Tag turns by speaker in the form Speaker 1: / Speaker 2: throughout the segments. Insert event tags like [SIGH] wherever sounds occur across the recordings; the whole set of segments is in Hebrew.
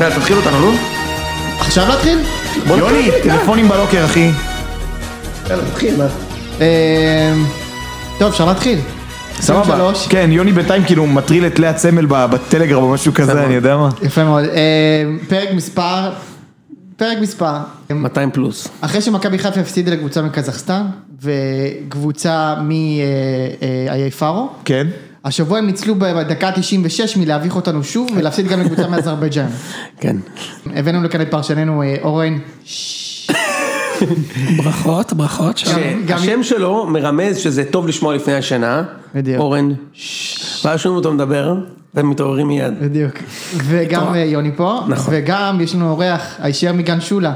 Speaker 1: יאללה, תתחיל אותנו, לא? נו.
Speaker 2: עכשיו להתחיל?
Speaker 1: בוא נתחיל.
Speaker 3: יוני, טלפונים בלוקר, אחי.
Speaker 2: יאללה, תתחיל, מה? אה, טוב, אפשר להתחיל.
Speaker 3: סבבה.
Speaker 2: 23.
Speaker 3: כן, יוני בינתיים כאילו מטריל את לאה צמל ב- בטלגרם או משהו כזה, אני יודע מה.
Speaker 2: יפה מאוד. אה, פרק מספר, פרק מספר.
Speaker 1: 200 פלוס.
Speaker 2: אחרי שמכבי חיפה הפסידה לקבוצה מקזחסטן וקבוצה אה, מאיי פארו,
Speaker 3: כן?
Speaker 2: השבוע הם ניצלו בדקה 96 מלהביך אותנו שוב ולהפסיד גם
Speaker 1: [LAUGHS]
Speaker 2: לקבוצה מאזרבייג'אן.
Speaker 1: כן.
Speaker 2: הבאנו לכאן את פרשננו אה, אורן,
Speaker 4: ברכות, ברכות. שלום.
Speaker 2: גם-
Speaker 1: השם שלו מרמז שזה טוב לשמוע לפני השינה.
Speaker 2: בדיוק.
Speaker 1: אורן, ש- ואז שומעים אותו מדבר, והם מתעוררים מיד.
Speaker 2: בדיוק, וגם אה, יוני פה,
Speaker 1: נכון.
Speaker 2: וגם יש לנו אורח הישר מגן שולה,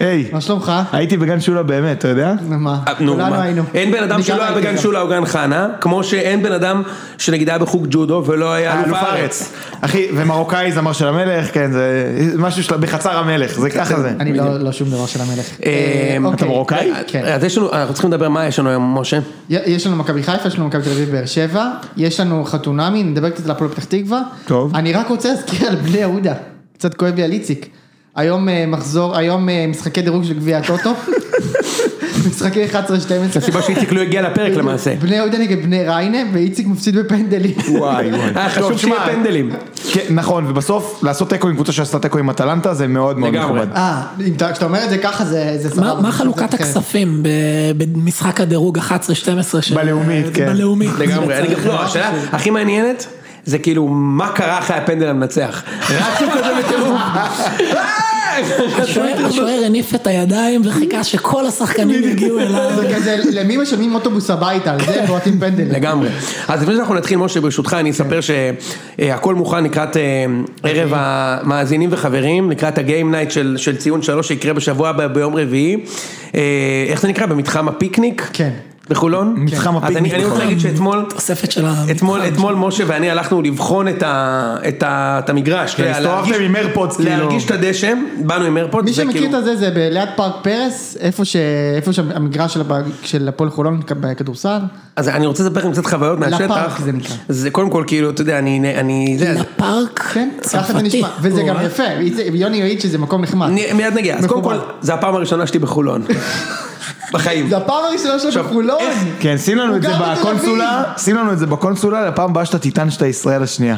Speaker 3: היי,
Speaker 2: מה שלומך?
Speaker 3: הייתי בגן שולה באמת, אתה יודע?
Speaker 2: נו, מה?
Speaker 1: אה, נו,
Speaker 2: כולנו
Speaker 1: מה?
Speaker 2: היינו.
Speaker 1: אין בן אדם
Speaker 2: אני
Speaker 1: שלא
Speaker 2: גם
Speaker 1: היה
Speaker 2: הייתי
Speaker 1: בגן
Speaker 2: גם.
Speaker 1: שולה או גן חנה, כמו שאין בן אדם שנגיד היה בחוג ג'ודו ולא היה
Speaker 3: אלוף הארץ. אחי, ומרוקאי זמר של המלך, כן, זה משהו של... בחצר המלך, זה ככה זה.
Speaker 2: אני לא לא שום דבר של המלך.
Speaker 1: אה,
Speaker 2: אה,
Speaker 1: אתה
Speaker 2: אוקיי.
Speaker 3: מרוקאי?
Speaker 2: כן.
Speaker 1: אז יש לנו, אנחנו צריכים לדבר מה יש לנו היום, משה.
Speaker 2: י- יש לנו מכבי חיפה, יש לנו מכבי תל אביב באר שבע, יש לנו חתונמי, נדבר קצת על הפועל פתח תקווה.
Speaker 3: טוב.
Speaker 2: אני רק רוצה להזכיר על בני יהודה, קצת כואב לי על איציק. היום אה, מחזור, היום אה, משחקי דירוג של
Speaker 1: [LAUGHS]
Speaker 2: גביע הטוטו, משחקי 11-12.
Speaker 1: הסיבה שאיציק לא הגיע לפרק למעשה.
Speaker 2: בני יהודה נגד בני ריינה, ואיציק מפסיד בפנדלים.
Speaker 3: וואי, וואי.
Speaker 1: היה
Speaker 3: טוב,
Speaker 1: אה, חשוב
Speaker 3: שמע,
Speaker 1: שיהיה פנדלים.
Speaker 3: כן, נכון, ובסוף לעשות תיקו עם קבוצה שעשתה תיקו עם אטלנטה זה מאוד מאוד
Speaker 1: לגמרי. כן,
Speaker 3: מכובד.
Speaker 2: אה, אם אתה- כשאתה אומר את זה ככה זה זה כן. סבבה.
Speaker 4: מה מה חלוקת
Speaker 2: זה אחרת.
Speaker 4: הכספים ב- במשחק הדירוג 11-12 של... אה,
Speaker 3: בלאומית, כן.
Speaker 4: בלאומית.
Speaker 1: לגמרי, אני גם לא, השאלה הכי מעניינת זה כאילו מה קרה אחרי הפנדל המנצח. רצו כזה בטירוף.
Speaker 4: השוער- השוער הניף את הידיים
Speaker 2: [LAUGHS]
Speaker 4: וחיכה שכל השחקנים יגיעו אליו.
Speaker 2: זה כזה, למי משלמים אוטובוס הביתה, על זה הם בועטים פנדלים.
Speaker 1: לגמרי. אז לפני שאנחנו נתחיל, משה, ברשותך, אני אספר
Speaker 3: כן.
Speaker 1: שהכל מוכן לקראת אה,
Speaker 3: אוקיי.
Speaker 1: ערב המאזינים וחברים, לקראת הגיים נייט של של ציון שלוש שיקרה בשבוע הבא ביום רביעי. אה, איך זה נקרא? במתחם הפיקניק?
Speaker 2: כן.
Speaker 1: בחולון?
Speaker 3: מתחם
Speaker 1: אז אני-
Speaker 3: הפיקניק
Speaker 1: אני רוצה
Speaker 3: בחולון.
Speaker 1: להגיד שאתמול...
Speaker 4: תוספת של ה...
Speaker 1: אתמול, אתמול משה ואני הלכנו לבחון את, ה, את, ה, את המגרש, אתה יודע,
Speaker 3: כן, הסתובבתם
Speaker 1: להרגיש-
Speaker 3: עם AirPods, כאילו.
Speaker 1: להרגיש את הדשא, באנו עם איירפודס,
Speaker 2: מי שמכיר
Speaker 1: כאילו-
Speaker 2: את זה זה ליד פארק פרס, איפה ש- איפה שהמגרש של הבא- של הפועל חולון בכדורסל.
Speaker 1: אז אני רוצה לספר לכם קצת חוויות מהשטח,
Speaker 2: לפארק זה נקרא.
Speaker 1: זה קודם כל כאילו, אתה יודע, אני, אני, זה,
Speaker 4: לפארק
Speaker 2: כן, ככה זה
Speaker 4: צרפתי.
Speaker 2: נשמע, וזה גם
Speaker 4: אוה.
Speaker 2: יפה, איציק- יוני יעיד שזה מקום נחמד.
Speaker 1: אוקיי. אני מיד נגיע, אז קודם כל,
Speaker 2: מכובד.
Speaker 1: זה הפעם הראשונה שלי בחולון, [LAUGHS] בחיים.
Speaker 2: זה הפעם הראשונה שלו
Speaker 1: עכשיו,
Speaker 2: בחולון.
Speaker 1: איך-
Speaker 3: כן, שים לנו
Speaker 2: הוא
Speaker 3: את זה
Speaker 2: גר בתל אביב.
Speaker 3: בקונסולה, שים לנו את זה בקונסולה, לפעם הבאה שאתה תטען שאתה ישראל השנייה.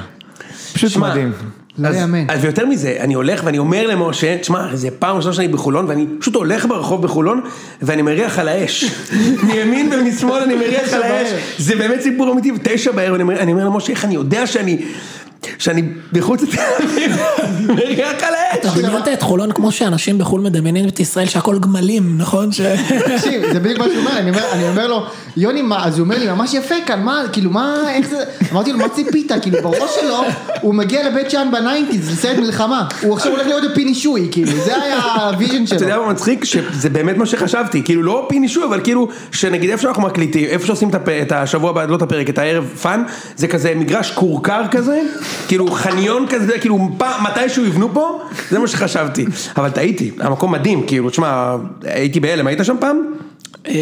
Speaker 3: פשוט
Speaker 1: שמע,
Speaker 3: מדהים.
Speaker 2: לא
Speaker 1: אז-
Speaker 2: יאמן.
Speaker 1: אז יותר מזה, אני הולך ואני אומר למשה, תשמע, זה פעם ראשונה שאני בחולון, ואני פשוט הולך ברחוב בחולון, ואני מריח על
Speaker 2: [LAUGHS]
Speaker 1: האש. מימין ומשמאל אני מריח
Speaker 2: תשע
Speaker 1: על האש.
Speaker 2: בערב.
Speaker 1: זה באמת סיפור אמיתי, תשע בערב, אני אומר- אני אומר למשה, איך אני יודע שאני... שאני בחוץ לתל אביב, [LAUGHS] מריח על האש.
Speaker 4: אתה דמיינת את חולון כמו שאנשים בחו"ל מדמיינים את ישראל שהכל גמלים, נכון?
Speaker 2: [LAUGHS]
Speaker 4: ש-
Speaker 1: כן.
Speaker 2: תקשיב, זה בדיוק מה שהוא אומר, אני אומר- אני אומר לו, יוני, מה, אז הוא אומר לי, ממש יפה כאן, מה, כאילו, מה, איך זה, אמרתי לו, מה ציפית, כאילו, בראש שלו, הוא מגיע לבית שאן בניינטיז, זה סרט מלחמה, הוא עכשיו הולך להיות בפינישוי, כאילו, זה היה הוויז'ן
Speaker 1: אתה
Speaker 2: שלו.
Speaker 1: יודע מה מצחיק? שזה באמת מה שחשבתי, כאילו לא פינישוי, אבל כאילו, שנגיד איפה שאנחנו מקליטים, איפה שעושים את, הפ... את השבוע הבא, לא את הפרק, את הערב פאן, זה כזה מגרש כורכר כזה, כאילו חניון כזה, כאילו פ... מתישהו יבנו פה, זה מה שחשבתי. אבל טעיתי, המקום מדהים, כאילו, תשמע, הייתי בהלם, היית שם פעם?
Speaker 4: אה,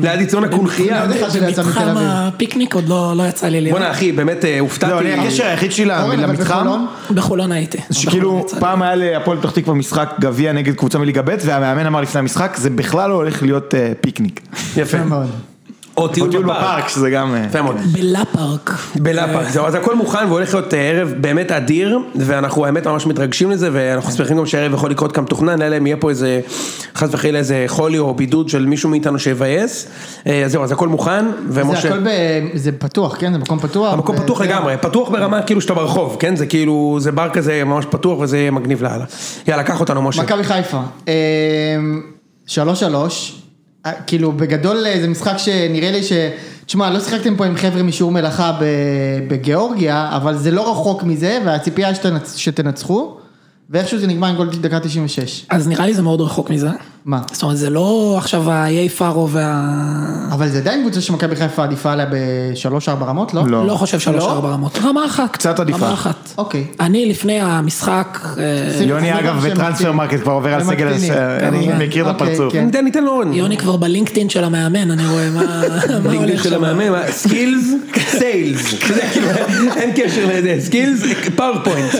Speaker 1: ליד יציון הקונכייה.
Speaker 2: אני יודע לך שזה יצא מתל
Speaker 4: במתחם
Speaker 2: אביב.
Speaker 4: הפיקניק עוד לא לא יצא לי להיות.
Speaker 1: בואנה אחי, באמת אה, הופתעתי.
Speaker 3: לא, אני הקשר היחיד שלי
Speaker 2: אורן, אבל
Speaker 3: למתחם,
Speaker 2: בחולון?
Speaker 4: בחולון הייתי. בחולון [LAUGHS]
Speaker 3: שכאילו
Speaker 4: יצא לי.
Speaker 3: פעם היה להפועל פתח תקווה משחק גביע נגד קבוצה מליגה ב' והמאמן אמר לפני המשחק זה בכלל לא הולך להיות אה, פיקניק.
Speaker 1: יפה.
Speaker 2: יפה מאוד.
Speaker 1: או טיול בפארק.
Speaker 3: שזה גם... אה,
Speaker 1: יפה מאוד.
Speaker 4: בלאפארק.
Speaker 1: בלאפארק, זהו, אז הכל מוכן והולך להיות אה, ערב באמת אדיר, ואנחנו האמת ממש מתרגשים לזה, ואנחנו שמחים גם שהערב יכול לקרות כמתוכנן, אלא אם יהיה פה איזה, חס וחלילה איזה חולי או בידוד של מישהו מאיתנו שיבאס, אה, זהו, אז הכל מוכן,
Speaker 2: זה
Speaker 1: ומשה,
Speaker 2: הכל ב... כן. זה פתוח, כן? זה מקום פתוח.
Speaker 1: המקום
Speaker 2: ו-
Speaker 1: פתוח
Speaker 2: זה-
Speaker 1: לגמרי, פתוח ברמה כאילו שאתה ברחוב, כן? זה כאילו, זה בר כזה ממש פתוח וזה יהיה מגניב לאללה. יאללה, קח אותנו משה.
Speaker 2: מכבי חיפה. אמ, שלוש שלוש. אה, כאילו בגדול אה, זה משחק שנראה לי ש... תשמע, לא שיחקתם פה עם חבר'ה משיעור מלאכה ב- בגיאורגיה, אבל זה לא רחוק מזה, והציפייה שתנצ- שתנצחו, ואיכשהו זה נגמר עם גול דקה 96.
Speaker 4: אז נראה לי זה מאוד רחוק מזה.
Speaker 2: מה?
Speaker 4: זאת אומרת, זה לא עכשיו האיי פארו וה...
Speaker 2: אבל זה עדיין קבוצה שמכבי חיפה עדיפה עליה בשלוש-ארבע רמות, לא?
Speaker 3: לא.
Speaker 4: לא חושב שלוש ארבע רמות, רמה אחת.
Speaker 3: קצת עדיפה.
Speaker 4: רמה אחת.
Speaker 2: אוקיי.
Speaker 4: אני לפני המשחק, אה,
Speaker 3: יוני אגב
Speaker 2: שהם
Speaker 3: בטרנספר
Speaker 2: מקטינים.
Speaker 3: מרקט כבר עובר על
Speaker 2: הם
Speaker 3: סגל,
Speaker 2: מקטינים.
Speaker 3: הש- אני
Speaker 4: כמובן.
Speaker 3: מכיר את
Speaker 2: אוקיי,
Speaker 3: הפרצוף.
Speaker 2: כן.
Speaker 1: ניתן, ניתן לאורן.
Speaker 4: יוני כבר בלינקדאין של המאמן, אני רואה מה מה
Speaker 1: דינגדינג
Speaker 4: הולך
Speaker 1: של
Speaker 4: שם.
Speaker 1: המאמן, מה? סקילס, סיילס, אתה יודע, כאילו, אין קשר לזה, סקילס, פאורפוינט.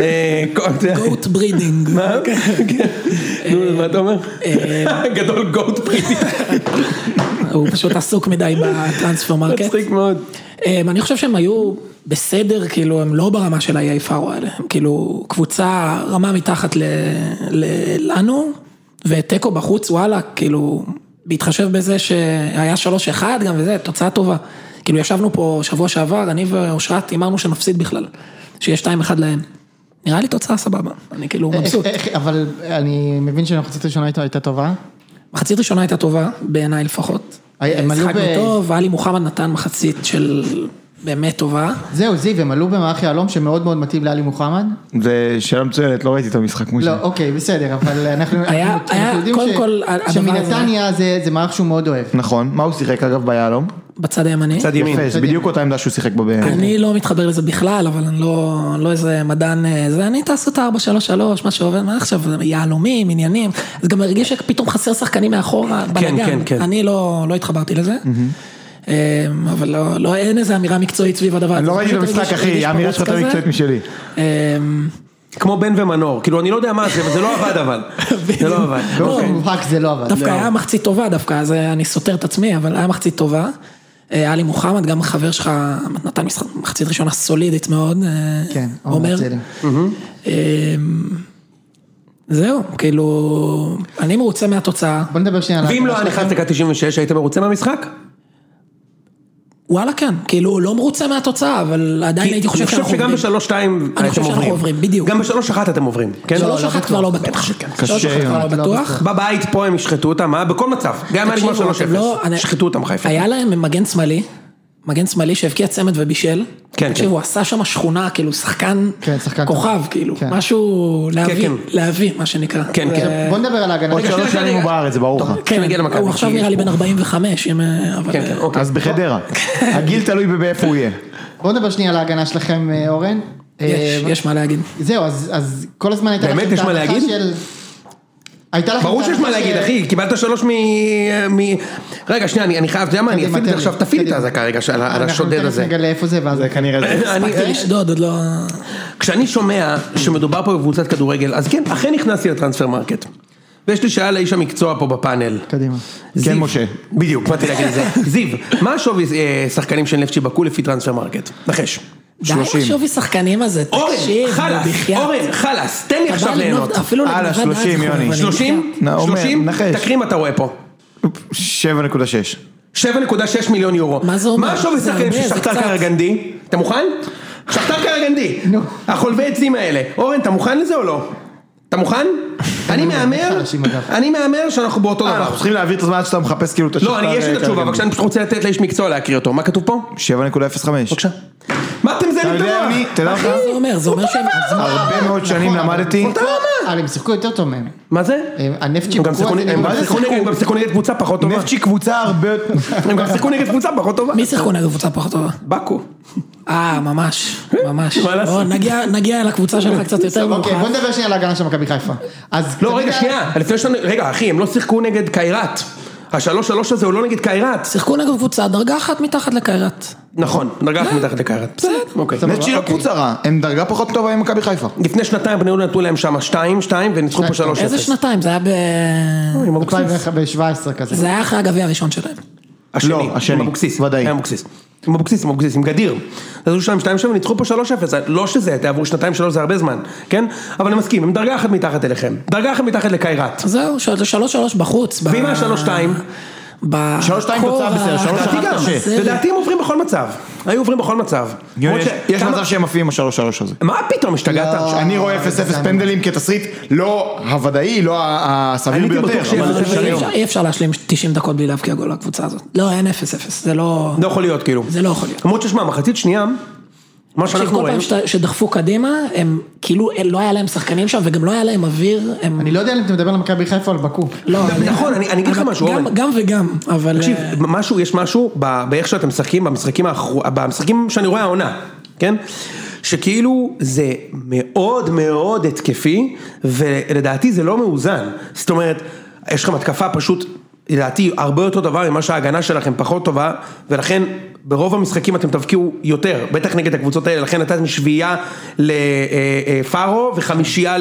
Speaker 1: אה, [LAUGHS] כל- אתה יודע,
Speaker 4: גוט ברידינג.
Speaker 1: מה? כן. נו, מה אתה אומר? אה, גדול גוט פריטי,
Speaker 4: הוא פשוט עסוק מדי בטרנספר מרקט.
Speaker 1: מצחיק מאוד.
Speaker 4: אמ, אני חושב שהם היו בסדר, כאילו, הם לא ברמה של האיי פארו האלה, הם כאילו קבוצה רמה מתחת ל, ל, לנו, ותיקו בחוץ, וואלה, כאילו, בהתחשב בזה שהיה 3-1 גם וזה, תוצאה טובה. כאילו, ישבנו פה שבוע שעבר, אני ואושרת הימרנו שנפסיד בכלל, שיהיה 2-1 להם. נראה לי תוצאה סבבה, אני כאילו
Speaker 2: אה,
Speaker 4: מבסוט.
Speaker 2: איך- איך- אבל אני מבין שהמחצית הראשונה הייתה- הייתה טובה.
Speaker 4: מחצית ראשונה הייתה טובה, בעיניי לפחות.
Speaker 2: היה- אה, הם עלו
Speaker 4: משחקנו
Speaker 2: ב-
Speaker 4: טוב, עלי מוחמד נתן מחצית של באמת טובה.
Speaker 2: זהו, זיו, הם עלו במערך יהלום שמאוד מאוד מתאים לאלי מוחמד.
Speaker 3: זה שאלה מצוינת, לא ראיתי את המשחק מושי.
Speaker 2: לא, אוקיי, בסדר, אבל אנחנו
Speaker 4: היה-
Speaker 2: אנחנו
Speaker 4: היה-
Speaker 2: יודעים
Speaker 4: קודם
Speaker 2: ש-
Speaker 4: כל, הדבר הזה-
Speaker 2: שמנתניה זה זה מערך שהוא מאוד אוהב.
Speaker 3: נכון, מה הוא שיחק אגב ביהלום?
Speaker 4: בצד הימני.
Speaker 1: צד ימין.
Speaker 3: יפה, זה
Speaker 2: ימין.
Speaker 3: בדיוק אותה עמדה שהוא שיחק בה ב...
Speaker 4: אני לא מתחבר לזה בכלל, אבל אני לא, לא איזה מדען אה, זה, אני תעשו את ה-433, מה שעובד, מה עכשיו, יהלומים, עניינים, זה גם הרגיש שפתאום חסר שחקנים מאחורה, בלאגן,
Speaker 1: כן, כן. Mm-hmm.
Speaker 4: אני לא, לא התחברתי לזה, אה, אבל לא, לא, אין איזה אמירה מקצועית סביב הדבר הזה,
Speaker 3: אני לא
Speaker 4: זה
Speaker 3: ראיתי את
Speaker 4: פשוט
Speaker 3: המשחק,
Speaker 4: הרגיש-
Speaker 3: אחי, לא
Speaker 4: הרגיש
Speaker 3: האמירה
Speaker 4: פרוץ
Speaker 3: שלך יותר
Speaker 4: כזה.
Speaker 3: מקצועית משלי.
Speaker 4: אה,
Speaker 1: כמו בן ומנור, כאילו אני לא יודע מה זה, אבל זה לא עבד אבל. זה לא עבד.
Speaker 2: באופן
Speaker 1: אוקיי.
Speaker 2: מובהק זה לא עבד.
Speaker 4: נכון. דווקא היה מחצית טובה דווקא, אז אה, אני סותר את עצמי, אבל היה מחצית טובה. אה, עלי מוחמד, גם חבר שלך, נתן משחק- מחצית ראשונה סולידית מאוד, אה,
Speaker 2: כן, עומר
Speaker 4: עומר.
Speaker 2: אצילי.
Speaker 4: אה, זהו, כאילו, אני מרוצה מהתוצאה.
Speaker 2: בוא נדבר שנייה על
Speaker 1: ואם לא
Speaker 2: ההרכבה
Speaker 1: היה נכנס
Speaker 2: שלכם.
Speaker 1: דקה 96, היית מרוצה מהמשחק?
Speaker 4: וואלה כן, כאילו, לא מרוצה מהתוצאה, אבל עדיין הייתי חושב שאנחנו
Speaker 1: שגם
Speaker 4: עובדים.
Speaker 1: בשלוש שתיים
Speaker 4: אני חושב
Speaker 1: אתם
Speaker 4: שאנחנו עוברים, בדיוק.
Speaker 1: גם בשלוש אחת אתם עוברים, כן?
Speaker 4: שלוש
Speaker 2: לא
Speaker 4: אחת
Speaker 2: בטוח.
Speaker 4: כבר לא בטוח. שלוש
Speaker 3: קשה,
Speaker 4: אחת כבר לא
Speaker 2: לא
Speaker 4: בטוח.
Speaker 2: בטוח.
Speaker 1: בבית פה הם ישחטו אותם, אה? בכל מצב. גם אם היה נגמר
Speaker 4: תקשיבו,
Speaker 1: שלוש
Speaker 4: אתם לא- אני-
Speaker 1: אפס. שחטו אותם חיפה.
Speaker 4: היה להם מגן שמאלי, מגן שמאלי שהבקיע צמד ובישל.
Speaker 1: כן.
Speaker 4: תקשיבו, עשה שם שכונה, כאילו שחקן,
Speaker 2: כן, שחקן טוב.
Speaker 4: כוכב, כאילו,
Speaker 2: כן.
Speaker 4: משהו להביא,
Speaker 1: כן.
Speaker 4: להביא, מה שנקרא.
Speaker 1: כן,
Speaker 4: ו-
Speaker 1: כן.
Speaker 2: בוא נדבר על ההגנה.
Speaker 3: עוד
Speaker 2: רגע,
Speaker 3: שלוש
Speaker 1: רגע,
Speaker 3: שנים הוא
Speaker 1: רגע.
Speaker 3: בארץ, זה ברור
Speaker 4: אוקיי.
Speaker 3: לך.
Speaker 1: כן, נגיע למכבי,
Speaker 4: הוא עכשיו
Speaker 1: כי-
Speaker 4: נראה לי בן 45, אם... אה, אבל-
Speaker 1: כן, כן, אוקיי.
Speaker 3: אז בחדרה. הגיל תלוי באיפה הוא יהיה.
Speaker 2: בוא נדבר שנייה על ההגנה שלכם, אה, אורן.
Speaker 4: יש,
Speaker 2: אה,
Speaker 4: יש מה להגיד.
Speaker 2: זהו, אז אז כל הזמן הייתה
Speaker 1: באמת
Speaker 2: לכם
Speaker 1: יש
Speaker 2: את
Speaker 1: מה
Speaker 2: ההנחה
Speaker 1: להגיד?
Speaker 2: של- הייתה לכם
Speaker 1: ברור
Speaker 2: את
Speaker 1: שיש מה
Speaker 4: [LAUGHS]
Speaker 2: ההנחה
Speaker 1: להגיד,
Speaker 2: ש-
Speaker 1: אחי, קיבלת שלוש מ... מ... רגע, שנייה, אני אני חייב, אתה יודע מה, אני
Speaker 2: קדימה,
Speaker 1: אפעיל את זה
Speaker 2: תן לי,
Speaker 1: עכשיו, תפעיל את
Speaker 2: קדימה.
Speaker 1: האזעקה רגע של- על השודד
Speaker 2: אנחנו
Speaker 1: הזה.
Speaker 2: תכף נגלה איפה זה, ואז...
Speaker 3: זה כנראה [LAUGHS] זה.
Speaker 1: אני-
Speaker 4: הספקתי לשדוד, עוד לא...
Speaker 1: כשאני שומע שמדובר פה בקבוצת כדורגל, אז כן, אכן נכנסתי לטרנספר מרקט. ויש לי שאלה לאיש המקצוע פה בפאנל.
Speaker 2: קדימה.
Speaker 1: זיו-
Speaker 3: כן, משה.
Speaker 1: בדיוק, באתי להגיד
Speaker 3: [LAUGHS]
Speaker 1: את זה. זיו, מה השווי אה, שחקנים של נפצ'י בקו לפי טרנספר מרקט? נחש.
Speaker 4: די עם השווי שחקנים הזה,
Speaker 1: אורן,
Speaker 4: תקשיב,
Speaker 1: חלאס,
Speaker 4: בחייאת.
Speaker 1: אורן, חלאס, תן לי
Speaker 4: אתה
Speaker 1: עכשיו
Speaker 4: בא לגנוב-
Speaker 1: ליהנות.
Speaker 4: אפילו לא
Speaker 3: הלאה,
Speaker 4: לגנבת דעת
Speaker 3: 30,
Speaker 4: אנחנו
Speaker 3: יוני.
Speaker 4: מבינים.
Speaker 1: 30?
Speaker 3: נו, אומר,
Speaker 1: 30?
Speaker 3: נחש.
Speaker 1: תקריא אתה רואה פה.
Speaker 3: 7.6.
Speaker 1: 7.6 מיליון יורו.
Speaker 4: מה זה אומר?
Speaker 1: מה השווי
Speaker 4: זה
Speaker 1: שחקנים של
Speaker 4: הרבה, זה
Speaker 1: שכתר
Speaker 4: קצת.
Speaker 1: קרגנדי? אתה מוכן? שכתר קרגנדי.
Speaker 2: נו.
Speaker 1: החולבי עצים האלה. אורן, אתה מוכן לזה או לא? אתה מוכן? אני מהמר,
Speaker 2: חלשים, אגב.
Speaker 1: אני מהמר שאנחנו באותו
Speaker 3: אה,
Speaker 1: דבר.
Speaker 3: אנחנו צריכים להעביר את הזמן עד שאתה מחפש כאילו את השחקן.
Speaker 1: לא, אני יש לי את התשובה, אבל כשאני פשוט רוצה לתת לאיש מקצוע להקריא אותו. מה כתוב פה?
Speaker 3: 7.05.
Speaker 1: בבקשה. מה אתם
Speaker 3: אתה
Speaker 1: מזיינים את
Speaker 3: יודע מי,
Speaker 1: המוח?
Speaker 3: תדע לך,
Speaker 4: מה זה אומר? זה אומר שהם...
Speaker 1: [LAUGHS]
Speaker 3: הרבה מאוד שנים
Speaker 2: נכון, אבל
Speaker 3: למדתי,
Speaker 2: הם שיחקו-
Speaker 1: לא
Speaker 2: אבל הם שיחקו יותר טוב מהם.
Speaker 1: מה זה?
Speaker 2: הם- הנפצ'י
Speaker 1: הם גם
Speaker 2: בקו
Speaker 1: שיחקו נגד-
Speaker 2: הזה,
Speaker 1: הם
Speaker 2: מה
Speaker 1: גם
Speaker 2: זה
Speaker 1: שיחקו נגד- הם גם שיחקו נגד קבוצה פחות טובה.
Speaker 3: נפצ'י קבוצה הרבה [LAUGHS] יותר,
Speaker 1: הם גם שיחקו נגד קבוצה פחות טובה.
Speaker 4: מי שיחקו נגד קבוצה פחות טובה?
Speaker 1: באקו.
Speaker 4: אה, ממש, ממש.
Speaker 1: מה לעשות?
Speaker 4: בוא, נגיע- נגיע
Speaker 1: [LAUGHS]
Speaker 4: לקבוצה שלך קצת יותר
Speaker 2: אוקיי,
Speaker 4: מאוחר.
Speaker 2: בוא נדבר שנייה על ההגנה של מכבי חיפה. אז...
Speaker 1: לא, רגע, שנייה. לפני שאני... רגע, אחי, הם לא שיחקו נגד קיירת. השלוש שלוש הזה הוא לא נגד קיירת.
Speaker 4: שיחקו נגד קבוצה דרגה אחת מתחת לקיירת.
Speaker 1: נכון, דרגה אחת מתחת לקיירת. בסדר, אוקיי.
Speaker 3: נפצ'י לא קבוצה רעה, הם דרגה פחות טובה עם מכבי חיפה.
Speaker 1: לפני שנתיים בני יהודה נתנו להם שם 2-2 וניצחו פה 3-0.
Speaker 4: איזה שנתיים? זה היה ב...
Speaker 1: עם אבוקסיס.
Speaker 2: 2017 כזה.
Speaker 4: זה היה אחרי הגביע הראשון שלהם.
Speaker 1: השני.
Speaker 3: לא, השני,
Speaker 1: עם אבוקסיס.
Speaker 3: ודאי.
Speaker 1: היה עם אבוקסיס. עם אבוקסיס, עם אבוקסיס, עם גדיר. אז היו שלהם 2-7 וניצחו פה 3-0. לא שזה, אתה עבור שנתיים שלוש זה הרבה זמן, כן? אבל אני מסכים, הם דרגה אחת מתחת אליכם. דרגה אחת מתחת לקיירת.
Speaker 4: אז זהו, ש- זה שלוש שלוש בחוץ. ב-
Speaker 1: ואם היה 3-2?
Speaker 4: ב-
Speaker 3: שלוש שתיים
Speaker 4: בקור
Speaker 3: תוצאה בסדר,
Speaker 4: ה-
Speaker 3: שלוש
Speaker 1: לדעתי
Speaker 3: אחת
Speaker 1: גם,
Speaker 3: קשה.
Speaker 4: לא, בסדר.
Speaker 1: לדעתי הם עוברים בכל מצב. היו עוברים בכל מצב.
Speaker 3: יוני,
Speaker 1: למרות
Speaker 3: יש-
Speaker 1: ש-
Speaker 3: יש
Speaker 1: כמה-
Speaker 3: מצב שהם עפים עם השלוש שלוש הזה.
Speaker 1: מה פתאום השתגעת?
Speaker 2: לא.
Speaker 3: אני רואה
Speaker 1: אה,
Speaker 3: 0-0 פנדלים כתסריט לא הוודאי, לא ה- הסביר
Speaker 1: הייתי
Speaker 3: ביותר,
Speaker 1: בטוח שיהיה
Speaker 3: אבל
Speaker 4: אבל
Speaker 1: אפס
Speaker 3: אפשרי.
Speaker 4: אי אפשר- אי אפשר להשלים 90 דקות בלי להבקיע גול לקבוצה הזאת. לא, אין 0-0, זה לא...
Speaker 1: לא יכול להיות כאילו.
Speaker 4: זה לא יכול להיות.
Speaker 1: למרות ששמע, מחצית שנייה, מה
Speaker 4: תקשיב,
Speaker 1: שאנחנו
Speaker 4: כל פעם
Speaker 1: ראינו,
Speaker 4: שת- שדחפו קדימה, הם כאילו, לא היה להם שחקנים שם וגם לא היה להם אוויר, הם...
Speaker 2: אני לא יודע אם אתה מדבר על מכבי חיפה או על בקו.
Speaker 4: לא, אני-
Speaker 1: נכון, אני- אני אגיד לך
Speaker 4: אבל
Speaker 1: משהו,
Speaker 4: גם-
Speaker 1: אורן.
Speaker 4: גם וגם, אבל...
Speaker 1: תקשיב,
Speaker 4: אה,
Speaker 1: משהו, יש משהו ב- באיך שאתם משחקים, במשחקים, האחר- במשחקים שאני רואה העונה, כן? שכאילו זה מאוד מאוד התקפי, ולדעתי זה לא מאוזן. זאת אומרת, יש לכם התקפה פשוט, לדעתי, הרבה יותר טובה ממה שההגנה שלכם פחות טובה, ולכן ברוב המשחקים אתם תבקיעו יותר, בטח נגד הקבוצות האלה, לכן נתתם שביעייה לפארו וחמישייה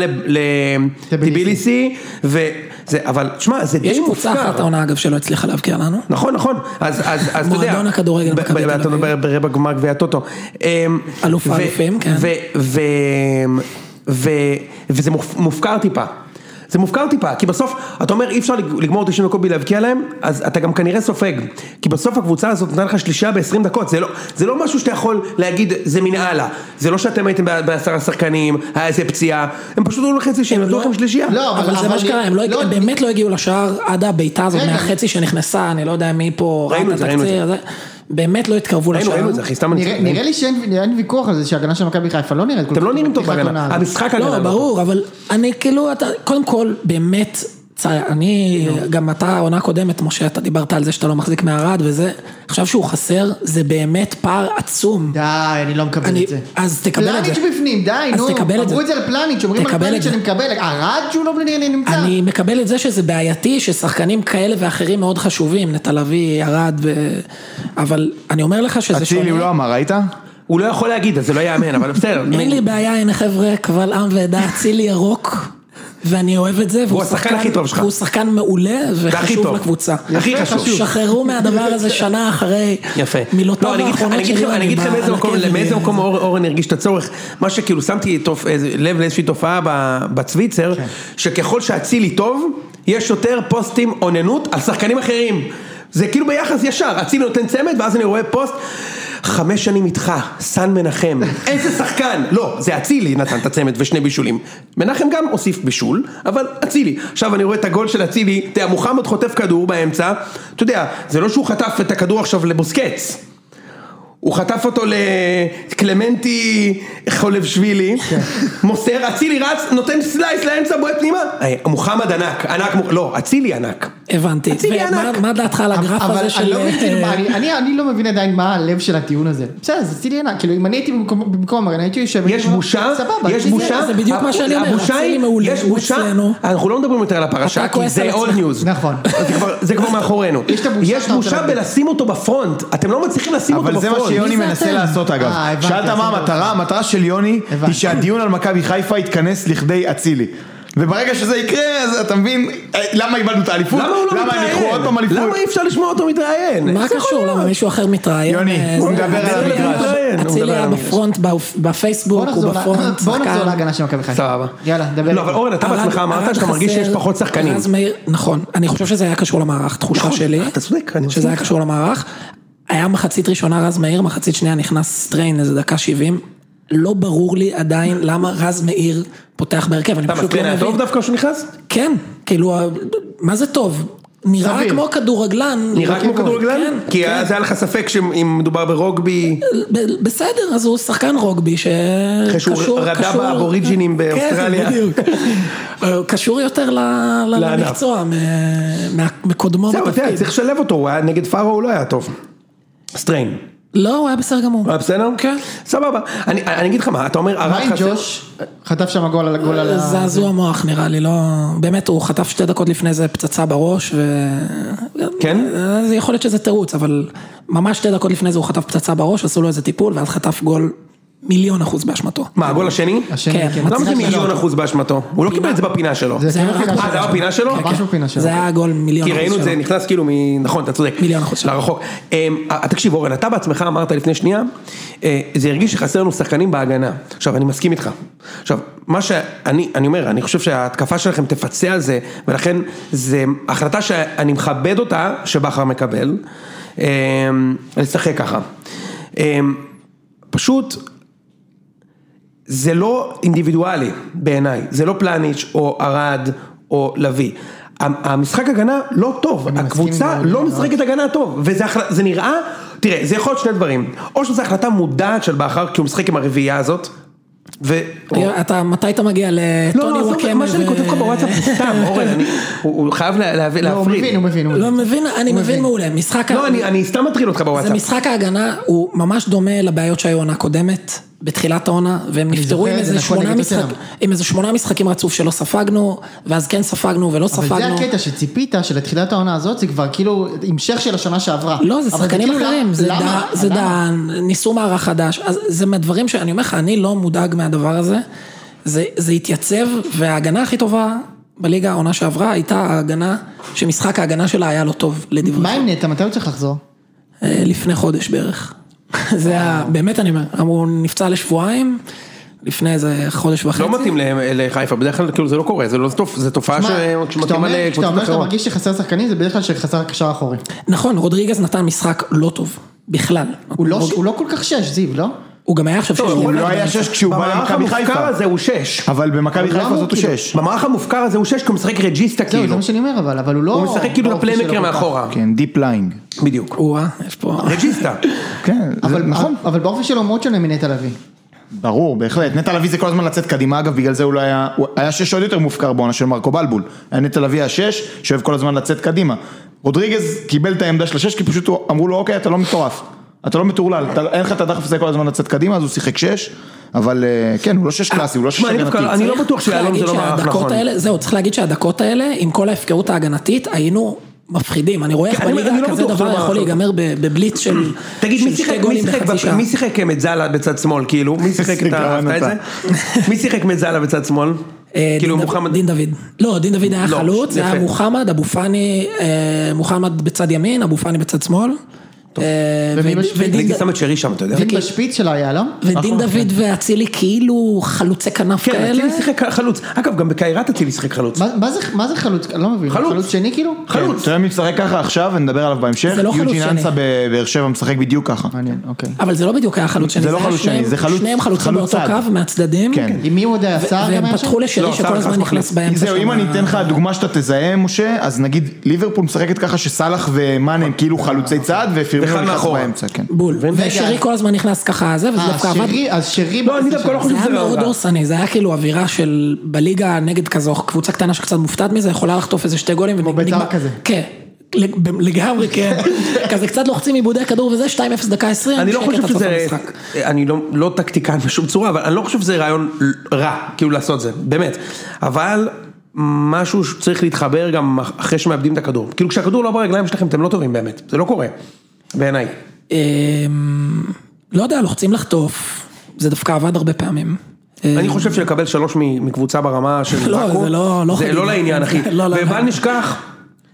Speaker 1: לטיביליסי, וזה, אבל תשמע, זה די
Speaker 4: יש
Speaker 1: מופקר.
Speaker 4: קבוצה אחת העונה אגב שלא הצליחה להבקיע לנו.
Speaker 1: נכון, נכון, אז, אז, אז אתה יודע,
Speaker 4: מועדון הכדורגל
Speaker 1: ב-
Speaker 4: מכבי
Speaker 1: ב-
Speaker 4: תל
Speaker 1: אתה
Speaker 4: אביב.
Speaker 1: מדבר ברבע גמר גביע הטוטו, אמ,
Speaker 4: אלוף
Speaker 1: ו-
Speaker 4: האלופים, כן.
Speaker 1: ו- ו- ו- וזה מופ- מופקר טיפה, זה מופקר טיפה, כי בסוף, אתה אומר אי אפשר לג- לגמור 90 דקות בלי להבקיע להם, אז אתה גם כנראה סופג, כי בסוף הקבוצה הזאת נתנה לך שלישייה ב-20 דקות, זה לא, זה לא משהו שאתה יכול להגיד זה מן הלאה, זה לא שאתם הייתם ב- בעשרה שחקנים, היה איזה פציעה, הם פשוט היו לכם שהם נתנו
Speaker 4: לא-
Speaker 1: לכם שלישייה,
Speaker 2: לא,
Speaker 4: אבל זה מה שקרה, הם לא הגיעו- הם באמת לא הגיעו לשער עד הבעיטה הזאת
Speaker 2: רגע.
Speaker 4: מהחצי שנכנסה, אני לא יודע מי פה ראה
Speaker 1: ראינו את
Speaker 4: את
Speaker 1: זה, ראינו את
Speaker 4: התקציר, הזה. באמת לא התקרבו לשער.
Speaker 1: ראינו, ראינו את זה אחי, סתם אני
Speaker 2: נראה- נראה לי שאין אין ויכוח על זה שההגנה של מכבי חיפה לא נראית כל
Speaker 1: אתם לא
Speaker 2: כך
Speaker 1: נראים טוב
Speaker 2: בפתיחת
Speaker 1: בהגנה,
Speaker 2: העונה הזאת.
Speaker 1: המשחק
Speaker 4: לא,
Speaker 1: הגנה לא טוב.
Speaker 4: ברור, אבל אני כאילו, אתה, קודם כל, באמת, צ- אני, גם אתה, העונה הקודמת, משה, אתה דיברת על זה שאתה לא מחזיק מערד וזה, עכשיו שהוא חסר, זה באמת פער עצום.
Speaker 2: די, אני לא מקבל
Speaker 4: אני-
Speaker 2: את זה.
Speaker 4: אז תקבל את זה.
Speaker 2: פלניץ' בפנים, די,
Speaker 4: אז
Speaker 2: נו.
Speaker 4: תקבל את זה.
Speaker 2: אמרו את זה על פלניץ', אומרים על
Speaker 4: תקבל את
Speaker 2: פלניץ'
Speaker 4: זה.
Speaker 2: שאני מקבל. ערד שהוא לא בני- נמצא.
Speaker 4: אני מקבל את זה שזה בעייתי, ששחקנים כאלה ואחרים מאוד חשובים, נטע לביא, ארד, ו... אבל אני אומר לך שזה
Speaker 3: אצילי הוא לא
Speaker 4: שונה.
Speaker 3: אמר, ראית?
Speaker 1: הוא לא יכול להגיד, אז זה לא יאמן, אבל בסדר,
Speaker 4: אין לי בעיה, הנה חבר'ה, קבל עם ועדה, אצילי ירוק, ואני אוהב את זה, והוא
Speaker 1: השחקן הכי טוב שלך.
Speaker 4: והוא שחקן מעולה וחשוב
Speaker 1: טוב.
Speaker 4: לקבוצה.
Speaker 1: הכי
Speaker 2: יפה,
Speaker 1: חשוב.
Speaker 4: שחררו מהדבר הזה שנה אחרי
Speaker 1: יפה.
Speaker 4: מילותיו
Speaker 1: לא, אני אגיד לך- אני
Speaker 4: האחרונות
Speaker 1: אגיד לכם-
Speaker 4: של
Speaker 1: אני אגיד לכם מאיזה מקום- מאיזה מקום אור- אורן הרגיש את הצורך. מה שכאילו שמתי תופ- איזה- לב לאיזושהי תופעה ב- בצוויצר, שככל שאצילי טוב, יש יותר פוסטים אוננות על שחקנים אחרים. זה כאילו ביחס ישר, אצילי נותן צמד ואז אני רואה פוסט. חמש שנים איתך, סן מנחם, איזה שחקן, לא, זה אצילי נתן את הצמד ושני בישולים. מנחם גם הוסיף בישול, אבל אצילי. עכשיו אני רואה את הגול של אצילי, תראה, מוחמד חוטף כדור באמצע, אתה יודע, זה לא שהוא חטף את הכדור עכשיו לבוסקץ, הוא חטף אותו לקלמנטי חולבשווילי, מוסר, אצילי רץ, נותן סלייס לאמצע, בועט פנימה. היי, מוחמד ענק, ענק, מוח- לא, אצילי ענק.
Speaker 4: הבנתי.
Speaker 1: אצילי
Speaker 4: ומה-
Speaker 1: ענק.
Speaker 4: מה דעתך על הגרף
Speaker 2: אבל
Speaker 4: הזה
Speaker 2: אני
Speaker 4: של...
Speaker 2: לא
Speaker 4: אה,
Speaker 2: מבין, מה, אני- אני- אני לא מבין עדיין מה הלב של הטיעון הזה. בסדר, זה צילי ענק, כאילו אם אני הייתי במקום במקום הגנה, הייתי יושב...
Speaker 1: יש
Speaker 2: ואומר,
Speaker 1: בושה,
Speaker 2: סבבה,
Speaker 1: יש
Speaker 2: זה-
Speaker 1: בושה,
Speaker 4: זה בדיוק מה שאני אומר,
Speaker 1: הבושה
Speaker 4: אצילי
Speaker 1: היא-
Speaker 4: מעולה,
Speaker 1: יש
Speaker 4: הוא
Speaker 1: בושה,
Speaker 4: אצלנו.
Speaker 1: אנחנו לא מדברים יותר על הפרשה,
Speaker 4: אתה
Speaker 1: כי
Speaker 4: כועס על
Speaker 1: זה עוד
Speaker 4: עצמך.
Speaker 1: ניוז.
Speaker 2: נכון.
Speaker 1: [LAUGHS] זה כבר- זה כבר מאחורינו.
Speaker 2: יש את הבושה
Speaker 1: יש
Speaker 2: שאתה רוצה
Speaker 1: בושה
Speaker 2: להגיד.
Speaker 1: בלשים אותו בפרונט, אתם לא מצליחים לשים אותו
Speaker 3: אבל
Speaker 1: בפרונט.
Speaker 3: זה מה שיוני
Speaker 4: מי זה
Speaker 3: מנסה
Speaker 4: אתם?
Speaker 3: לעשות אגב.
Speaker 2: אה, הבנתי,
Speaker 3: שאלת מה
Speaker 2: עשית
Speaker 3: המטרה,
Speaker 2: אותה.
Speaker 3: המטרה של יוני היא
Speaker 2: הבנתי.
Speaker 3: שהדיון על מכבי חיפה יתכנס לכדי אצילי. וברגע שזה יקרה, אז אתה מבין אה, למה איבדנו את האליפות,
Speaker 1: למה הוא לא
Speaker 3: למה הם יקחו עוד פעם
Speaker 1: מתראיין?
Speaker 3: אליפות.
Speaker 1: למה אי אפשר לשמוע אותו מתראיין?
Speaker 4: מה
Speaker 1: איך זה יכול
Speaker 4: קשור?
Speaker 1: להיות?
Speaker 4: למה מישהו אחר מתראיין?
Speaker 3: יוני,
Speaker 4: אה,
Speaker 3: הוא
Speaker 4: זה-
Speaker 3: מדבר על
Speaker 4: אצילי היה-
Speaker 3: המגרש.
Speaker 1: הוא מדבר
Speaker 4: אצילי
Speaker 1: על
Speaker 4: היה
Speaker 1: המגרש.
Speaker 4: בפרונט, בפ-
Speaker 2: בוא
Speaker 4: בפייסבוק, הוא
Speaker 2: נחזור ל-
Speaker 4: אוקיי, בפרונט.
Speaker 2: בוא נחזור
Speaker 4: שחקן.
Speaker 2: להגנה של מכבי חיפה.
Speaker 1: סבבה.
Speaker 2: יאללה, דבר.
Speaker 1: לא, אבל אורן, אתה
Speaker 4: ארד-
Speaker 1: בעצמך
Speaker 4: ארד
Speaker 1: אמרת שאתה מרגיש
Speaker 4: חסר,
Speaker 1: שיש פחות שחקנים.
Speaker 4: רז מאיר- נכון, אני חושב שזה היה קשור למערך, תחושה
Speaker 1: נכון,
Speaker 4: שלי.
Speaker 1: אתה צודק, אני
Speaker 4: שזה
Speaker 1: מסכים
Speaker 4: היה
Speaker 1: איתך.
Speaker 4: קשור למערך. היה מחצית ראשונה רז מאיר, מחצית שנייה נכנס סטריין איזה דקה 70. לא ברור לי עדיין למה רז מאיר פותח בהרכב, אני
Speaker 1: אתה
Speaker 4: פשוט לא
Speaker 1: מסתכל היה
Speaker 4: מבין.
Speaker 1: טוב דווקא כשהוא נכנס?
Speaker 4: כן, כאילו, ה- מה זה טוב? נראה
Speaker 2: סביר.
Speaker 4: כמו כדורגלן.
Speaker 1: נראה כמו כדורגלן?
Speaker 4: כן,
Speaker 1: כי
Speaker 4: כן.
Speaker 1: אז היה לך ספק שאם מדובר ברוגבי...
Speaker 4: ב- בסדר, אז הוא שחקן רוגבי
Speaker 1: אחרי שהוא
Speaker 4: שקשור,
Speaker 1: רדה
Speaker 4: קשור-
Speaker 1: באבוריג'ינים באוסטרליה. [LAUGHS]
Speaker 4: כן, בדיוק. הוא קשור יותר ל- ל-
Speaker 1: לענף.
Speaker 4: למקצוע, מ- מה- מקודמו
Speaker 1: זהו, אתה יודע,
Speaker 4: בתפקיד.
Speaker 1: צריך לשלב אותו, הוא היה נגד פארו, הוא לא היה טוב. סטריין.
Speaker 4: לא, הוא היה בסדר גמור.
Speaker 1: הוא היה בסדר?
Speaker 4: כן.
Speaker 1: סבבה. אני אני אגיד לך מה, אתה אומר,
Speaker 2: מה
Speaker 1: ארד
Speaker 2: עם
Speaker 1: חסר...
Speaker 2: ג'וש? חטף שם גול על הגול על ה...
Speaker 4: זעזוע מוח נראה לי, לא... באמת, הוא חטף שתי דקות לפני זה פצצה בראש, ו...
Speaker 1: כן?
Speaker 4: אה, זה יכול להיות שזה תירוץ, אבל ממש שתי דקות לפני זה הוא חטף פצצה בראש, עשו לו איזה טיפול, ואז חטף גול מיליון אחוז באשמתו.
Speaker 1: מה, הגול השני? לא
Speaker 2: השני,
Speaker 4: כן,
Speaker 2: כן.
Speaker 1: למה
Speaker 4: מצליח
Speaker 1: זה מיליון
Speaker 4: לעלות.
Speaker 1: אחוז באשמתו? הוא לא קיבל את זה בפינה שלו.
Speaker 2: זה
Speaker 4: היה
Speaker 2: כאילו פינה
Speaker 4: רק- אה,
Speaker 1: זה היה בפינה שלו?
Speaker 2: ממש
Speaker 1: כן,
Speaker 2: בפינה שלו.
Speaker 4: זה היה גול מיליון
Speaker 1: כי
Speaker 4: אחוז
Speaker 1: ראינו את זה
Speaker 4: שלו.
Speaker 1: נכנס כאילו מ... נכון, אתה צודק.
Speaker 4: מיליון אחוז שלו.
Speaker 1: לרחוק. אמ, אה, תקשיב אורן, אתה בעצמך אמרת לפני שנייה, אה, זה הרגיש שחסר לנו שחקנים בהגנה. עכשיו, אני מסכים איתך. עכשיו, מה שאני אני אומר, אני חושב שההתקפה שלכם תפצה על זה, ולכן זו החלטה שאני מכבד אותה, שבכר מקבל, אמ, לשחק ככה. אמ, פשוט זה לא אינדיבידואלי בעיניי, זה לא פלניץ' או ארד או לביא. המשחק הגנה לא טוב,
Speaker 2: מסכים
Speaker 1: הקבוצה
Speaker 2: עם אורן,
Speaker 1: לא
Speaker 2: מאוד.
Speaker 1: משחקת הגנה טוב, וזה אחלה- זה נראה תראה, זה יכול להיות שני דברים. או שזו החלטה מודעת של בכר, כי הוא משחק עם הרביעייה הזאת, ו...
Speaker 4: אתה, מתי אתה מגיע
Speaker 1: נכון. לא,
Speaker 4: לטוני
Speaker 1: לא, עזוב,
Speaker 4: וואקמה?
Speaker 1: מה שאני כותב לך בוואטסאפ זה [LAUGHS] סתם, אורן, אני- הוא הוא חייב לה- להבין-
Speaker 2: לא, הוא מבין,
Speaker 1: להפריד.
Speaker 2: הוא מבין, הוא
Speaker 4: לא
Speaker 2: מבין.
Speaker 4: מבין, אני מבין מעולה, משחק...
Speaker 1: לא, אני- אני סתם מטריד אותך
Speaker 4: זה
Speaker 1: בוואטסאפ.
Speaker 4: משחק ההגנה, הוא ממש דומה לבעיות שהיו עונה קודמת, בתחילת העונה, והם נפטרו
Speaker 2: זוכר
Speaker 4: עם
Speaker 2: את זה,
Speaker 4: איזה
Speaker 2: נכון,
Speaker 4: שמונה
Speaker 2: נגד
Speaker 4: משחק-
Speaker 2: טוטנהאם.
Speaker 4: עם איזה שמונה משחקים רצוף שלא ספגנו, ואז כן ספגנו ולא
Speaker 2: אבל
Speaker 4: ספגנו.
Speaker 2: זה הקטע שציפית שלתחילת העונה הזאת זה כבר כאילו המשך של השנה שעברה.
Speaker 4: לא, זה
Speaker 2: אבל
Speaker 4: שחקנים
Speaker 2: כאילו,
Speaker 4: אחרים,
Speaker 2: למה-
Speaker 4: זה
Speaker 2: למה?
Speaker 4: דע- זה
Speaker 2: למה?
Speaker 4: דען, ניסו מערך חדש, אז זה מהדברים שאני אומר לך, אני לא מודאג מהדבר הזה, זה זה התייצב, וההגנה הכי טובה בליגה העונה שעברה הייתה ההגנה, שמשחק ההגנה שלה היה לא טוב, לדברי.
Speaker 2: מה עם נטע? מתי הוא צריך לחזור?
Speaker 4: אה, לפני חודש בערך. [LAUGHS] זה היה, באמת אני אומר, אמרו, הוא נפצע לשבועיים, לפני איזה חודש וחצי.
Speaker 1: לא מתאים ל- לחיפה, בדרך כלל כאילו זה לא קורה, זה לא טוב, זה תופעה
Speaker 2: מה, כשאתה
Speaker 1: שמתאימה
Speaker 2: אומר כשאתה
Speaker 1: לקבוצות
Speaker 2: אומר שאתה
Speaker 1: אחרות.
Speaker 2: מרגיש שחסר שחקנים זה בדרך כלל שחסר קשר אחורי.
Speaker 4: נכון, רודריגז נתן משחק לא טוב, בכלל.
Speaker 2: הוא לא- הוא לא כל כך שש, זיו, לא?
Speaker 4: הוא גם היה עכשיו שש.
Speaker 1: הוא
Speaker 3: הוא
Speaker 1: לא
Speaker 3: לא היה שש כשהוא בא
Speaker 1: במערך
Speaker 3: למכבי
Speaker 1: המופקר
Speaker 3: חיפה.
Speaker 1: הזה הוא שש.
Speaker 3: אבל במכבי
Speaker 2: אבל
Speaker 3: חיפה
Speaker 2: למה
Speaker 3: זאת הוא
Speaker 2: הוא כאילו-
Speaker 3: שש.
Speaker 1: במערך המופקר הזה הוא שש, כי הוא משחק רג'יסטה
Speaker 2: זהו, זה
Speaker 1: כאילו.
Speaker 2: מה שאני אומר אבל, אבל הוא לא...
Speaker 1: הוא משחק כאילו
Speaker 2: לא
Speaker 4: אוקיי,
Speaker 1: הפליימקר
Speaker 2: שלו כל כך.
Speaker 1: מאחורה.
Speaker 3: כן, דיפ ליינג.
Speaker 1: בדיוק.
Speaker 4: וואה, אה, יש פה...
Speaker 1: רג'יסטה.
Speaker 3: כן, זה
Speaker 2: אבל
Speaker 3: נכון.
Speaker 2: נכון, אבל באופי שלו הוא מאוד שונה מנטע לביא.
Speaker 3: ברור, בהחלט. נטע לביא זה כל הזמן לצאת קדימה, אגב, בגלל זה הוא לא היה, הוא היה שש עוד יותר מופקר בעונה של מרקו בלבול. היה נטע לביא השש, שאוהב כל הזמן לצאת קדימה. רודריגז קיבל את העמדה של השש, כי פשוט הוא- אמרו לו, אוקיי, אתה לא מטורף. אתה לא מטורלל, אתה- אין לך את הדחף הזה כל הזמן לצאת קדימה, אז הוא שיחק שש, אבל אה, כן, הוא לא שש קלאסי, הוא לא שש
Speaker 1: שמע, אני דווקא-
Speaker 3: הגנתי.
Speaker 1: אני לא בטוח
Speaker 4: צריך
Speaker 1: שיהלום זה
Speaker 4: להגיד
Speaker 1: לא מערך
Speaker 4: שהדקות
Speaker 1: נכון.
Speaker 4: האלה- זהו, צריך להגיד שהדקות האלה, עם כל ההפקרות ההגנתית, היינו מפחידים. אני רואה איך
Speaker 1: כן, אני- אני
Speaker 4: בליגה
Speaker 1: לא
Speaker 4: כזה
Speaker 1: בטוח שזה
Speaker 4: דבר
Speaker 1: מערך
Speaker 4: יכול
Speaker 1: נכון.
Speaker 4: להיגמר ב- בבליץ של
Speaker 1: תגיד, מי
Speaker 4: של
Speaker 1: שיחק-
Speaker 4: שתי
Speaker 1: מי
Speaker 4: גולים
Speaker 1: שיחק
Speaker 4: בחצי
Speaker 1: בפ-
Speaker 4: שעה.
Speaker 1: מי שיחק מזאלה בצד שמאל, כאילו? מי
Speaker 3: [LAUGHS]
Speaker 1: שיחק את ה...
Speaker 3: גרם
Speaker 1: אהבת את זה? מי שיחק מזאלה בצד שמאל?
Speaker 4: אה,
Speaker 1: כאילו
Speaker 4: דין דוד-
Speaker 1: מוחמד...
Speaker 4: דין דוד. לא, דין דוד היה
Speaker 1: לא,
Speaker 4: חלוץ, זה
Speaker 1: יפה.
Speaker 4: היה מוחמד, אבו פאני, אה, מוחמד בצד ימין, אבו פאני בצד שמאל. אה,
Speaker 2: ומי
Speaker 4: ו-
Speaker 2: בשביעי?
Speaker 4: ודין
Speaker 1: הייתי
Speaker 4: ד-
Speaker 1: שם את שרי שם, אתה יודע?
Speaker 2: ואם בשפיץ שלו היה, לא?
Speaker 4: ודין דוד ואצילי כאילו חלוצי כנף
Speaker 1: כן,
Speaker 4: כאלה.
Speaker 1: אצילי שיחק חלוץ. אגב, גם בקיירת אצילי שיחק חלוץ.
Speaker 2: מה- מה זה- מה זה חלוץ? אני לא מבין.
Speaker 1: חלוץ.
Speaker 2: חלוץ שני כאילו?
Speaker 1: חלוץ.
Speaker 4: כן.
Speaker 3: אתה יודע מי משחק ככה עכשיו, ונדבר עליו בהמשך?
Speaker 4: זה לא חלוץ
Speaker 3: יוג'ין
Speaker 4: שני.
Speaker 3: אנסה בבאר שבע משחק בדיוק ככה.
Speaker 2: מעניין, אוקיי.
Speaker 4: אבל זה לא בדיוק היה חלוץ שני,
Speaker 3: זה לא
Speaker 4: היה
Speaker 3: חלוץ שני,
Speaker 4: שניהם-
Speaker 3: זה חלוץ-
Speaker 4: שניהם חלוצים
Speaker 3: חלוץ
Speaker 4: באותו
Speaker 3: צד.
Speaker 4: קו מהצדדים.
Speaker 3: כן.
Speaker 2: עם מי הוא עוד היה?
Speaker 4: ו-
Speaker 2: סער גם
Speaker 4: והם
Speaker 2: היה שם?
Speaker 4: פתחו
Speaker 1: לא,
Speaker 4: לשרי
Speaker 1: סער
Speaker 4: שכל
Speaker 1: נכנס
Speaker 4: הזמן
Speaker 1: מחליף.
Speaker 4: נכנס באמצע.
Speaker 3: זהו, אם
Speaker 4: שם.
Speaker 3: אני אתן לך דוגמה שאתה תזהה, משה, אז נגיד ליברפול משחקת ככה שסאלח ומאנה הם כאילו חלוצי צד, ופרמינו
Speaker 1: אחד
Speaker 3: נכנס
Speaker 1: מאחורה.
Speaker 3: באמצע, כן.
Speaker 4: בול.
Speaker 1: רגע.
Speaker 4: ושרי כל הזמן נכנס ככה זה, וזה
Speaker 2: אה,
Speaker 4: דווקא עבד.
Speaker 2: שרי, אז שרי...
Speaker 1: לא, אני
Speaker 2: בחצי
Speaker 1: דווקא לא
Speaker 2: שנה.
Speaker 1: חושב
Speaker 4: זה היה
Speaker 1: שזה
Speaker 4: מאוד
Speaker 1: עבד.
Speaker 4: דורסני, זה היה כאילו אווירה של בליגה נגד כזו קבוצה קטנה שקצת מופתעת מזה, יכולה לחטוף איזה שתי גולים. כמו
Speaker 2: בית"ר כזה.
Speaker 4: כן. לג- ב- לגמרי
Speaker 1: [LAUGHS]
Speaker 4: כן, כזה קצת לוחצים עיבודי כדור וזה, 2-0 דקה 20,
Speaker 1: אני לא
Speaker 4: שקט
Speaker 1: חושב
Speaker 4: עד סוף
Speaker 1: שזה,
Speaker 4: המשחק.
Speaker 1: אני לא, לא טקטיקן בשום צורה, אבל אני לא חושב שזה רעיון רע, כאילו לעשות זה, באמת. אבל משהו שצריך להתחבר גם אחרי שמאבדים את הכדור. כאילו כשהכדור לא ברגליים שלכם אתם לא טובים באמת, זה לא קורה, בעיניי.
Speaker 4: אמ, לא יודע, לוחצים לחטוף, זה דווקא עבד הרבה פעמים. אה,
Speaker 1: אני חושב שלקבל שלוש מ- מקבוצה ברמה של
Speaker 4: לא,
Speaker 1: ואקום,
Speaker 4: זה לא- לא
Speaker 1: זה
Speaker 4: חגיגה.
Speaker 1: לא לעניין אחי,
Speaker 4: [LAUGHS] לא, לא,
Speaker 1: ובל
Speaker 4: לא.
Speaker 1: נשכח,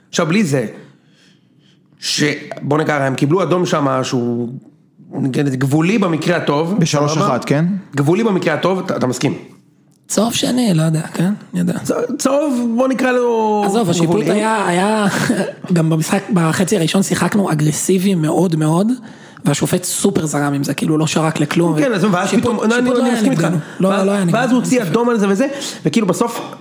Speaker 1: עכשיו בלי זה, שבוא נקרא, הם קיבלו אדום שם שהוא נגיד, גבולי במקרה הטוב,
Speaker 3: בשלוש
Speaker 1: סבבה?
Speaker 3: אחת, כן?
Speaker 1: גבולי במקרה הטוב, אתה אתה מסכים,
Speaker 4: צהוב שני, לא יודע, כן? אני יודע.
Speaker 1: צ- צהוב בוא נקרא לו,
Speaker 4: עזוב, השיפוט
Speaker 1: גבולי.
Speaker 4: היה, היה, [LAUGHS] גם במשחק, בחצי הראשון שיחקנו אגרסיבי מאוד מאוד, והשופט סופר זרם עם זה, כאילו לא שרק לכלום.
Speaker 1: כן, אז ואז
Speaker 4: שיפוט-
Speaker 1: פתאום, אני-
Speaker 4: שיפוט
Speaker 1: אני
Speaker 4: לא היה
Speaker 1: מסכים איתך,
Speaker 4: נגדנו. לא, לא היה נגדנו.
Speaker 1: ואז הוא הוציא אדום על זה וזה, וכאילו בסוף,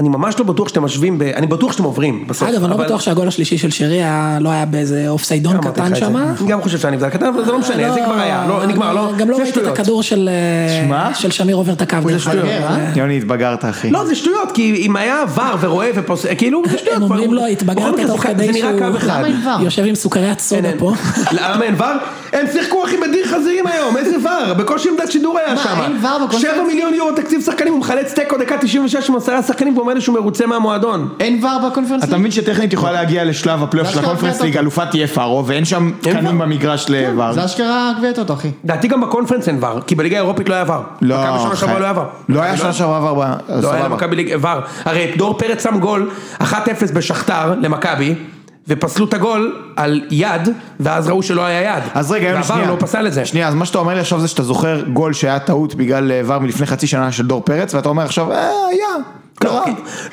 Speaker 1: אני ממש לא בטוח שאתם משווים, ב- אני בטוח שאתם עוברים בסוף,
Speaker 4: אגב, אני לא
Speaker 1: אבל-
Speaker 4: בטוח שהגול השלישי של שרי היה, לא היה באיזה אופסיידון
Speaker 1: אמרתי לך
Speaker 4: קטן
Speaker 1: את זה.
Speaker 4: שם.
Speaker 1: אני גם חושב שאני נבדל קטן, אבל זה לא משנה, זה כבר היה, לא, נגמר, לא,
Speaker 4: גם לא
Speaker 1: זה
Speaker 4: ראיתי את
Speaker 1: שטויות.
Speaker 4: הכדור של אה,
Speaker 3: שמע?
Speaker 4: של שמיר עובר את הקו. דרך אגב.
Speaker 1: שטויות.
Speaker 2: אה?
Speaker 3: יוני, התבגרת, אחי.
Speaker 1: לא, זה שטויות, כי אם היה עבר ורואה ופוס... כאילו, זה שטויות.
Speaker 4: הם
Speaker 1: כבר.
Speaker 4: אומרים לו,
Speaker 1: בכל
Speaker 4: התבגרת
Speaker 1: מקרה,
Speaker 4: תוך
Speaker 1: זה-
Speaker 4: כדי
Speaker 1: זה נראה קו
Speaker 4: שהוא
Speaker 1: אחד.
Speaker 2: למה אין ור?
Speaker 4: יושב עם סוכריית סודה
Speaker 1: אין,
Speaker 4: פה.
Speaker 1: אין. [LAUGHS] למה אין ור? הם שיחקו אחי בדיר חזירים היום, איזה ור? בקושי עמדת שידור היה
Speaker 2: מה,
Speaker 1: שם.
Speaker 2: אין ור בקושי?
Speaker 1: שבע מיליון יורו תקציב שחקנים, הוא מחלץ תיקו דקה 96 עם עשרה שחקנים ואומר לי שהוא מרוצה מהמועדון.
Speaker 2: אין ור בקונפרנס?
Speaker 3: אתה מבין שטכנית יכולה להגיע לשלב הפלייאוף של
Speaker 2: אשכרה
Speaker 3: הקונפרנס
Speaker 2: הבאת
Speaker 3: ליג, אלופה תהיה פארו, כן, ואין שם קנים
Speaker 1: VAR.
Speaker 3: במגרש לבר.
Speaker 2: זה אשכרה גביע טוטו, אחי.
Speaker 1: דעתי גם בקונפרנס אין ור, כי בליגה האירופית לא היה ור.
Speaker 3: לא,
Speaker 1: מכבי שנה שעברה
Speaker 3: חי-
Speaker 1: לא היה ור.
Speaker 3: לא היה שנה שעברה ור, ב-
Speaker 1: לא היה
Speaker 3: סבבה.
Speaker 1: למכבי ליגה ור. הרי דור פרץ שם גול 1-0 בשכתר למכבי, ופסלו את הגול על יד, ואז ראו שלא היה יד.
Speaker 3: אז רגע, יוני, שנייה.
Speaker 1: והוואר לא פסל את זה.
Speaker 3: שנייה, אז מה שאתה אומר לי עכשיו זה שאתה זוכר גול שהיה טעות בגלל אה, ור מלפני חצי שנה של דור פרץ, ואתה אומר עכשיו, אה, היה,
Speaker 1: לא,
Speaker 3: קרה.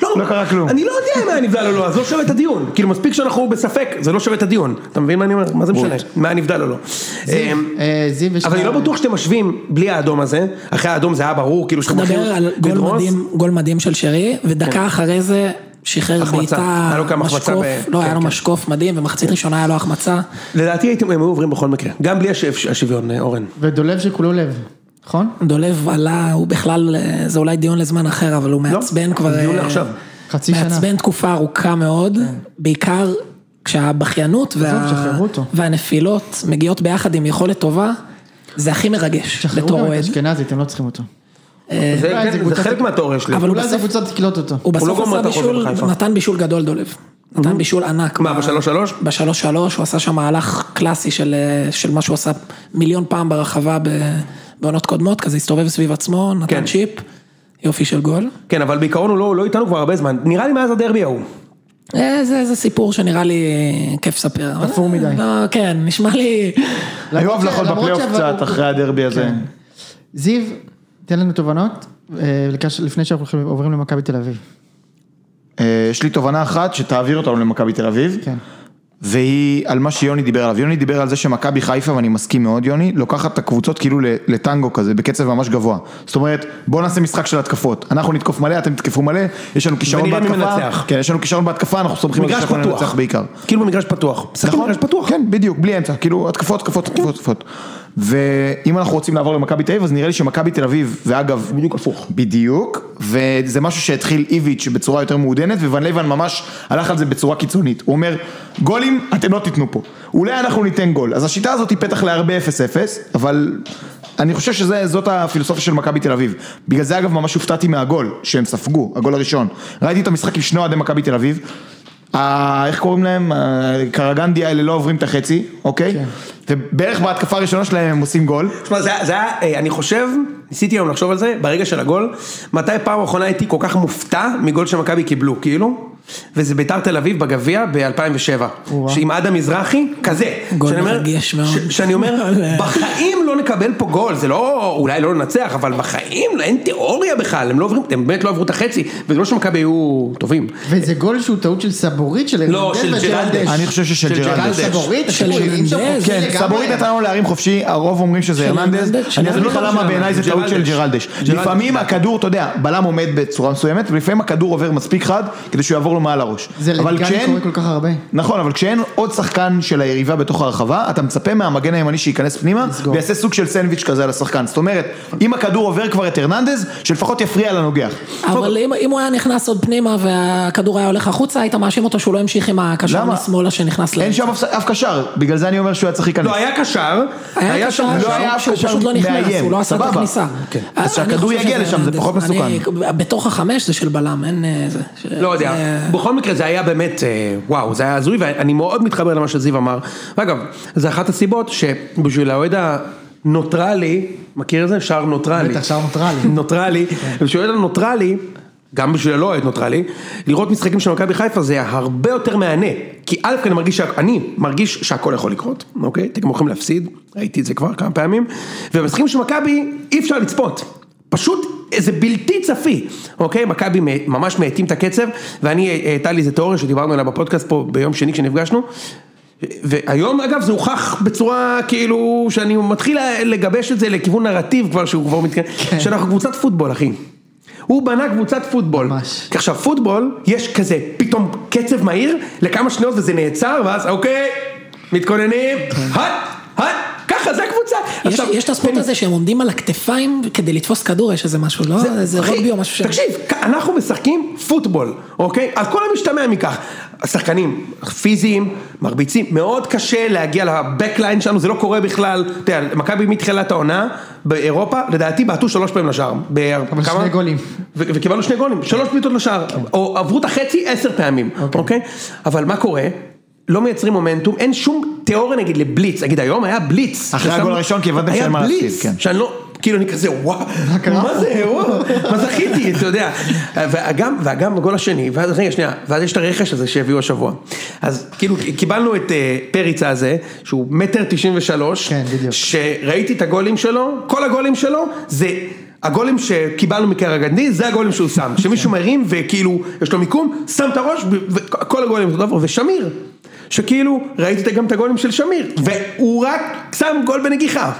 Speaker 1: לא,
Speaker 3: לא קרה כלום.
Speaker 1: אני לא יודע אם היה נבדל או לא, אז לא שווה את הדיון. כאילו מספיק שאנחנו בספק, זה לא שווה את הדיון. אתה מבין מה אני אומר? מה זה משנה? מה היה נבדל או לא. אמ,
Speaker 2: אה, זיו, יש
Speaker 1: אבל
Speaker 2: לך-
Speaker 1: אני לא בטוח שאתם משווים בלי האדום הזה, אחרי האדום זה היה ברור, כאילו שאתם
Speaker 4: נדבר
Speaker 1: הולכים
Speaker 4: על גול
Speaker 1: לדרוס.
Speaker 4: מדהים, גול מדהים של שרי, ודקה אחרי זה שחרר
Speaker 1: כן. החמצה. היה
Speaker 4: בעיטה,
Speaker 1: לו גם החמצה
Speaker 4: משקוף,
Speaker 1: ב-
Speaker 4: לא, היה
Speaker 1: כן,
Speaker 4: לו
Speaker 1: כן.
Speaker 4: משקוף מדהים, ומחצית ראשונה היה לו החמצה.
Speaker 1: לדעתי הייתם- הם היו עוברים בכל מקרה, גם בלי השו- השוויון, אה, אורן.
Speaker 2: ודולב שכולו לב, נכון?
Speaker 4: דולב עלה, הוא בכלל, אה, זה אולי דיון לזמן אחר, אבל הוא מעצבן כבר...
Speaker 1: לא, דיון
Speaker 4: אה,
Speaker 1: לעכשיו.
Speaker 2: חצי שנה. כן.
Speaker 4: מעצבן תקופה ארוכה מאוד, בעיקר כשהבכיינות וה-
Speaker 2: שחררו אותו.
Speaker 4: והנפילות מגיעות ביחד עם יכולת טובה, זה הכי מרגש
Speaker 2: שחררו
Speaker 4: בתור
Speaker 2: גם את
Speaker 4: אוהד.
Speaker 2: אשכנזי, אתם לא צריכים אותו.
Speaker 1: זה
Speaker 2: אולי זה
Speaker 1: כן, זה
Speaker 2: קבוצה-
Speaker 1: חלק מהתיאוריה שלי.
Speaker 4: אבל הוא
Speaker 2: אולי זה
Speaker 4: בסוף-
Speaker 2: קבוצה תקלוט אותו.
Speaker 4: הוא
Speaker 1: לא
Speaker 4: בסוף
Speaker 1: גומר
Speaker 4: עשה
Speaker 1: את החוזה
Speaker 4: בישול,
Speaker 1: בחיפה.
Speaker 4: נתן בישול גדול דולב. נתן בישול ענק.
Speaker 1: מה,
Speaker 4: ב-
Speaker 1: בשלוש-שלוש?
Speaker 4: בשלוש שלוש, הוא עשה שם מהלך קלאסי של, אה, של מה שהוא עשה מיליון פעם ברחבה ב- בעונות קודמות, כזה הסתובב סביב עצמו,
Speaker 1: כן.
Speaker 4: נתן צ'יפ, יופי של גול.
Speaker 1: כן, אבל בעיקרון הוא לא- הוא לא איתנו כבר הרבה זמן, נראה לי מאז הדרבי ההוא.
Speaker 4: אה, זה, זה סיפור שנראה לי אה, כיף לספר. אבל-
Speaker 2: תפור מדי.
Speaker 4: לא, כן, נשמע לי...
Speaker 3: היו
Speaker 2: למרות ש-
Speaker 3: הבלחות
Speaker 2: למרות
Speaker 3: בפלייאוף
Speaker 2: שעבר-
Speaker 3: קצת אחרי הדרבי הזה.
Speaker 2: זיו, תן לנו תובנות, אה, לקש- לפני שאנחנו הולכים- עוברים למכבי תל אביב.
Speaker 3: אה, יש לי תובנה אחת שתעביר אותנו למכבי תל אביב.
Speaker 2: כן.
Speaker 3: והיא על מה שיוני דיבר עליו. יוני דיבר על זה שמכבי חיפה, ואני מסכים מאוד יוני, לוקחת את הקבוצות כאילו ל- לטנגו כזה, בקצב ממש גבוה. זאת אומרת, בואו נעשה משחק של התקפות. אנחנו נתקוף מלא, אתם תתקפו מלא, יש לנו כישרון
Speaker 1: ונראה מי
Speaker 3: בהתקפה.
Speaker 1: מנצח.
Speaker 3: כן, יש לנו כישרון בהתקפה, אנחנו סומכים על זה
Speaker 1: מגרש
Speaker 3: שאנחנו
Speaker 1: פתוח.
Speaker 3: ננצח בעיקר.
Speaker 1: כאילו במגרש פתוח. משחקים במגרש פתוח. כן.
Speaker 3: כן, בדיוק, בלי אמצע, כאילו התקפות, התקפות, התקפות, התקפות. ואם אנחנו רוצים לעבור למכבי תל אביב, אז נראה לי שמכבי תל אביב, ואגב,
Speaker 1: בדיוק הפוך.
Speaker 3: בדיוק, וזה משהו שהתחיל איביץ' בצורה יותר מעודנת, ווון לייבן ממש הלך על זה בצורה קיצונית. הוא אומר, גולים אתם לא תיתנו פה, אולי אנחנו ניתן גול. אז השיטה הזאת היא פתח להרבה 0-0, אבל אני חושב שזאת הפילוסופיה של מכבי תל אביב. בגלל זה אגב ממש הופתעתי מהגול שהם ספגו, הגול הראשון. ראיתי את המשחק עם שני אוהדי מכבי תל אביב. ה- איך קוראים להם? ה- קרגנדי האלה לא עוברים את החצי, אוקיי? ובערך בהתקפה הראשונה שלהם הם עושים גול.
Speaker 1: תשמע, זה זה היה, אה, אני חושב, ניסיתי היום לחשוב על זה, ברגע של הגול, מתי פעם אחרונה הייתי כל כך מופתע מגול שמכבי קיבלו, כאילו, וזה ביתר תל אביב בגביע ב-2007, שעם עדה מזרחי, כזה.
Speaker 4: גול
Speaker 1: שאני אומר-
Speaker 4: מרגש מאוד.
Speaker 1: ש- שאני
Speaker 4: [LAUGHS]
Speaker 1: אומר, בחיים לא נקבל פה גול, זה לא, אולי לא ננצח, אבל בחיים, לא, אין תיאוריה בכלל, הם לא עוברים, הם באמת לא עברו את החצי, וזה לא שמכבי היו טובים.
Speaker 2: וזה גול שהוא טעות של סבורית של
Speaker 1: לא,
Speaker 2: ארננדז
Speaker 1: של
Speaker 2: ושל
Speaker 1: ג'רלדש.
Speaker 2: ארננדז.
Speaker 3: אני חושב ששל
Speaker 1: של
Speaker 3: ג'רלדש.
Speaker 1: ג'רלדש.
Speaker 2: סבורית,
Speaker 4: של
Speaker 2: תקשיבו, אי אפשר
Speaker 4: ארננדז.
Speaker 2: חופשי
Speaker 3: כן,
Speaker 2: לגמרי.
Speaker 3: סבורית נתן לנו להרים חופשי, הרוב אומרים שזה
Speaker 4: של
Speaker 3: הרננדז,
Speaker 4: הרננדז?
Speaker 3: אני אסביר לך
Speaker 1: לא
Speaker 3: למה
Speaker 1: חושב
Speaker 3: בעיניי זה טעות של
Speaker 1: ג'רלדש.
Speaker 3: ג'רלדש.
Speaker 1: ג'רלדש.
Speaker 3: לפעמים הכדור, אתה יודע, בלם עומד בצורה מסוימת, ולפעמים הכדור עובר מספיק חד, כדי שהוא יעבור לו מעל הראש.
Speaker 2: זה
Speaker 3: אבל כן-
Speaker 2: לדגני
Speaker 3: כשאין-
Speaker 2: קורה כל כך הרבה.
Speaker 3: נכון, אבל כשאין עוד שחקן של היריבה בתוך הרחבה, אתה מצפה מהמגן הימני שייכנס פנימה, ויעשה סוג של סנדוויץ' כזה על השחקן. זאת אומרת, אם הכדור עובר כבר את הרננדז, שלפחות יפריע לנוגח.
Speaker 4: אבל אם, אם הוא היה נכנס עוד פנימה והכדור היה הולך החוצה, היית מאשים אותו שהוא לא המשיך עם הקשר
Speaker 3: למה?
Speaker 2: כן.
Speaker 4: משמאלה שנכנס ל...
Speaker 3: אין שם אף- אף קשר, בגלל זה אני אומר שהוא היה צריך להיכנס.
Speaker 1: לא, היה קשר,
Speaker 4: היה קשר
Speaker 1: שם-
Speaker 3: לא היה אף
Speaker 4: שהוא
Speaker 3: קשר
Speaker 4: פשוט לא נכנס,
Speaker 3: מאיים,
Speaker 4: הוא לא עשה את
Speaker 3: סבבה.
Speaker 4: הכניסה. אה,
Speaker 1: כן.
Speaker 3: אז
Speaker 4: אני
Speaker 3: שהכדור
Speaker 4: חושב
Speaker 3: יגיע
Speaker 4: שזה
Speaker 3: לשם, זה
Speaker 4: הרננדז.
Speaker 3: פחות
Speaker 4: אני- אה, בתוך החמש זה של בלם, אין אה, זה. ש-
Speaker 1: לא יודע,
Speaker 4: זה-
Speaker 1: בכל מקרה זה היה באמת, אה, וואו, זה היה הזוי, ואני מאוד מתחבר למה שזיו אמר. ואגב, זה אחת הסיבות שבשביל האוהד הנוטרלי, מכיר את זה? שער נוטרלי.
Speaker 2: בטח, שער נוטרלי.
Speaker 1: [LAUGHS] נוטרלי, ובשביל האוהד הנוטרלי, גם בשביל הלא אוהד נוטרלי, לראות משחקים של מכבי חיפה זה הרבה יותר מהנה. כי א' כי אני מרגיש, שה- אני מרגיש שהכל יכול לקרות, אוקיי? אתם גם יכולים להפסיד, ראיתי את זה כבר כמה פעמים, ובמשחקים של מכבי אי אפשר לצפות. פשוט זה בלתי צפי, אוקיי? מכבי מ- ממש מאטים את הקצב, ואני, אה, הייתה לי איזה תיאוריה שדיברנו עליה בפודקאסט פה ביום שני כשנפגשנו, והיום אגב זה הוכח בצורה כאילו שאני מתחיל לגבש את זה לכיוון נרטיב כבר שהוא כבר מתקדם, כן. שאנחנו קבוצת פוטבול אחי. הוא בנה קבוצת פוטבול.
Speaker 2: ממש.
Speaker 1: כי עכשיו פוטבול יש כזה פתאום קצב מהיר לכמה שניות וזה נעצר ואז אוקיי מתכוננים, הט, הט, ככה זה הקבוצה.
Speaker 4: כן. יש,
Speaker 1: עכשיו,
Speaker 4: יש את הספורט
Speaker 1: אני-
Speaker 4: הזה שהם עומדים על הכתפיים כדי לתפוס כדור, יש איזה משהו, לא? זה,
Speaker 1: אחי,
Speaker 4: רוגבי או משהו ש...
Speaker 1: תקשיב, כ- אנחנו משחקים פוטבול, אוקיי? על כל המשתמע מכך. השחקנים פיזיים, מרביצים, מאוד קשה להגיע לבקליין שלנו, זה לא קורה בכלל. אתה יודע, מכבי מתחילת העונה באירופה, לדעתי בעטו שלוש פעמים לשער. ב-
Speaker 2: אבל
Speaker 1: כמה?
Speaker 2: שני גולים.
Speaker 1: ו- וקיבלנו שני גולים, שלוש בעיטות לשער, או עברו את החצי עשר פעמים, אוקיי? אבל מה קורה? לא מייצרים מומנטום, אין שום תיאוריה נגיד לבליץ, נגיד היום היה בליץ.
Speaker 3: אחרי
Speaker 1: ששם-
Speaker 3: הגול הראשון, כי הבנתם שאין מה
Speaker 1: היה
Speaker 3: להפסיד,
Speaker 1: בליץ,
Speaker 3: כן.
Speaker 1: שאני לא, כאילו אני כזה וואו,
Speaker 2: קרה
Speaker 1: מה
Speaker 2: פה?"
Speaker 1: זה, וואו, מה זכיתי, אתה יודע. וגם, וגם הגול השני, ואז רגע שנייה, ואז יש את הרכש הזה שהביאו השבוע. אז כאילו קיבלנו את אה, פריצה הזה, שהוא מטר תשעים ושלוש,
Speaker 2: כן, בדיוק.
Speaker 1: שראיתי את הגולים שלו, כל הגולים שלו זה... הגולים שקיבלנו מקרגנדי זה הגולים שהוא שם, שמישהו
Speaker 2: כן.
Speaker 1: מרים וכאילו יש לו מיקום, שם את הראש וכל הגולים אותו דבר, ושמיר,
Speaker 2: כן.
Speaker 1: שכאילו ראיתי גם את הגולים של שמיר, והוא רק שם גול בנגיחה.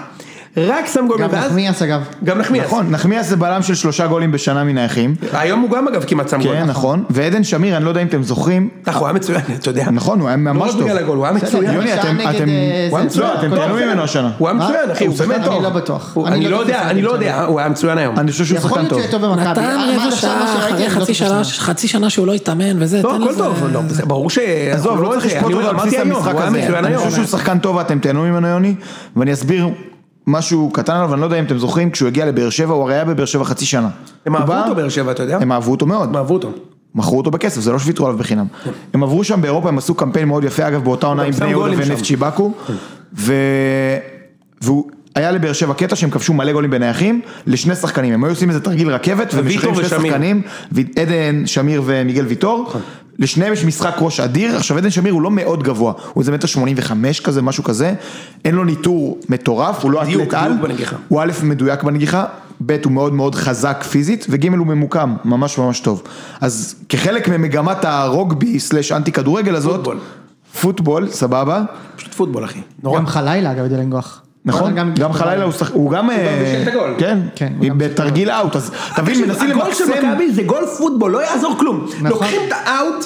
Speaker 1: רק שם גול,
Speaker 2: גם
Speaker 1: ואז-
Speaker 2: נחמיאס אגב.
Speaker 1: גם נחמיאס,
Speaker 3: נכון, נחמיאס זה בלם של שלושה גולים בשנה מן האחים.
Speaker 1: היום הוא גם אגב כמעט שם גול,
Speaker 3: כן, נכון. ועדן שמיר, אני לא יודע אם אתם זוכרים.
Speaker 1: נכון, הוא היה מצוין, אתה יודע,
Speaker 3: נכון, הוא היה
Speaker 1: לא
Speaker 3: ממש
Speaker 1: רק
Speaker 3: טוב.
Speaker 1: בגלל הגול, הוא היה
Speaker 2: בסדר,
Speaker 1: מצוין,
Speaker 2: יוני,
Speaker 3: יוני, אתם,
Speaker 2: נגד,
Speaker 3: אתם,
Speaker 2: אה, זה,
Speaker 3: לא, אתם
Speaker 2: הכל
Speaker 3: תהנו
Speaker 2: בסדר.
Speaker 3: ממנו השנה.
Speaker 1: הוא היה
Speaker 2: מה?
Speaker 3: אה,
Speaker 1: מצוין אחי,
Speaker 2: הוא
Speaker 1: הוא באמת
Speaker 2: שחקן,
Speaker 1: טוב,
Speaker 2: אני לא בטוח.
Speaker 1: הוא-
Speaker 2: אני
Speaker 1: אני
Speaker 2: לא
Speaker 1: לא
Speaker 2: יודע,
Speaker 1: יודע,
Speaker 2: אני
Speaker 1: אני לא
Speaker 2: לא
Speaker 1: יודע, הוא היה מצוין היום,
Speaker 3: אני חושב שהוא
Speaker 2: יכול
Speaker 3: שחקן
Speaker 2: להיות
Speaker 3: טוב.
Speaker 2: שהוא יהיה טוב במכבי.
Speaker 4: נתן
Speaker 2: אה, מה
Speaker 4: רבע
Speaker 2: עכשיו מה
Speaker 4: שעה
Speaker 2: שראיתי,
Speaker 4: אחרי
Speaker 2: אני לא
Speaker 4: חצי
Speaker 2: בטוח
Speaker 4: שנה,
Speaker 2: שהוא
Speaker 4: חצי שנה שהוא לא התאמן וזה,
Speaker 1: לא,
Speaker 4: תן
Speaker 1: הכל
Speaker 4: לזה-
Speaker 1: טוב, לא, זה- ברור ש... עזוב,
Speaker 3: לא
Speaker 1: לא
Speaker 3: צריך
Speaker 1: זה,
Speaker 3: לשפוט
Speaker 1: אני
Speaker 3: אותו
Speaker 1: אומר,
Speaker 3: על בסיס
Speaker 1: אמרתי היום,
Speaker 3: המשחק
Speaker 1: הוא היה
Speaker 3: הזה.
Speaker 1: מצוין
Speaker 3: אני
Speaker 1: היום,
Speaker 3: חושב שהוא שחקן טוב ואתם תהנו ממנו יוני, ואני אסביר משהו קטן עליו, אני לא יודע אם אתם זוכרים, כשהוא הגיע לבאר שבע, הוא הרי היה בבאר שבע חצי שנה.
Speaker 1: הם
Speaker 3: הוא
Speaker 1: אהבו
Speaker 3: בא-
Speaker 1: אותו באר שבע, אתה יודע,
Speaker 3: הם אהבו אותו מאוד.
Speaker 1: הם אהבו אותו,
Speaker 3: מכרו אותו בכסף, זה לא שוויתרו עליו בחינם. הם עברו שם באירופה, הם עשו קמפיין מאוד יפה, אגב, באותה עונה
Speaker 1: גם
Speaker 3: עם
Speaker 1: שם
Speaker 3: בני יהודה
Speaker 1: גולים שם.
Speaker 3: ונפצ'י באקו, ו... והוא... היה לבאר שבע קטע שהם כבשו מלא גולים בנייחים לשני שחקנים, הם היו עושים איזה תרגיל רכבת ומשחקים שני
Speaker 1: ושמיר. נכון.
Speaker 3: שחקנים, ו- עדן שמיר ומיגל ויטור, לשניהם יש משחק ראש אדיר, עכשיו עדן שמיר הוא לא מאוד גבוה, הוא איזה מטר שמונים וחמש כזה, משהו כזה, אין לו ניטור מטורף, הוא לא
Speaker 1: דיוק,
Speaker 3: אתלט על,
Speaker 1: דיוק בנגיחה.
Speaker 3: הוא א' מדויק בנגיחה, ב' הוא מאוד מאוד חזק פיזית, וג' הוא ממוקם, ממש ממש טוב. אז כחלק ממגמת הרוגבי סלאש אנטי כדורגל הזאת,
Speaker 1: פוטבול.
Speaker 3: פוטבול, סבבה,
Speaker 1: פשוט פוטבול אחי, נורא,
Speaker 2: גם חלילה אגב יודע לנגוח.
Speaker 3: נכון? גם חלילה הוא שחק... הוא גם... אה,
Speaker 1: בישל את הגול.
Speaker 3: כן,
Speaker 2: כן, הוא
Speaker 3: היא
Speaker 2: גם בישל
Speaker 3: בתרגיל אאוט, אז תבין,
Speaker 1: תקשיב,
Speaker 3: מנסים
Speaker 1: הגול של
Speaker 3: למקסם...
Speaker 1: מכבי זה גול פוטבול, לא יעזור כלום.
Speaker 2: נכון.
Speaker 1: לוקחים את האאוט,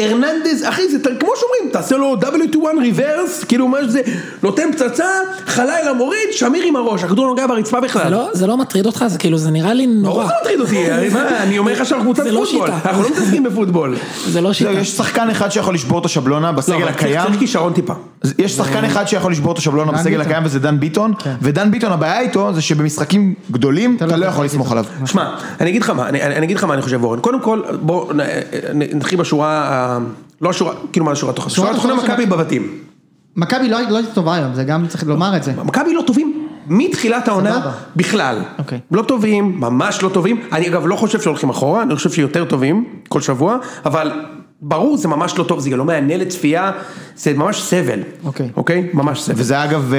Speaker 1: ארננדז, אחי, זה ת- כמו שאומרים, תעשה לו W2-1 ריברס, כאילו מה שזה, נותן פצצה, חלילה מוריד, שמיר עם הראש, הכדור נוגע ברצפה
Speaker 4: זה
Speaker 1: בכלל.
Speaker 4: לא- זה לא מטריד אותך, זה כאילו, זה נראה לי
Speaker 1: ברור
Speaker 4: נורא.
Speaker 1: שזה מטריד לא אותי, הרי מה, אני אומר לך שאנחנו קבוצת
Speaker 4: זה לא
Speaker 1: פוטבול,
Speaker 4: שיטה.
Speaker 1: אנחנו לא מתעסקים בפוטבול.
Speaker 4: זה לא שיטה.
Speaker 3: זהו, יש שחקן אחד שיכול לשבור את השבלונה
Speaker 1: לא,
Speaker 3: בסגל
Speaker 1: אבל צריך-
Speaker 3: הקיים,
Speaker 1: צריך כישרון טיפה.
Speaker 3: אז יש שחקן אחד שיכול לשבור את השבלונה
Speaker 2: דן
Speaker 3: בסגל
Speaker 2: ביטון.
Speaker 3: הקיים וזה דן ביטון, ודן ביטון הבעיה איתו זה שבמשחקים גדולים אתה לא יכול לסמוך עליו.
Speaker 1: שמע, אני אגיד לך מה, אני, אני אני אגיד לך מה אני חושב אורן, קודם כל בוא נ- נ- נתחיל בשורה, ה- לא השורה, כאילו מה השורה התחתונה, שורה התחתונה
Speaker 2: התחתונה של
Speaker 1: מכבי בבתים,
Speaker 2: מכבי לא לא הייתה טובה היום, זה גם צריך לומר את זה.
Speaker 1: מכבי לא טובים מתחילת העונה
Speaker 2: סבבה.
Speaker 1: בכלל.
Speaker 2: אוקיי.
Speaker 1: לא טובים, ממש לא טובים. אני אגב לא חושב שהולכים אחורה, אני חושב שיותר טובים כל שבוע, אבל ברור זה ממש לא טוב, זה גם לא מהנה לצפייה, זה ממש סבל.
Speaker 2: אוקיי.
Speaker 1: אוקיי? ממש סבל.
Speaker 3: וזה אגב אה,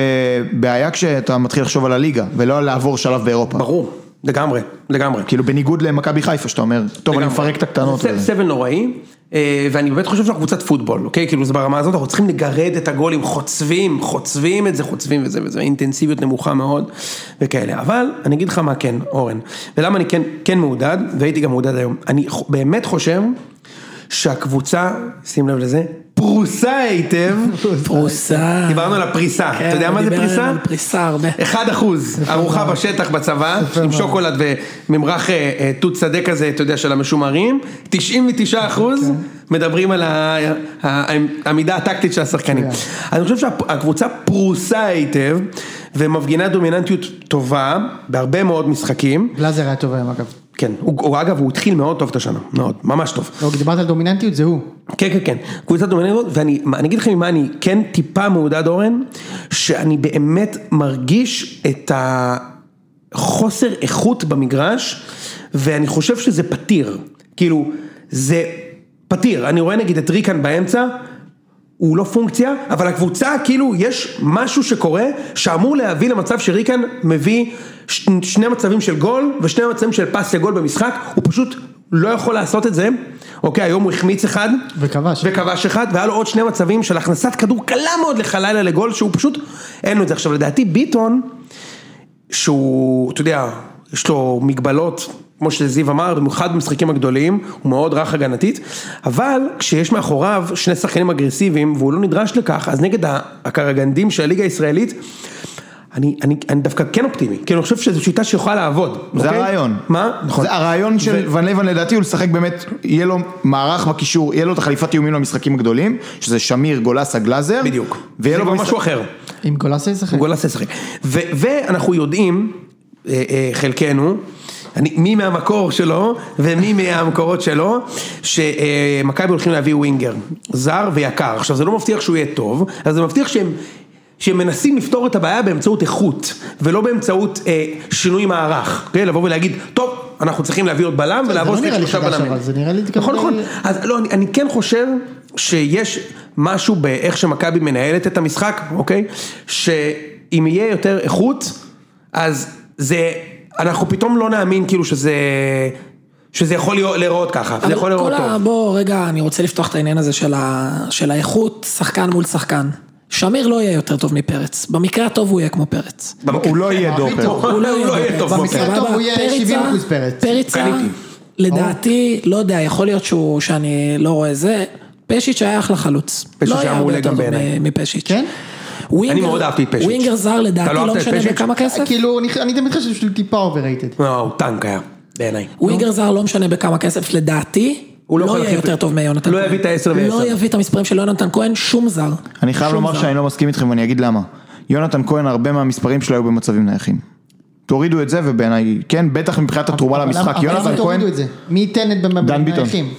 Speaker 3: בעיה כשאתה מתחיל לחשוב על הליגה, ולא על לעבור שלב באירופה.
Speaker 1: ברור, לגמרי, לגמרי.
Speaker 3: כאילו בניגוד למכבי חיפה שאתה אומר, טוב אני
Speaker 1: לגמרי.
Speaker 3: מפרק את הקטנות.
Speaker 1: זה
Speaker 3: וזה."
Speaker 1: סבל נוראי, אה, ואני באמת חושב שאנחנו קבוצת פוטבול, אוקיי? כאילו זה ברמה הזאת, אנחנו צריכים לגרד את הגולים, חוצבים, חוצבים את זה, חוצבים וזה וזה, אינטנסיביות נמוכה מאוד וכאלה. אבל אני אגיד לך מה כן, אורן, ולמה אני כן, כן מעודד, והייתי גם מעודד היום. אני ח- באמת חושב שהקבוצה, שים לב לזה, פרוסה היטב,
Speaker 4: פרוסה.
Speaker 1: דיברנו על הפריסה,
Speaker 4: כן,
Speaker 1: אתה יודע מה זה
Speaker 4: דיבר
Speaker 1: פריסה? אה,
Speaker 4: על פריסה הרבה.
Speaker 1: אחד אחוז, ארוחה בשטח בצבא, עם שוקולד וממרח אה, אה, תות שדה כזה, אתה יודע, של המשומרים, 99 אחוז מדברים על ה- ה- העמידה הטקטית של השחקנים. אני חושב שהקבוצה פרוסה היטב, ומפגינה דומיננטיות טובה, בהרבה מאוד משחקים.
Speaker 2: גלאזר היה טוב היום אגב.
Speaker 1: כן, הוא, הוא אגב, הוא התחיל מאוד טוב את השנה, מאוד, ממש טוב.
Speaker 2: לא, דיברת על דומיננטיות, זה הוא.
Speaker 1: כן, כן, כן. קבוצה דומיננטית, ואני מה, אני אגיד לכם ממה אני כן טיפה מעודד אורן, שאני באמת מרגיש את החוסר איכות במגרש, ואני חושב שזה פתיר. כאילו, זה פתיר. אני רואה נגיד את ריקן באמצע, הוא לא פונקציה, אבל הקבוצה, כאילו, יש משהו שקורה שאמור להביא למצב שריקן מביא ש- שני מצבים של גול ושני מצבים של פס לגול במשחק, הוא פשוט לא יכול לעשות את זה. אוקיי, היום הוא החמיץ אחד.
Speaker 2: וכבש.
Speaker 1: וכבש אחד, והיה לו עוד שני מצבים של הכנסת כדור קלה מאוד לחלילה לגול, שהוא פשוט, אין לו את זה. עכשיו, לדעתי ביטון, שהוא, אתה יודע, יש לו מגבלות, כמו שזיו אמר, במיוחד במשחקים הגדולים, הוא מאוד רך הגנתית, אבל כשיש מאחוריו שני שחקנים אגרסיביים, והוא לא נדרש לכך, אז נגד ה- הקרגנדים של הליגה הישראלית, אני, אני, אני דווקא כן אופטימי, כי אני חושב שזו שיטה שיכולה לעבוד.
Speaker 3: זה
Speaker 1: אוקיי?
Speaker 3: הרעיון.
Speaker 1: מה? נכון.
Speaker 3: זה הרעיון של ון לבן לדעתי הוא לשחק באמת, יהיה לו מערך בקישור, יהיה לו את החליפת איומים למשחקים הגדולים, שזה שמיר, גולסה, גלאזר.
Speaker 1: בדיוק.
Speaker 3: ויהיה
Speaker 1: זה
Speaker 3: לו
Speaker 1: כבר
Speaker 3: במשחק-
Speaker 1: משהו אחר.
Speaker 2: עם גולסה ישחק.
Speaker 1: הוא גולס ישחק. ו- ואנחנו יודעים, אה, אה, חלקנו, אני, מי מהמקור שלו ומי מהמקורות שלו, שמכבי הולכים להביא ווינגר, זר ויקר. עכשיו זה לא מבטיח שהוא יהיה טוב, אז זה מבטיח שהם... שהם מנסים לפתור את הבעיה באמצעות איכות, ולא באמצעות אה, שינוי מערך, אוקיי? לבוא ולהגיד, טוב, אנחנו צריכים להביא עוד בלם ולעבור
Speaker 2: לא נראה לי חדש, אבל זה נראה לי אה,
Speaker 1: נכון,
Speaker 2: כנראה-
Speaker 1: נכון, אז לא, אני, אני כן חושב שיש משהו באיך שמכבי מנהלת את המשחק, אוקיי? שאם יהיה יותר איכות, אז זה, אנחנו פתאום לא נאמין כאילו שזה, שזה יכול להיות- להיראות ככה, זה
Speaker 4: אבל
Speaker 1: יכול
Speaker 4: כל
Speaker 1: להיראות
Speaker 4: ה-
Speaker 1: טוב.
Speaker 4: בוא רגע, אני רוצה לפתוח את העניין הזה של ה- של האיכות, שחקן מול שחקן. שמיר לא יהיה יותר טוב מפרץ, במקרה הטוב הוא יהיה כמו פרץ.
Speaker 3: הוא לא יהיה דופר.
Speaker 1: הוא לא יהיה טוב.
Speaker 2: במקרה
Speaker 1: בבוקר.
Speaker 2: הטוב הוא יהיה
Speaker 4: פריצה-
Speaker 2: 70% פרץ.
Speaker 4: פריצה,
Speaker 1: קניתי.
Speaker 4: לדעתי, לא יודע, יכול להיות שהוא, שאני לא רואה זה, פשיץ' היה אחלה חלוץ.
Speaker 1: פשיץ'
Speaker 4: לא
Speaker 1: היה
Speaker 4: היה הרבה
Speaker 1: מעולה
Speaker 4: יותר
Speaker 1: גם
Speaker 4: טוב
Speaker 1: בעיניי.
Speaker 4: מ- מפשיץ'.
Speaker 2: כן?
Speaker 4: ווינגר-
Speaker 1: אני מאוד אהבתי את פשיץ'.
Speaker 4: ווינגר זר
Speaker 1: אתה לא
Speaker 4: לדעתי
Speaker 1: אהבת
Speaker 4: לא
Speaker 1: את
Speaker 4: משנה
Speaker 1: פשיץ'?
Speaker 4: בכמה כסף.
Speaker 2: כאילו, אני- אני תמיד חושב שהוא טיפה אובררייטד.
Speaker 1: לא, הוא טנק היה, בעיניי.
Speaker 4: ווינגר זר לא משנה בכמה כסף, לדעתי,
Speaker 1: הוא לא
Speaker 4: לא
Speaker 1: יכול
Speaker 4: יהיה
Speaker 1: להחליף-
Speaker 4: יותר טוב מיונתן
Speaker 1: לא
Speaker 4: כהן.
Speaker 1: יביא את העשר
Speaker 4: לא
Speaker 1: ועשר.
Speaker 4: יביא את המספרים של יונתן כהן, שום זר.
Speaker 3: אני חייב
Speaker 4: שום
Speaker 3: לומר
Speaker 4: זר.
Speaker 3: שאני לא מסכים איתכם ואני אגיד למה. יונתן כהן, הרבה מהמספרים שלו היו במצבים נייחים. תורידו את זה ובעיניי, כן, בטח מבחינת התרומה למשחק.
Speaker 2: אבל למה
Speaker 3: יונתן כהן,
Speaker 2: תורידו את זה? מי ייתן את במ-
Speaker 3: דן ביטון.
Speaker 2: בנייחים?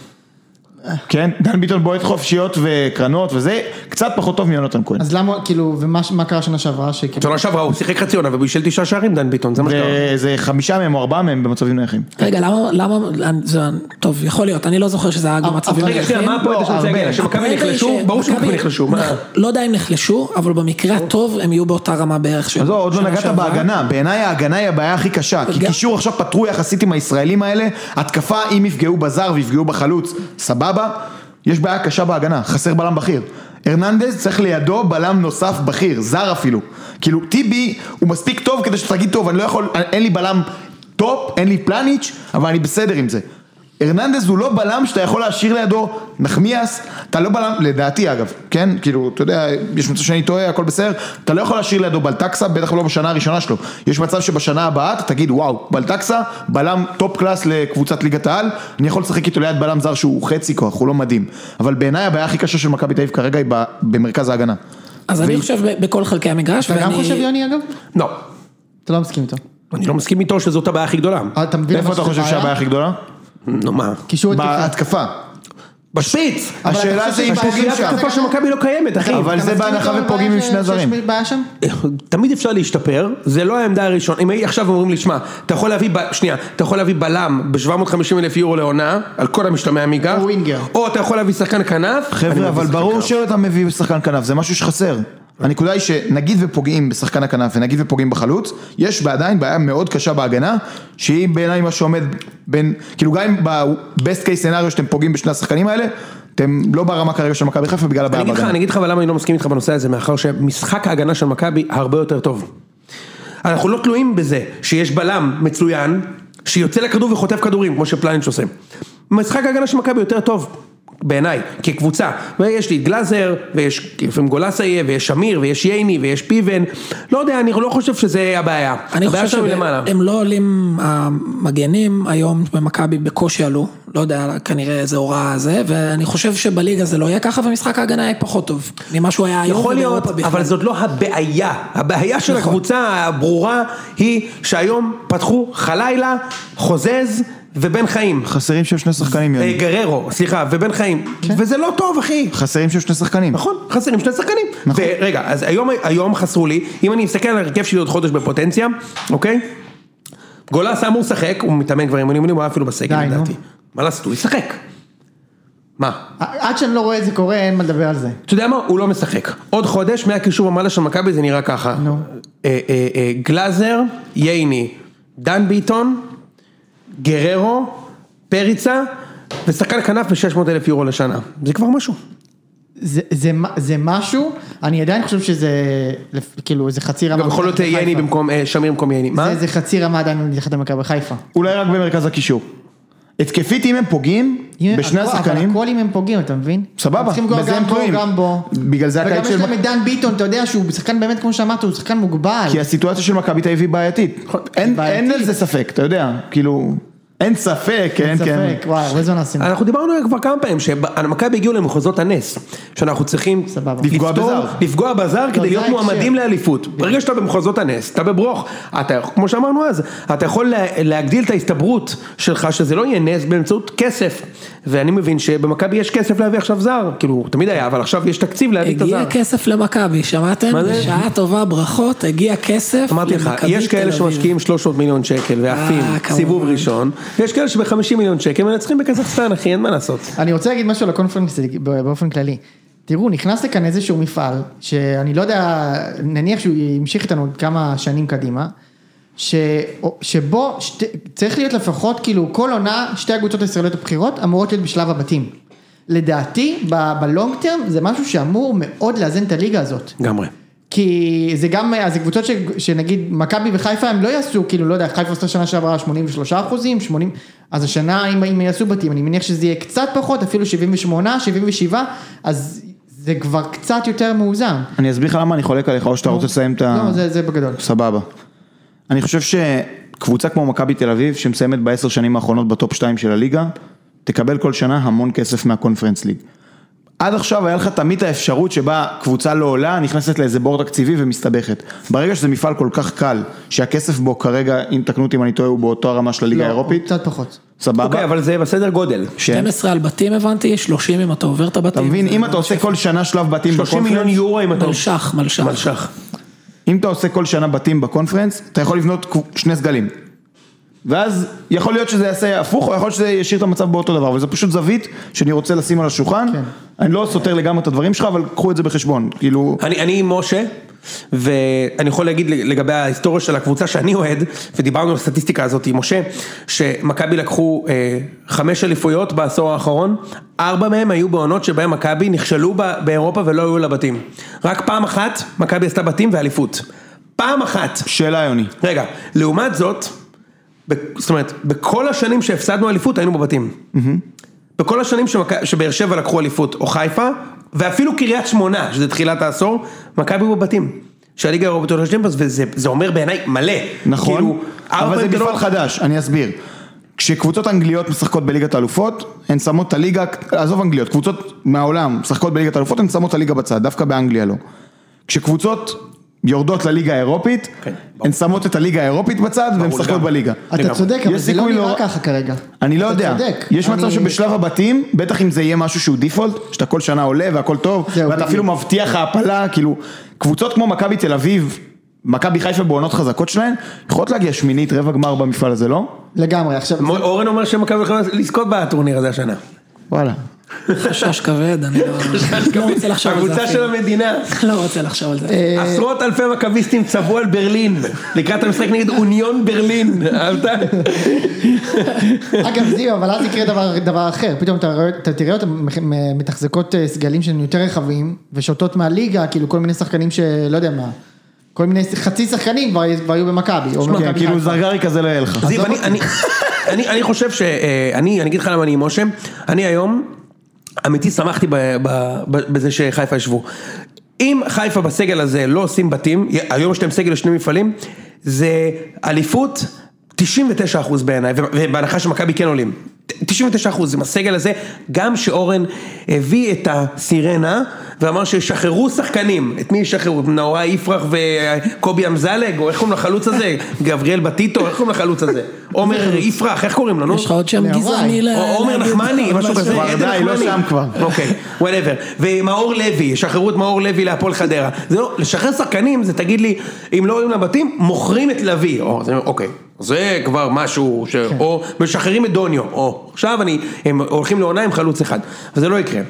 Speaker 3: כן, דן ביטון בועט חופשיות וקרנות וזה, קצת פחות טוב מיונתן כהן.
Speaker 2: אז למה, כאילו, ומה מה קרה שנה שעברה? שכאילו-
Speaker 1: שנה שעברה הוא שיחק חצי עונה ובישל תשעה שערים דן ביטון, זה מה שקרה.
Speaker 3: וזה חמישה מהם או ארבעה מהם במצבים נייחים.
Speaker 4: רגע, למה, למה, אני- זה- טוב, יכול להיות, אני לא זוכר שזה היה גם
Speaker 2: אבל-
Speaker 4: מצבים
Speaker 1: אה, רגע, שנייה, מה הפואנטה שאני רוצה
Speaker 2: לא, הרבה.
Speaker 1: להגיד? לה? שמכבי
Speaker 4: הרגע היא
Speaker 1: נחלשו?
Speaker 4: ש-
Speaker 1: ברור שמכבי
Speaker 4: מכבי-
Speaker 1: נחלשו, מה?
Speaker 4: לא יודע אם נחלשו, אבל במקרה הטוב הם יהיו באותה רמה בערך של
Speaker 3: אז לא, עוד לא
Speaker 4: שנה
Speaker 3: נגעת
Speaker 4: שעברה.
Speaker 3: בהגנה, בעיניי ההגנה היא הבעיה הכי קשה, כי
Speaker 4: גם-
Speaker 3: קישור עכשיו פתרו יחסית עם הישראלים האלה, התקפה אם יפגעו בזר ויפגעו בחלוץ, סבבה, יש בעיה קשה בהגנה, חסר בלם בכיר. הרננדז צריך לידו בלם נוסף בכיר, זר אפילו. כאילו טיבי הוא מספיק טוב כדי שתגיד טוב, אני לא יכול, אין לי בלם טופ, אין לי פלניץ', אבל אני בסדר עם זה. הרננדז הוא לא בלם שאתה יכול להשאיר לידו נחמיאס, אתה לא בלם, לדעתי אגב, כן? כאילו, אתה יודע, יש מצב שאני טועה, הכל בסדר, אתה לא יכול להשאיר לידו בלטקסה, בטח לא בשנה הראשונה שלו. יש מצב שבשנה הבאה אתה תגיד, וואו, בלטקסה, בלם טופ קלאס לקבוצת ליגת העל, אני יכול לשחק איתו ליד בלם זר שהוא חצי כוח, הוא לא מדהים. אבל בעיניי הבעיה הכי קשה של מכבי תל אביב כרגע היא ב- במרכז ההגנה.
Speaker 4: אז אני חושב ב- בכל חלקי המגרש,
Speaker 2: אתה גם חושב,
Speaker 4: ואני...
Speaker 2: יוני, אגב?
Speaker 1: לא.
Speaker 2: אתה לא מסכים איתו.
Speaker 1: אני לא מסכים איתו שזאת הבעיה הכי גדולה.
Speaker 2: אה, אתה מבין
Speaker 3: איפה
Speaker 2: מה
Speaker 3: אתה
Speaker 2: שזה
Speaker 3: חושב
Speaker 2: בעיה?
Speaker 3: שהבעיה הכי גדולה?
Speaker 1: נו מה?
Speaker 2: קישור התקפי.
Speaker 3: בהתקפה.
Speaker 1: בשפיץ!
Speaker 2: אבל אתה
Speaker 3: השאלה
Speaker 2: חושב
Speaker 3: זה אם
Speaker 2: שהבעיה
Speaker 3: פוגעים
Speaker 2: הכי
Speaker 3: שם.
Speaker 2: גדולה
Speaker 1: התקפה של מכבי לא קיימת, אחי.
Speaker 3: אבל
Speaker 2: אתה
Speaker 3: זה
Speaker 2: מסכים
Speaker 3: בהנחה
Speaker 2: איתו
Speaker 3: והם
Speaker 2: בבעיה
Speaker 3: פוגעים עם
Speaker 2: ש-
Speaker 3: שני הזרים.
Speaker 2: שיש בעיה שם?
Speaker 1: תמיד אפשר להשתפר, זה לא העמדה הראשונה, אם עכשיו אומרים לי, שמע, אתה יכול להביא, ב... שנייה, אתה יכול להביא בלם ב-750 אלף יורו לעונה, על כל המשתמע מכך,
Speaker 2: או ווינגר.
Speaker 1: או אתה יכול להביא שחקן כנף, אני
Speaker 3: חבר'ה,
Speaker 1: מביא
Speaker 3: אבל
Speaker 1: שחקן
Speaker 3: ברור
Speaker 1: כנף.
Speaker 3: שאתה מביא שחקן כנף, זה משהו שחסר. הנקודה היא שנגיד ופוגעים בשחקן הכנף ונגיד ופוגעים בחלוץ, יש עדיין בעיה מאוד קשה בהגנה, שהיא בעיניי מה שעומד בין, כאילו גם אם ב-best case scenario שאתם פוגעים בשני השחקנים האלה, אתם לא ברמה כרגע של מכבי חיפה בגלל
Speaker 1: אני
Speaker 3: הבעיה
Speaker 1: אגיד לך,
Speaker 3: בהגנה.
Speaker 1: אני אגיד לך אבל למה אני לא מסכים איתך בנושא הזה, מאחר שמשחק ההגנה של מכבי הרבה יותר טוב. אנחנו לא תלויים בזה שיש בלם מצוין, שיוצא לכדור וחוטף כדורים, כמו שפלניץ' עושה. משחק ההגנה של מכבי יותר טוב, בעיניי, כקבוצה. ויש לי את גלאזר, ויש לפעמים גולסה יהיה, ויש שמיר, ויש ייני, ויש פיבן. לא יודע, אני לא חושב שזה הבעיה.
Speaker 4: אני
Speaker 1: הבעיה
Speaker 4: חושב
Speaker 1: שלנו היא למעלה.
Speaker 4: שהם לא עולים, המגנים היום במכבי בקושי עלו, לא יודע, כנראה איזה הוראה זה, ואני חושב שבליגה זה לא יהיה ככה, ומשחק ההגנה יהיה פחות טוב, ממה שהוא היה היום
Speaker 1: יכול להיות,
Speaker 4: ובאירופה
Speaker 1: אבל
Speaker 4: לא בכלל.
Speaker 1: זאת לא הבעיה. הבעיה של הקבוצה הברורה היא שהיום פתחו חלילה, חוזז ובן חיים.
Speaker 3: חסרים שם שני שחקנים,
Speaker 1: אה,
Speaker 3: יוני.
Speaker 1: גררו, סליחה, ובן חיים. וזה לא טוב, אחי.
Speaker 3: חסרים שם שני שחקנים.
Speaker 1: נכון, חסרים שני שחקנים.
Speaker 3: נכון.
Speaker 1: רגע, אז היום- היום חסרו לי, אם אני מסתכל על הרכב שלי עוד חודש בפוטנציה, אוקיי? גולס אמור לשחק, הוא מתאמן כבר עם אימונים, הוא היה אפילו בסגל
Speaker 2: די, נו.
Speaker 1: לדעתי. מה לעשות, הוא ישחק. מה?
Speaker 2: עד שאני לא רואה את זה קורה, אין מה לדבר על זה.
Speaker 1: אתה יודע מה? הוא לא משחק. עוד חודש מהקישור ומעלה של מכבי זה נראה ככה.
Speaker 2: נו.
Speaker 1: אה, אה, אה, גלאזר, ייני, דן ביטון, גררו, פריצה, ושחקן כנף ב-600 אלף יורו לשנה. זה כבר משהו.
Speaker 2: זה- זה מה- זה משהו, אני עדיין חושב שזה, לפ- כאילו, זה חצי רמה.
Speaker 1: גם יכול להיות
Speaker 2: מתחת
Speaker 1: ייני
Speaker 2: לחיפה.
Speaker 1: במקום, אה, שמיר במקום ייני. מה?
Speaker 2: זה- זה חצי רמה עדיין מתחת למכבי חיפה.
Speaker 3: אולי רק במרכז הקישור. התקפית אם הם פוגעים,
Speaker 2: אם-
Speaker 3: בשני
Speaker 2: הכל- אבל
Speaker 3: השחקנים,
Speaker 2: הכל אם הם פוגעים, אתה מבין?
Speaker 3: סבבה,
Speaker 2: הם צריכים גול
Speaker 3: בזה
Speaker 2: גם
Speaker 3: הם
Speaker 2: בו,
Speaker 3: תלויים.
Speaker 2: גם בו.
Speaker 3: בגלל זה הקיץ של
Speaker 2: וגם יש
Speaker 3: מכ-
Speaker 2: להם את דן ביטון, אתה יודע שהוא שחקן באמת, כמו שאמרת, הוא שחקן מוגבל.
Speaker 3: כי הסיטואציה של מכבי תל אביב היא בעייתית. אין- אין
Speaker 2: נכון, בעייתית.
Speaker 3: על זה ספק, אתה יודע, כאילו, אין ספק, כן, כן.
Speaker 2: ספק, וואי, הרבה זמן עשינו.
Speaker 1: אנחנו דיברנו כבר כמה פעמים שמכבי הגיעו למחוזות הנס, שאנחנו צריכים
Speaker 2: סבבה.
Speaker 3: לפגוע
Speaker 1: לפתור-
Speaker 3: בזר.
Speaker 1: לפגוע בזר
Speaker 4: לא,
Speaker 2: זה
Speaker 1: כדי להיות
Speaker 2: ההקשר.
Speaker 1: מועמדים לאליפות.
Speaker 4: כן.
Speaker 1: ברגע שאתה במחוזות הנס, אתה בברוך, אתה, יכול- כמו שאמרנו אז, אתה יכול לה- להגדיל את ההסתברות שלך שזה לא יהיה נס באמצעות כסף. ואני מבין שבמכבי יש כסף להביא עכשיו זר, כאילו תמיד היה, אבל עכשיו יש תקציב להביא את הזר.
Speaker 4: הגיע כסף למכבי, שמעתם?
Speaker 1: לא מה זה?
Speaker 4: בשעה טובה, ברכות, הגיע כסף
Speaker 1: אמרתי לך,
Speaker 4: למכבי
Speaker 1: יש
Speaker 4: תל
Speaker 1: כאלה
Speaker 4: אביב.
Speaker 1: שמשקיעים 300 מיליון שקל ועפים
Speaker 4: אה, כמובן.
Speaker 1: סיבוב ראשון, ויש כאלה שב-50 מיליון שקל מנצחים בקזחסטן אחי, אין מה לעשות.
Speaker 2: אני רוצה להגיד משהו על הקונפרנס באופן כללי. תראו, נכנס לכאן איזשהו מפעל, שאני לא יודע, נניח שהוא ימשיך איתנו עוד כמה שנים קדימה, ש, שבו שת, צריך להיות לפחות, כאילו, כל עונה, שתי הקבוצות הישראליות הבכירות אמורות להיות בשלב הבתים. לדעתי, בלונג טרם זה משהו שאמור מאוד לאזן את הליגה הזאת.
Speaker 1: לגמרי.
Speaker 2: כי זה גם, אז זה קבוצות ש, שנגיד מכבי וחיפה הם לא יעשו, כאילו לא יודע, חיפה עשתה שנה שעברה 83 אחוזים, 80, אז השנה אם, אם יעשו בתים, אני מניח שזה יהיה קצת פחות, אפילו 78, 77, אז זה כבר קצת יותר מאוזן.
Speaker 3: אני אסביר לך למה אני חולק עליך, או שאתה רוצה לסיים את ה...
Speaker 2: לא, זה, זה בגדול.
Speaker 3: סבבה. אני חושב שקבוצה כמו מכבי תל אביב, שמסיימת בעשר שנים האחרונות בטופ 2 של הליגה, תקבל כל שנה המון כסף מהקונפרנס ליג. עד עכשיו היה לך תמיד את האפשרות שבה קבוצה לא עולה, נכנסת לאיזה בור תקציבי ומסתבכת. ברגע שזה מפעל כל כך קל, שהכסף בו כרגע, אם תקנו אותי אם אני טועה, הוא באותו הרמה של הליגה
Speaker 2: לא,
Speaker 3: האירופית,
Speaker 2: קצת פחות.
Speaker 1: אוקיי,
Speaker 3: סבבה?
Speaker 1: אבל זה בסדר גודל.
Speaker 3: ש-
Speaker 4: 12 על בתים הבנתי, 30 אם אתה עובר את הבתים.
Speaker 3: אתה מבין,
Speaker 4: זה
Speaker 3: אם אתה עושה כל שנה שלב בתים
Speaker 1: 30
Speaker 3: בקונפרנס,
Speaker 1: מיליון יורו אם אתה...
Speaker 4: מלש"ח, מלש"ח.
Speaker 1: מלש"ח.
Speaker 3: אם אתה עושה כל שנה בתים בקונפרנס, אתה יכול לבנות קו- שני סגלים. ואז יכול להיות שזה יעשה הפוך, או יכול להיות שזה ישאיר את המצב באותו דבר, אבל זו פשוט זווית שאני רוצה לשים על השולחן.
Speaker 2: כן.
Speaker 3: אני לא סותר לגמרי את הדברים שלך, אבל קחו את זה בחשבון. כאילו,
Speaker 1: אני, אני משה, ואני יכול להגיד לגבי ההיסטוריה של הקבוצה שאני אוהד, ודיברנו על הסטטיסטיקה הזאת עם משה, שמכבי לקחו אה, חמש אליפויות בעשור האחרון, ארבע מהם היו בעונות שבהם מכבי נכשלו ב- באירופה ולא היו לה בתים. רק פעם אחת מכבי עשתה בתים ואליפות. פעם אחת.
Speaker 3: שאלה יוני.
Speaker 1: רגע, לעומת זאת, ב, זאת אומרת, בכל השנים שהפסדנו אליפות היינו בבתים. בכל השנים שמכ... שבאר שבע לקחו אליפות, או חיפה, ואפילו קריית שמונה, שזה תחילת העשור, מכבי היו בבתים. שהליגה האירופית עולה לג'מפס, וזה זה אומר בעיניי מלא.
Speaker 3: נכון,
Speaker 1: כאילו, ארבע
Speaker 3: אבל זה
Speaker 1: גדולות-
Speaker 3: מפעל חדש, אני אסביר. כשקבוצות אנגליות משחקות בליגת האלופות, הן שמות את הליגה, עזוב אנגליות, קבוצות מהעולם משחקות בליגת האלופות, הן שמות את הליגה בצד, דווקא באנגליה לא. כשקבוצות יורדות לליגה האירופית,
Speaker 1: כן,
Speaker 3: הן שמות את הליגה האירופית בצד והן משחקות
Speaker 1: לגמרי.
Speaker 3: בליגה.
Speaker 2: אתה
Speaker 1: לגמרי.
Speaker 2: צודק, אבל
Speaker 3: יש
Speaker 2: זה לא
Speaker 3: סיכוי
Speaker 2: נראה
Speaker 3: לא-
Speaker 2: ככה כרגע.
Speaker 3: אני לא
Speaker 2: אתה
Speaker 3: יודע,
Speaker 2: צודק.
Speaker 3: יש מצב
Speaker 2: אני-
Speaker 3: שבשלב הבתים, בטח אם זה יהיה משהו שהוא דיפולט, שאתה כל שנה עולה והכל טוב,
Speaker 2: זהו,
Speaker 3: ואתה
Speaker 2: בדיוק.
Speaker 3: אפילו מבטיח העפלה, כאילו, קבוצות כמו מכבי תל אביב, מכבי חיפה בעונות חזקות שלהן, יכולות להגיע שמינית רבע גמר במפעל הזה, לא?
Speaker 2: לגמרי, עכשיו...
Speaker 1: מו- אורן אומר שמכבי יכולה לזכות בטורניר הזה השנה.
Speaker 3: וואלה.
Speaker 4: חשש כבד, אני לא- לא רוצה לחשוב על זה
Speaker 1: הקבוצה של
Speaker 4: אפילו.
Speaker 1: המדינה.
Speaker 4: לא רוצה לחשוב על
Speaker 3: אה,
Speaker 4: זה.
Speaker 1: עשרות אלפי מכביסטים צבעו על ברלין, לקראת המשחק נגד אוניון ברלין, אהבת?
Speaker 2: אגב זיו, אבל אז יקרה דבר, דבר אחר, פתאום אתה, רואה- אתה תראה אותם מח- מ- מתחזקות אה, סגלים שהם יותר רחבים, ושותות מהליגה, כאילו כל מיני שחקנים שלא יודע מה, כל מיני, חצי שחקנים כבר, כבר היו במכבי, או
Speaker 3: כן,
Speaker 2: במכבי
Speaker 3: כאילו
Speaker 2: חיפה.
Speaker 3: זרגרי כזה לא יהיה לך.
Speaker 1: זיו, אני, אני, אני, אני חושב ש... אה, אני, אני אגיד לך למה אני עם משה, אני היום, אמיתי שמחתי ב, ב, ב, בזה שחיפה ישבו. אם חיפה בסגל הזה לא עושים בתים, היום יש להם סגל לשני מפעלים, זה אליפות 99% בעיניי, ו- ובהנחה שמכבי כן עולים. 99% עם הסגל הזה, גם שאורן הביא את הסירנה ואמר שישחררו שחקנים, את מי ישחררו? את נאורה יפרח וקובי אמזלג, או איך קוראים לחלוץ
Speaker 4: [LAUGHS]
Speaker 1: הזה? גבריאל בטיטו, איך קוראים לחלוץ הזה? עומר יפרח, איך קוראים לו? נו?
Speaker 4: יש לך עוד שם
Speaker 2: להוואי.
Speaker 4: גזעני ל...
Speaker 1: או עומר
Speaker 4: להגיד? [LAUGHS]
Speaker 1: נחמני, משהו כזה.
Speaker 3: כבר,
Speaker 1: עדן
Speaker 3: די, לא
Speaker 1: נחמני.
Speaker 3: שם כבר.
Speaker 1: אוקיי, וואטאבר. ומאור לוי, ישחררו את מאור לוי להפועל חדרה. זה לא, לשחרר שחקנים זה תגיד לי, אם לא עולים לבתים, מוכרים את לביא. או, זה- אוקיי. זה כבר משהו, ש... או משחררים את דוניו, או עכשיו אני, הם הולכים לעונה עם חלוץ אחד, וזה לא יקרה.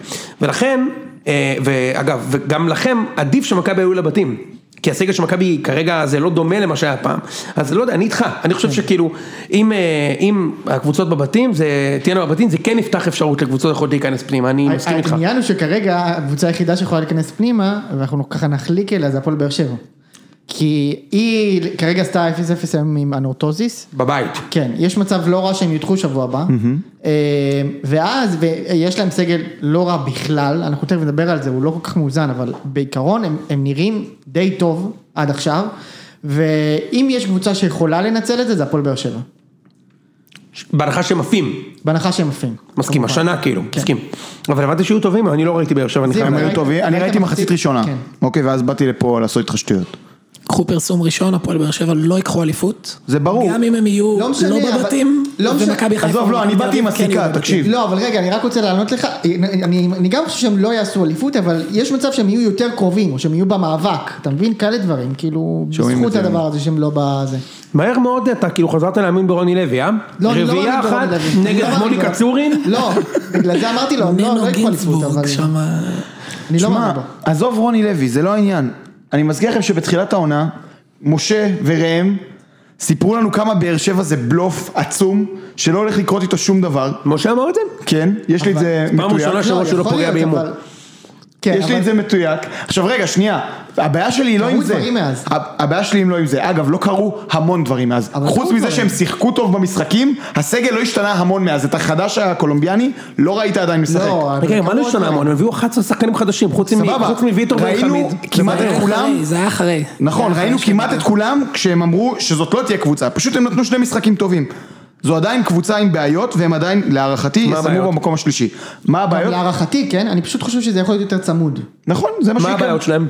Speaker 1: ולכן, אה, ואגב, וגם לכם, עדיף שמכבי היו לבתים. כי הסגל של מכבי כרגע זה לא דומה למה שהיה פעם, אז לא יודע, אני איתך, אני חושב שכאילו, אם, אה, אם הקבוצות בבתים, זה, תהיינה בבתים, זה כן יפתח אפשרות לקבוצות יכולות להיכנס פנימה, אני מסכים איתך.
Speaker 2: העניין הוא שכרגע הקבוצה היחידה שיכולה להיכנס פנימה, ואנחנו ככה נחליק אליה, זה הפועל באר שבע. כי היא כרגע עשתה 0-0 היום עם אנורטוזיס,
Speaker 1: בבית.
Speaker 2: כן, יש מצב לא רע שהם יודחו שבוע הבא, אה, ואז יש להם סגל לא רע בכלל, אנחנו תכף נדבר על זה, הוא לא כל כך מאוזן, אבל בעיקרון הם, הם נראים די טוב עד עכשיו, ואם יש קבוצה שיכולה לנצל את זה, זה הפועל באר שבע,
Speaker 1: בהנחה שהם עפים,
Speaker 2: בהנחה שהם עפים.
Speaker 1: מסכים,
Speaker 2: כמובן.
Speaker 1: השנה כאילו, מסכים. אבל הבנתי שיהיו טובים, אני לא ראיתי באר שבע, אני
Speaker 2: זיו,
Speaker 1: חייב...
Speaker 3: הם
Speaker 2: ראית-
Speaker 3: היו טובים, אני
Speaker 2: ראית
Speaker 3: ראיתי מחצית
Speaker 2: מחצית-
Speaker 3: ראשונה.
Speaker 2: כן.
Speaker 3: אוקיי, ואז באתי לפה לעשות איתך שטויות.
Speaker 4: קחו פרסום ראשון, הפועל באר שבע לא ייקחו אליפות.
Speaker 3: זה ברור.
Speaker 4: גם אם הם יהיו
Speaker 2: לא משנה,
Speaker 4: לא
Speaker 2: אבל-
Speaker 4: בבתים,
Speaker 2: לא משנה.
Speaker 4: ומכבי חיפה.
Speaker 3: עזוב, לא, אני
Speaker 4: ומכבי
Speaker 3: באתי עם
Speaker 4: תל אביב כן יהיו
Speaker 3: הסיכה,
Speaker 4: בבתים.
Speaker 3: תקשיב.
Speaker 2: לא, אבל רגע, אני רק רוצה לענות לך, אני, אני, אני גם חושב שהם לא יעשו אליפות, אבל יש מצב שהם יהיו יותר קרובים, או שהם יהיו במאבק, אתה מבין? כאלה דברים, כאילו,
Speaker 3: שומעים
Speaker 2: בזכות
Speaker 3: את זה.
Speaker 2: הדבר הזה שהם לא בזה.
Speaker 1: מהר מאוד אתה כאילו חזרת להאמין ברוני לוי, אה?
Speaker 2: לא, אני לא
Speaker 1: רביעייה
Speaker 2: מאמין
Speaker 1: אחת
Speaker 2: ברון לוי. אני לא
Speaker 1: נגד
Speaker 2: מאמין
Speaker 1: מוני
Speaker 2: ברון. [LAUGHS]
Speaker 1: קצורין,
Speaker 2: לא, בגלל זה אמרתי
Speaker 4: [LAUGHS]
Speaker 2: לו, הם לא לא
Speaker 4: נינו
Speaker 2: יקחו אליפות, אבל
Speaker 4: גינצבורג שם.
Speaker 2: אני לא
Speaker 3: שמע,
Speaker 2: מאמין בו.
Speaker 3: עזוב רוני לוי, זה לא העניין. אני מזכיר לכם שבתחילת העונה, משה וראם סיפרו לנו כמה באר שבע זה בלוף עצום, שלא הולך לקרות איתו שום דבר.
Speaker 1: משה אמר את זה?
Speaker 3: כן, יש לי את זה
Speaker 1: פעם
Speaker 3: מתויק.
Speaker 1: ראשונה
Speaker 2: לא,
Speaker 1: שאמרו שהוא לא
Speaker 2: יכול
Speaker 1: פוגע
Speaker 2: להיות,
Speaker 1: בהימור.
Speaker 2: אבל- כן,
Speaker 3: יש לי את
Speaker 2: אבל-
Speaker 3: זה מתויק. עכשיו רגע, שנייה. הבעיה שלי היא לא
Speaker 2: קרו
Speaker 3: עם זה.
Speaker 2: דברים מאז.
Speaker 3: ה- הבעיה שלי אם לא עם זה. אגב, לא קרו המון דברים מאז.
Speaker 2: אבל
Speaker 3: חוץ
Speaker 2: קרו
Speaker 3: מזה
Speaker 2: דברים.
Speaker 3: שהם שיחקו טוב במשחקים, הסגל לא השתנה המון מאז. את החדש הקולומביאני, לא ראית עדיין משחק.
Speaker 2: לא, אבל
Speaker 1: רגע, מה
Speaker 2: קרו
Speaker 1: לא
Speaker 2: עוד
Speaker 1: השתנה
Speaker 2: דברים.
Speaker 1: המון? הם הביאו 11 שחקנים חדשים, חוץ מ-
Speaker 3: סבבה.
Speaker 1: חוץ מוויטור בן
Speaker 3: ראינו
Speaker 1: חמיד.
Speaker 3: כמעט
Speaker 4: זה היה
Speaker 3: את כולם.
Speaker 4: אחרי, זה היה אחרי.
Speaker 3: נכון,
Speaker 4: זה היה
Speaker 3: ראינו
Speaker 4: אחרי
Speaker 3: כמעט
Speaker 4: שהם-
Speaker 3: את כולם כשהם אמרו שזאת לא תהיה קבוצה, פשוט הם נתנו שני משחקים טובים. זו עדיין קבוצה עם בעיות, והם עדיין, להערכתי,
Speaker 1: הבעיות?
Speaker 3: יסיימו במקום השלישי. מה הבעיות?
Speaker 2: להערכתי, כן, אני פשוט חושב שזה יכול להיות יותר צמוד.
Speaker 3: נכון, זה מה
Speaker 1: מה
Speaker 3: שיקרה.
Speaker 1: הבעיות שלהם?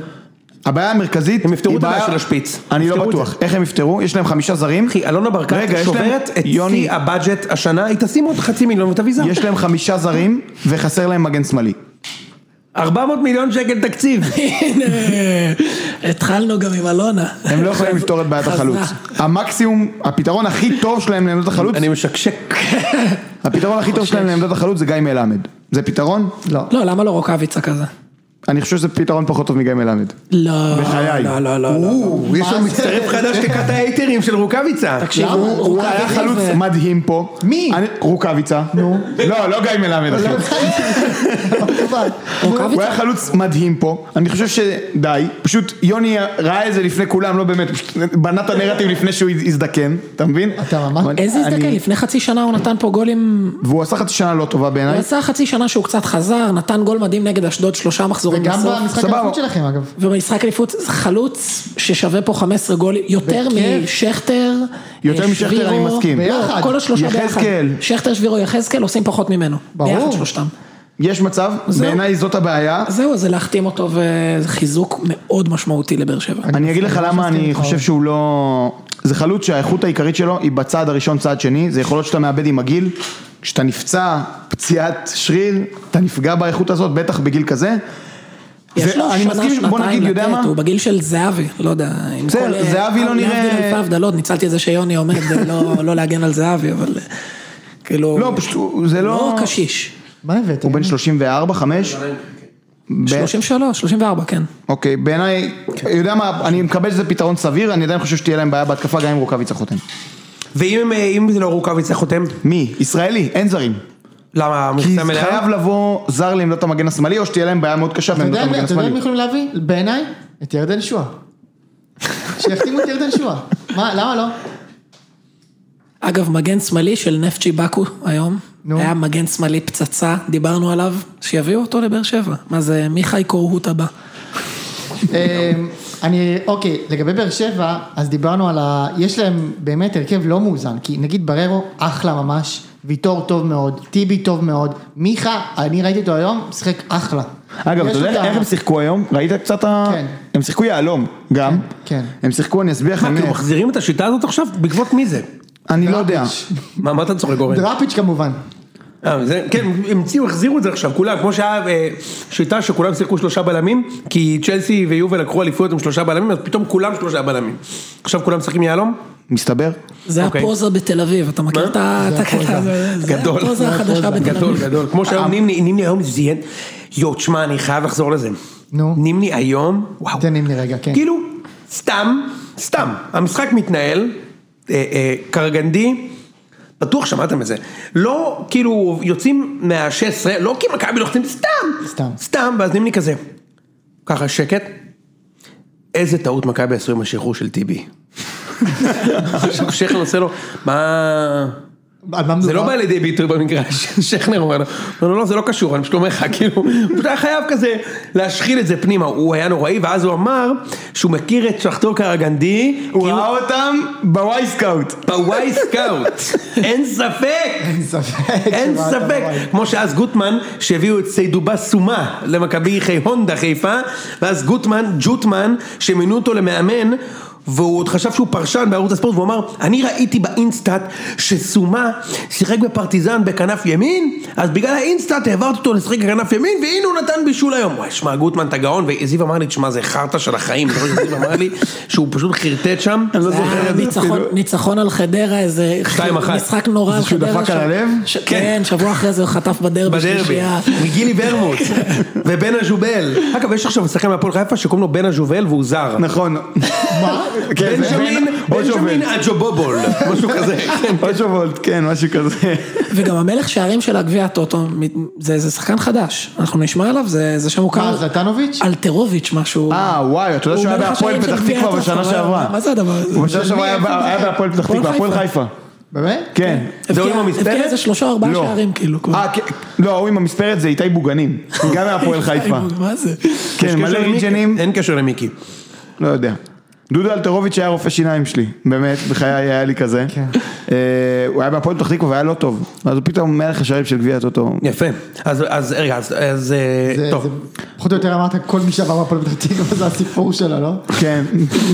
Speaker 3: הבעיה המרכזית,
Speaker 1: הם יפתרו
Speaker 3: היא
Speaker 1: את הבעיה
Speaker 3: בעיה-
Speaker 1: של השפיץ.
Speaker 3: אני
Speaker 1: יפתרו
Speaker 3: לא
Speaker 1: את זה.
Speaker 3: בטוח. איך הם יפתרו? יש להם חמישה
Speaker 1: [LAUGHS]
Speaker 3: זרים.
Speaker 1: אחי, אלונה ברקת
Speaker 3: רגע, יש להם-
Speaker 1: שוברת את
Speaker 3: יוני-
Speaker 1: שיא הבאג'ט השנה, היא תשים עוד חצי מיליון ותביא זר.
Speaker 3: יש להם חמישה זרים, וחסר להם מגן שמאלי.
Speaker 1: 400 מיליון שקל תקציב.
Speaker 4: הנה, התחלנו גם עם אלונה.
Speaker 3: הם
Speaker 1: [LAUGHS]
Speaker 3: לא יכולים לפתור את בעיית
Speaker 4: חזרה.
Speaker 3: החלוץ. המקסימום, הפתרון הכי טוב שלהם לעמדת החלוץ,
Speaker 1: אני משקשק.
Speaker 3: הפתרון הכי טוב שלהם לעמדת החלוץ זה גיא מלמד. זה פתרון?
Speaker 2: לא.
Speaker 4: לא, למה לא רוקאביצה כזה?
Speaker 3: אני חושב שזה פתרון פחות טוב מגיא מלמד.
Speaker 4: לא.
Speaker 3: בחיי.
Speaker 4: לא, לא, לא, לא.
Speaker 1: או, יש לנו
Speaker 2: מה זה?
Speaker 1: מצטרף חדש לכת האייטרים של רוקאביצה.
Speaker 4: תקשיב,
Speaker 2: למה?
Speaker 4: הוא-
Speaker 3: הוא
Speaker 4: הוא
Speaker 3: היה
Speaker 4: כזה
Speaker 3: חלוץ
Speaker 4: ו-
Speaker 3: מדהים פה.
Speaker 2: מי?
Speaker 3: אני- רוקאביצה. נו. לא, לא גיא מלמד אחי. הוא
Speaker 4: רוקאביצה?
Speaker 3: היה חלוץ מדהים פה, אני חושב שדי, פשוט יוני ראה את זה לפני כולם, לא באמת, פשוט בנה את הנרטיב לפני שהוא הזדקן, אתה מבין?
Speaker 2: אתה ממש-
Speaker 3: אבל
Speaker 4: איזה
Speaker 3: אני-
Speaker 4: הזדקן? לפני חצי שנה הוא נתן פה גולים...
Speaker 3: והוא עשה חצי שנה לא טובה
Speaker 4: הוא
Speaker 3: בעיניי,
Speaker 4: עשה חצי שנה שהוא קצת חזר, נתן גול מדהים נגד אשדוד שלושה מחזורים
Speaker 2: וגם
Speaker 4: בסוף.
Speaker 2: במשחק
Speaker 3: סבבה.
Speaker 2: האליפות שלכם, אגב.
Speaker 4: ובמשחק אליפות זה חלוץ ששווה פה 15 גולים, יותר
Speaker 2: וכן.
Speaker 4: משכטר,
Speaker 3: יותר
Speaker 4: אה,
Speaker 3: משכטר,
Speaker 4: שבירו,
Speaker 3: אני מסכים.
Speaker 4: לא,
Speaker 2: ביחד.
Speaker 4: כל השלושה ביחד.
Speaker 3: יחזקאל.
Speaker 4: שכטר, שבירו, יחזקאל עושים פחות ממנו.
Speaker 2: ברור.
Speaker 4: ביחד שלושתם.
Speaker 3: יש מצב, בעיניי זאת הבעיה,
Speaker 4: אז זהו, זה להחתים אותו וזה חיזוק מאוד משמעותי לבאר שבע.
Speaker 3: אני אגיד לך
Speaker 2: מסכים, אני
Speaker 3: למה
Speaker 2: מסכים
Speaker 3: אני
Speaker 2: איתך.
Speaker 3: חושב שהוא לא... זה חלוץ שהאיכות העיקרית שלו היא בצעד הראשון, צעד שני, זה יכולות שאתה מאבד עם הגיל, כשאתה נפצע פציעת שריר, אתה נפגע באיכות הזאת, בטח בגיל כזה.
Speaker 4: יש לו
Speaker 3: ואני
Speaker 4: שנה,
Speaker 3: מסכים, בוא
Speaker 4: שנתיים
Speaker 3: נגיד, יודע
Speaker 4: לתת,
Speaker 3: מה?
Speaker 4: הוא בגיל של זהבי, לא יודע. עם
Speaker 3: בסדר,
Speaker 4: כל, אה,
Speaker 3: זהבי לא
Speaker 4: אה,
Speaker 3: נראה-
Speaker 4: להבדיל אלפי הבדלות, ניצלתי את זה שיוני עומד, זה לא- לא להגן על זהבי, אבל אה, כאילו...
Speaker 3: לא, פשוט, הוא- זה
Speaker 4: לא
Speaker 3: לא...
Speaker 4: קשיש.
Speaker 2: מה הבאת?
Speaker 3: הוא בן 34, 5?
Speaker 4: 33, 34, כן.
Speaker 3: אוקיי, בעיניי, יודע מה, אני מקבל שזה פתרון סביר, אני עדיין חושב שתהיה להם בעיה בהתקפה גם אם רוקאביצה חותם.
Speaker 1: ואם הם- אם זה לא רוקאביצה חותם,
Speaker 3: מי? ישראלי, אין זרים.
Speaker 1: למה
Speaker 3: כי
Speaker 1: המכסה מלאה?
Speaker 3: חייב לבוא זר לעמדת המגן השמאלי, או שתהיה להם בעיה מאוד קשה
Speaker 2: אתה
Speaker 3: בעמדת
Speaker 2: יודע מי-
Speaker 3: המגן
Speaker 2: אתה יודע מי
Speaker 3: השמאלי.
Speaker 2: יכולים להביא? בעיניי, את ירדן שואה. שיחתימו את ירדן שואה. מה, למה לא?
Speaker 4: אגב, מגן שמאלי של נפצ'י בקו היום,
Speaker 2: נו.
Speaker 4: היה מגן שמאלי פצצה, דיברנו עליו, שיביאו אותו לבאר שבע. מה זה, מיכאי קורהוט הבא.
Speaker 2: אמ, אני, אוקיי, לגבי באר שבע, אז דיברנו על ה... יש להם באמת הרכב לא מאוזן, כי נגיד בררו, אחלה ממש, ויטור טוב מאוד, טיבי טוב מאוד, מיכה, אני ראיתי אותו היום, משחק אחלה.
Speaker 3: אגב,
Speaker 2: יש
Speaker 3: אתה
Speaker 2: לו את
Speaker 3: יודע
Speaker 2: ה-
Speaker 3: איך הם שיחקו היום? ראית קצת ה...
Speaker 2: כן.
Speaker 3: הם שיחקו יהלום, גם.
Speaker 2: כן.
Speaker 3: הם שיחקו, אני אסביר לך,
Speaker 1: מה,
Speaker 3: אני-
Speaker 1: כאילו מחזירים את השיטה הזאת עכשיו? בעקבות מי זה?
Speaker 3: אני לא יודע.
Speaker 1: מה, מה אתה צוחק גורן?
Speaker 2: דראפיץ' כמובן.
Speaker 1: אה, זה- כן, המציאו, החזירו את זה עכשיו, כולם, כמו שהיה אה, שיטה שכולם שיחקו שלושה בלמים, כי צ'לסי ויובל לקחו אליפויות עם שלושה בלמים, אז פתאום כולם שלושה בלמים. עכשיו כולם משחקים יהלום?
Speaker 3: מסתבר?
Speaker 4: זה
Speaker 1: אוקיי.
Speaker 4: הפוזה בתל אביב, אתה מכיר את ה- את הקטע הזה? זה
Speaker 1: גדול.
Speaker 4: הפוזה החדשה בתל
Speaker 1: גדול,
Speaker 4: אביב.
Speaker 1: גדול. כמו שהיום נימני, נימני היום זיין, יואו, תשמע, אני חייב לחזור לזה.
Speaker 2: נו.
Speaker 1: נימני היום, וואו.
Speaker 2: תן לי רגע, כן.
Speaker 1: כאילו, סתם, סתם, המשחק מתנהל, אה, אה, קרגנדי, בטוח שמעתם את זה, לא כאילו יוצאים מה-16, לא כי מכבי לוחצים, סתם,
Speaker 2: סתם.
Speaker 1: סתם, ואז נימני כזה, ככה שקט, איזה טעות מכבי עשו עם השחרור של טיבי. [LAUGHS] עכשיו שכנר עושה לו, מה...
Speaker 2: על מה
Speaker 1: זה לא
Speaker 2: מדובר?
Speaker 1: בא לידי ביטוי במגרש, שכנר אומר לו, לא, לא, לא, זה לא קשור, אני פשוט אומר לך, [LAUGHS] כאילו, פשוט היה חייב כזה להשחיל את זה פנימה, הוא היה נוראי, ואז הוא אמר שהוא מכיר את שחטור קרגנדי,
Speaker 3: הוא ראה אותם בוואי סקאוט.
Speaker 1: בוואי סקאוט, אין ספק,
Speaker 2: אין ספק.
Speaker 1: [LAUGHS]
Speaker 2: [LAUGHS]
Speaker 1: אין
Speaker 2: שבאת
Speaker 1: ספק,
Speaker 2: בבית.
Speaker 1: כמו שאז גוטמן, שהביאו את סיידובה סומה למכבי חי- הונדה חיפה, ואז גוטמן, ג'וטמן, שמינו אותו למאמן, והוא עוד חשב שהוא פרשן בערוץ הספורט, והוא אמר, אני ראיתי באינסטאט שסומה שיחק בפרטיזן בכנף ימין, אז בגלל האינסטאט העברתי אותו לשחק בכנף ימין, והנה הוא נתן בישול היום. וואי, שמע, גוטמן אתה גאון, וזיו אמר לי, תשמע, זה חרטא של החיים, אתה רואה שזיו אמר לי שהוא פשוט חרטט שם.
Speaker 4: לא זה כאילו, היה
Speaker 1: כאילו.
Speaker 4: ניצחון- ניצחון על חדרה, איזה
Speaker 1: 2-1.
Speaker 4: משחק נורא על
Speaker 3: שהוא
Speaker 4: חדרה.
Speaker 3: דפק על
Speaker 4: ש-
Speaker 3: הלב?
Speaker 4: ש- כן, שבוע אחרי זה הוא חטף בדרבי
Speaker 1: בדרבי,
Speaker 4: שלישייה.
Speaker 1: מגילי ורמוט ובן הז'ובל. אגב, יש עכשיו שחקן מהפועל חיפה שקוראים לו בן הז'ובל והוא זר.
Speaker 3: נכון. מה? [LAUGHS] כן, זה-
Speaker 1: בנג'מין,
Speaker 3: אושובולט. [LAUGHS]
Speaker 1: בנג'מין אג'ובובול, משהו [LAUGHS] כזה, כן.
Speaker 3: אושובולט, כן, משהו כזה.
Speaker 4: וגם המלך שערים של הגביע הטוטו, מ- זה זה שחקן חדש, אנחנו נשמע עליו, זה זה שם מוכר.
Speaker 2: מה, זלטנוביץ'?
Speaker 4: אלטרוביץ' משהו.
Speaker 3: אה, וואי, אתה יודע
Speaker 4: הוא
Speaker 3: שהוא היה
Speaker 4: מלך
Speaker 3: בהפועל
Speaker 4: השערים של
Speaker 3: פתח
Speaker 4: גביע
Speaker 3: תקווה
Speaker 4: הטוטו,
Speaker 3: בשנה
Speaker 4: מה-
Speaker 3: שעברה.
Speaker 4: מה זה הדבר הזה?
Speaker 3: הוא בשנה שעברה היה ב- היה בהפועל פתח תקווה, הפועל חיפה.
Speaker 2: באמת?
Speaker 3: כן.
Speaker 1: זה הוא עם
Speaker 4: הבקיע-
Speaker 1: המספרת?
Speaker 4: הבקיע איזה שלושה או ארבעה
Speaker 3: לא.
Speaker 4: שערים, כאילו. כבר.
Speaker 3: אה, כן. לא, ההוא עם המספרת זה איתי בוגנים. גם מהפועל חיפה.
Speaker 4: מה זה?
Speaker 1: יש
Speaker 3: כן,
Speaker 1: קשר
Speaker 3: מלא
Speaker 1: למיקי?
Speaker 3: ריג'נים.
Speaker 1: אין קשר למיקי.
Speaker 3: לא יודע. דודו אלטרוביץ' היה רופא שיניים שלי, באמת, בחיי היה לי כזה.
Speaker 2: כן.
Speaker 3: אה, הוא היה בהפועל פתח תקווה והיה לא טוב. אז הוא פתאום מלך השערים של גביע הטוטו.
Speaker 1: יפה. אז- אז רגע, אז- אז אה,
Speaker 2: זה-
Speaker 1: טוב.
Speaker 2: זה- פחות או יותר אמרת כל מי שעבר מהפועל פתח תקווה זה הסיפור שלו, לא? [LAUGHS]
Speaker 3: כן,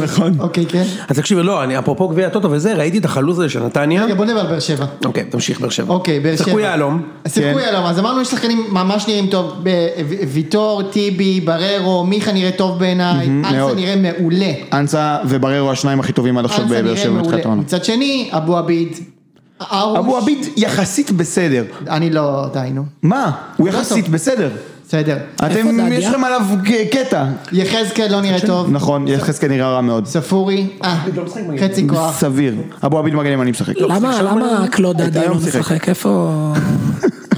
Speaker 3: נכון.
Speaker 2: אוקיי, כן.
Speaker 1: אז תקשיב, לא, אני אפרופו גביע הטוטו וזה, ראיתי את החלוץ הזה של נתניה.
Speaker 2: רגע, בוא נדבר על באר שבע.
Speaker 1: אוקיי, תמשיך באר שבע.
Speaker 2: אוקיי, באר שבע.
Speaker 1: שחקו יהלום.
Speaker 2: שיחקו
Speaker 3: כן.
Speaker 2: יהלום, אז אמרנו יש שחקנים ממש נראים טוב, ב- ו- ויטור, טיבי, בררו, מיכה נראה טוב בעיניי, אנסה
Speaker 3: מאוד.
Speaker 2: נראה מעולה.
Speaker 3: אנסה ובררו השניים הכי טובים עד עכשיו
Speaker 2: אנסה
Speaker 3: בבאר
Speaker 2: נראה
Speaker 3: שבע בתחילת
Speaker 2: מעולה.
Speaker 3: העונה.
Speaker 2: מצד שני, אבו עביד, ארוש,
Speaker 3: אבו עביד יחסית בסדר.
Speaker 2: אני לא, די נו,
Speaker 3: מה? הוא יחסית
Speaker 2: לא טוב.
Speaker 3: בסדר.
Speaker 2: בסדר.
Speaker 3: אתם,
Speaker 4: זה
Speaker 3: יש
Speaker 4: עלייה?
Speaker 3: לכם עליו ק- קטע.
Speaker 2: יחזקאל לא נראה טוב,
Speaker 3: נכון, יחזקאל נראה רע מאוד.
Speaker 2: ספורי, אה, חצי כוח,
Speaker 3: סביר. אבו עביד מגן ימני משחק.
Speaker 4: למה למה קלוד
Speaker 3: הייתה
Speaker 4: דדי לא
Speaker 3: היום שיחק.
Speaker 4: משחק? איפה...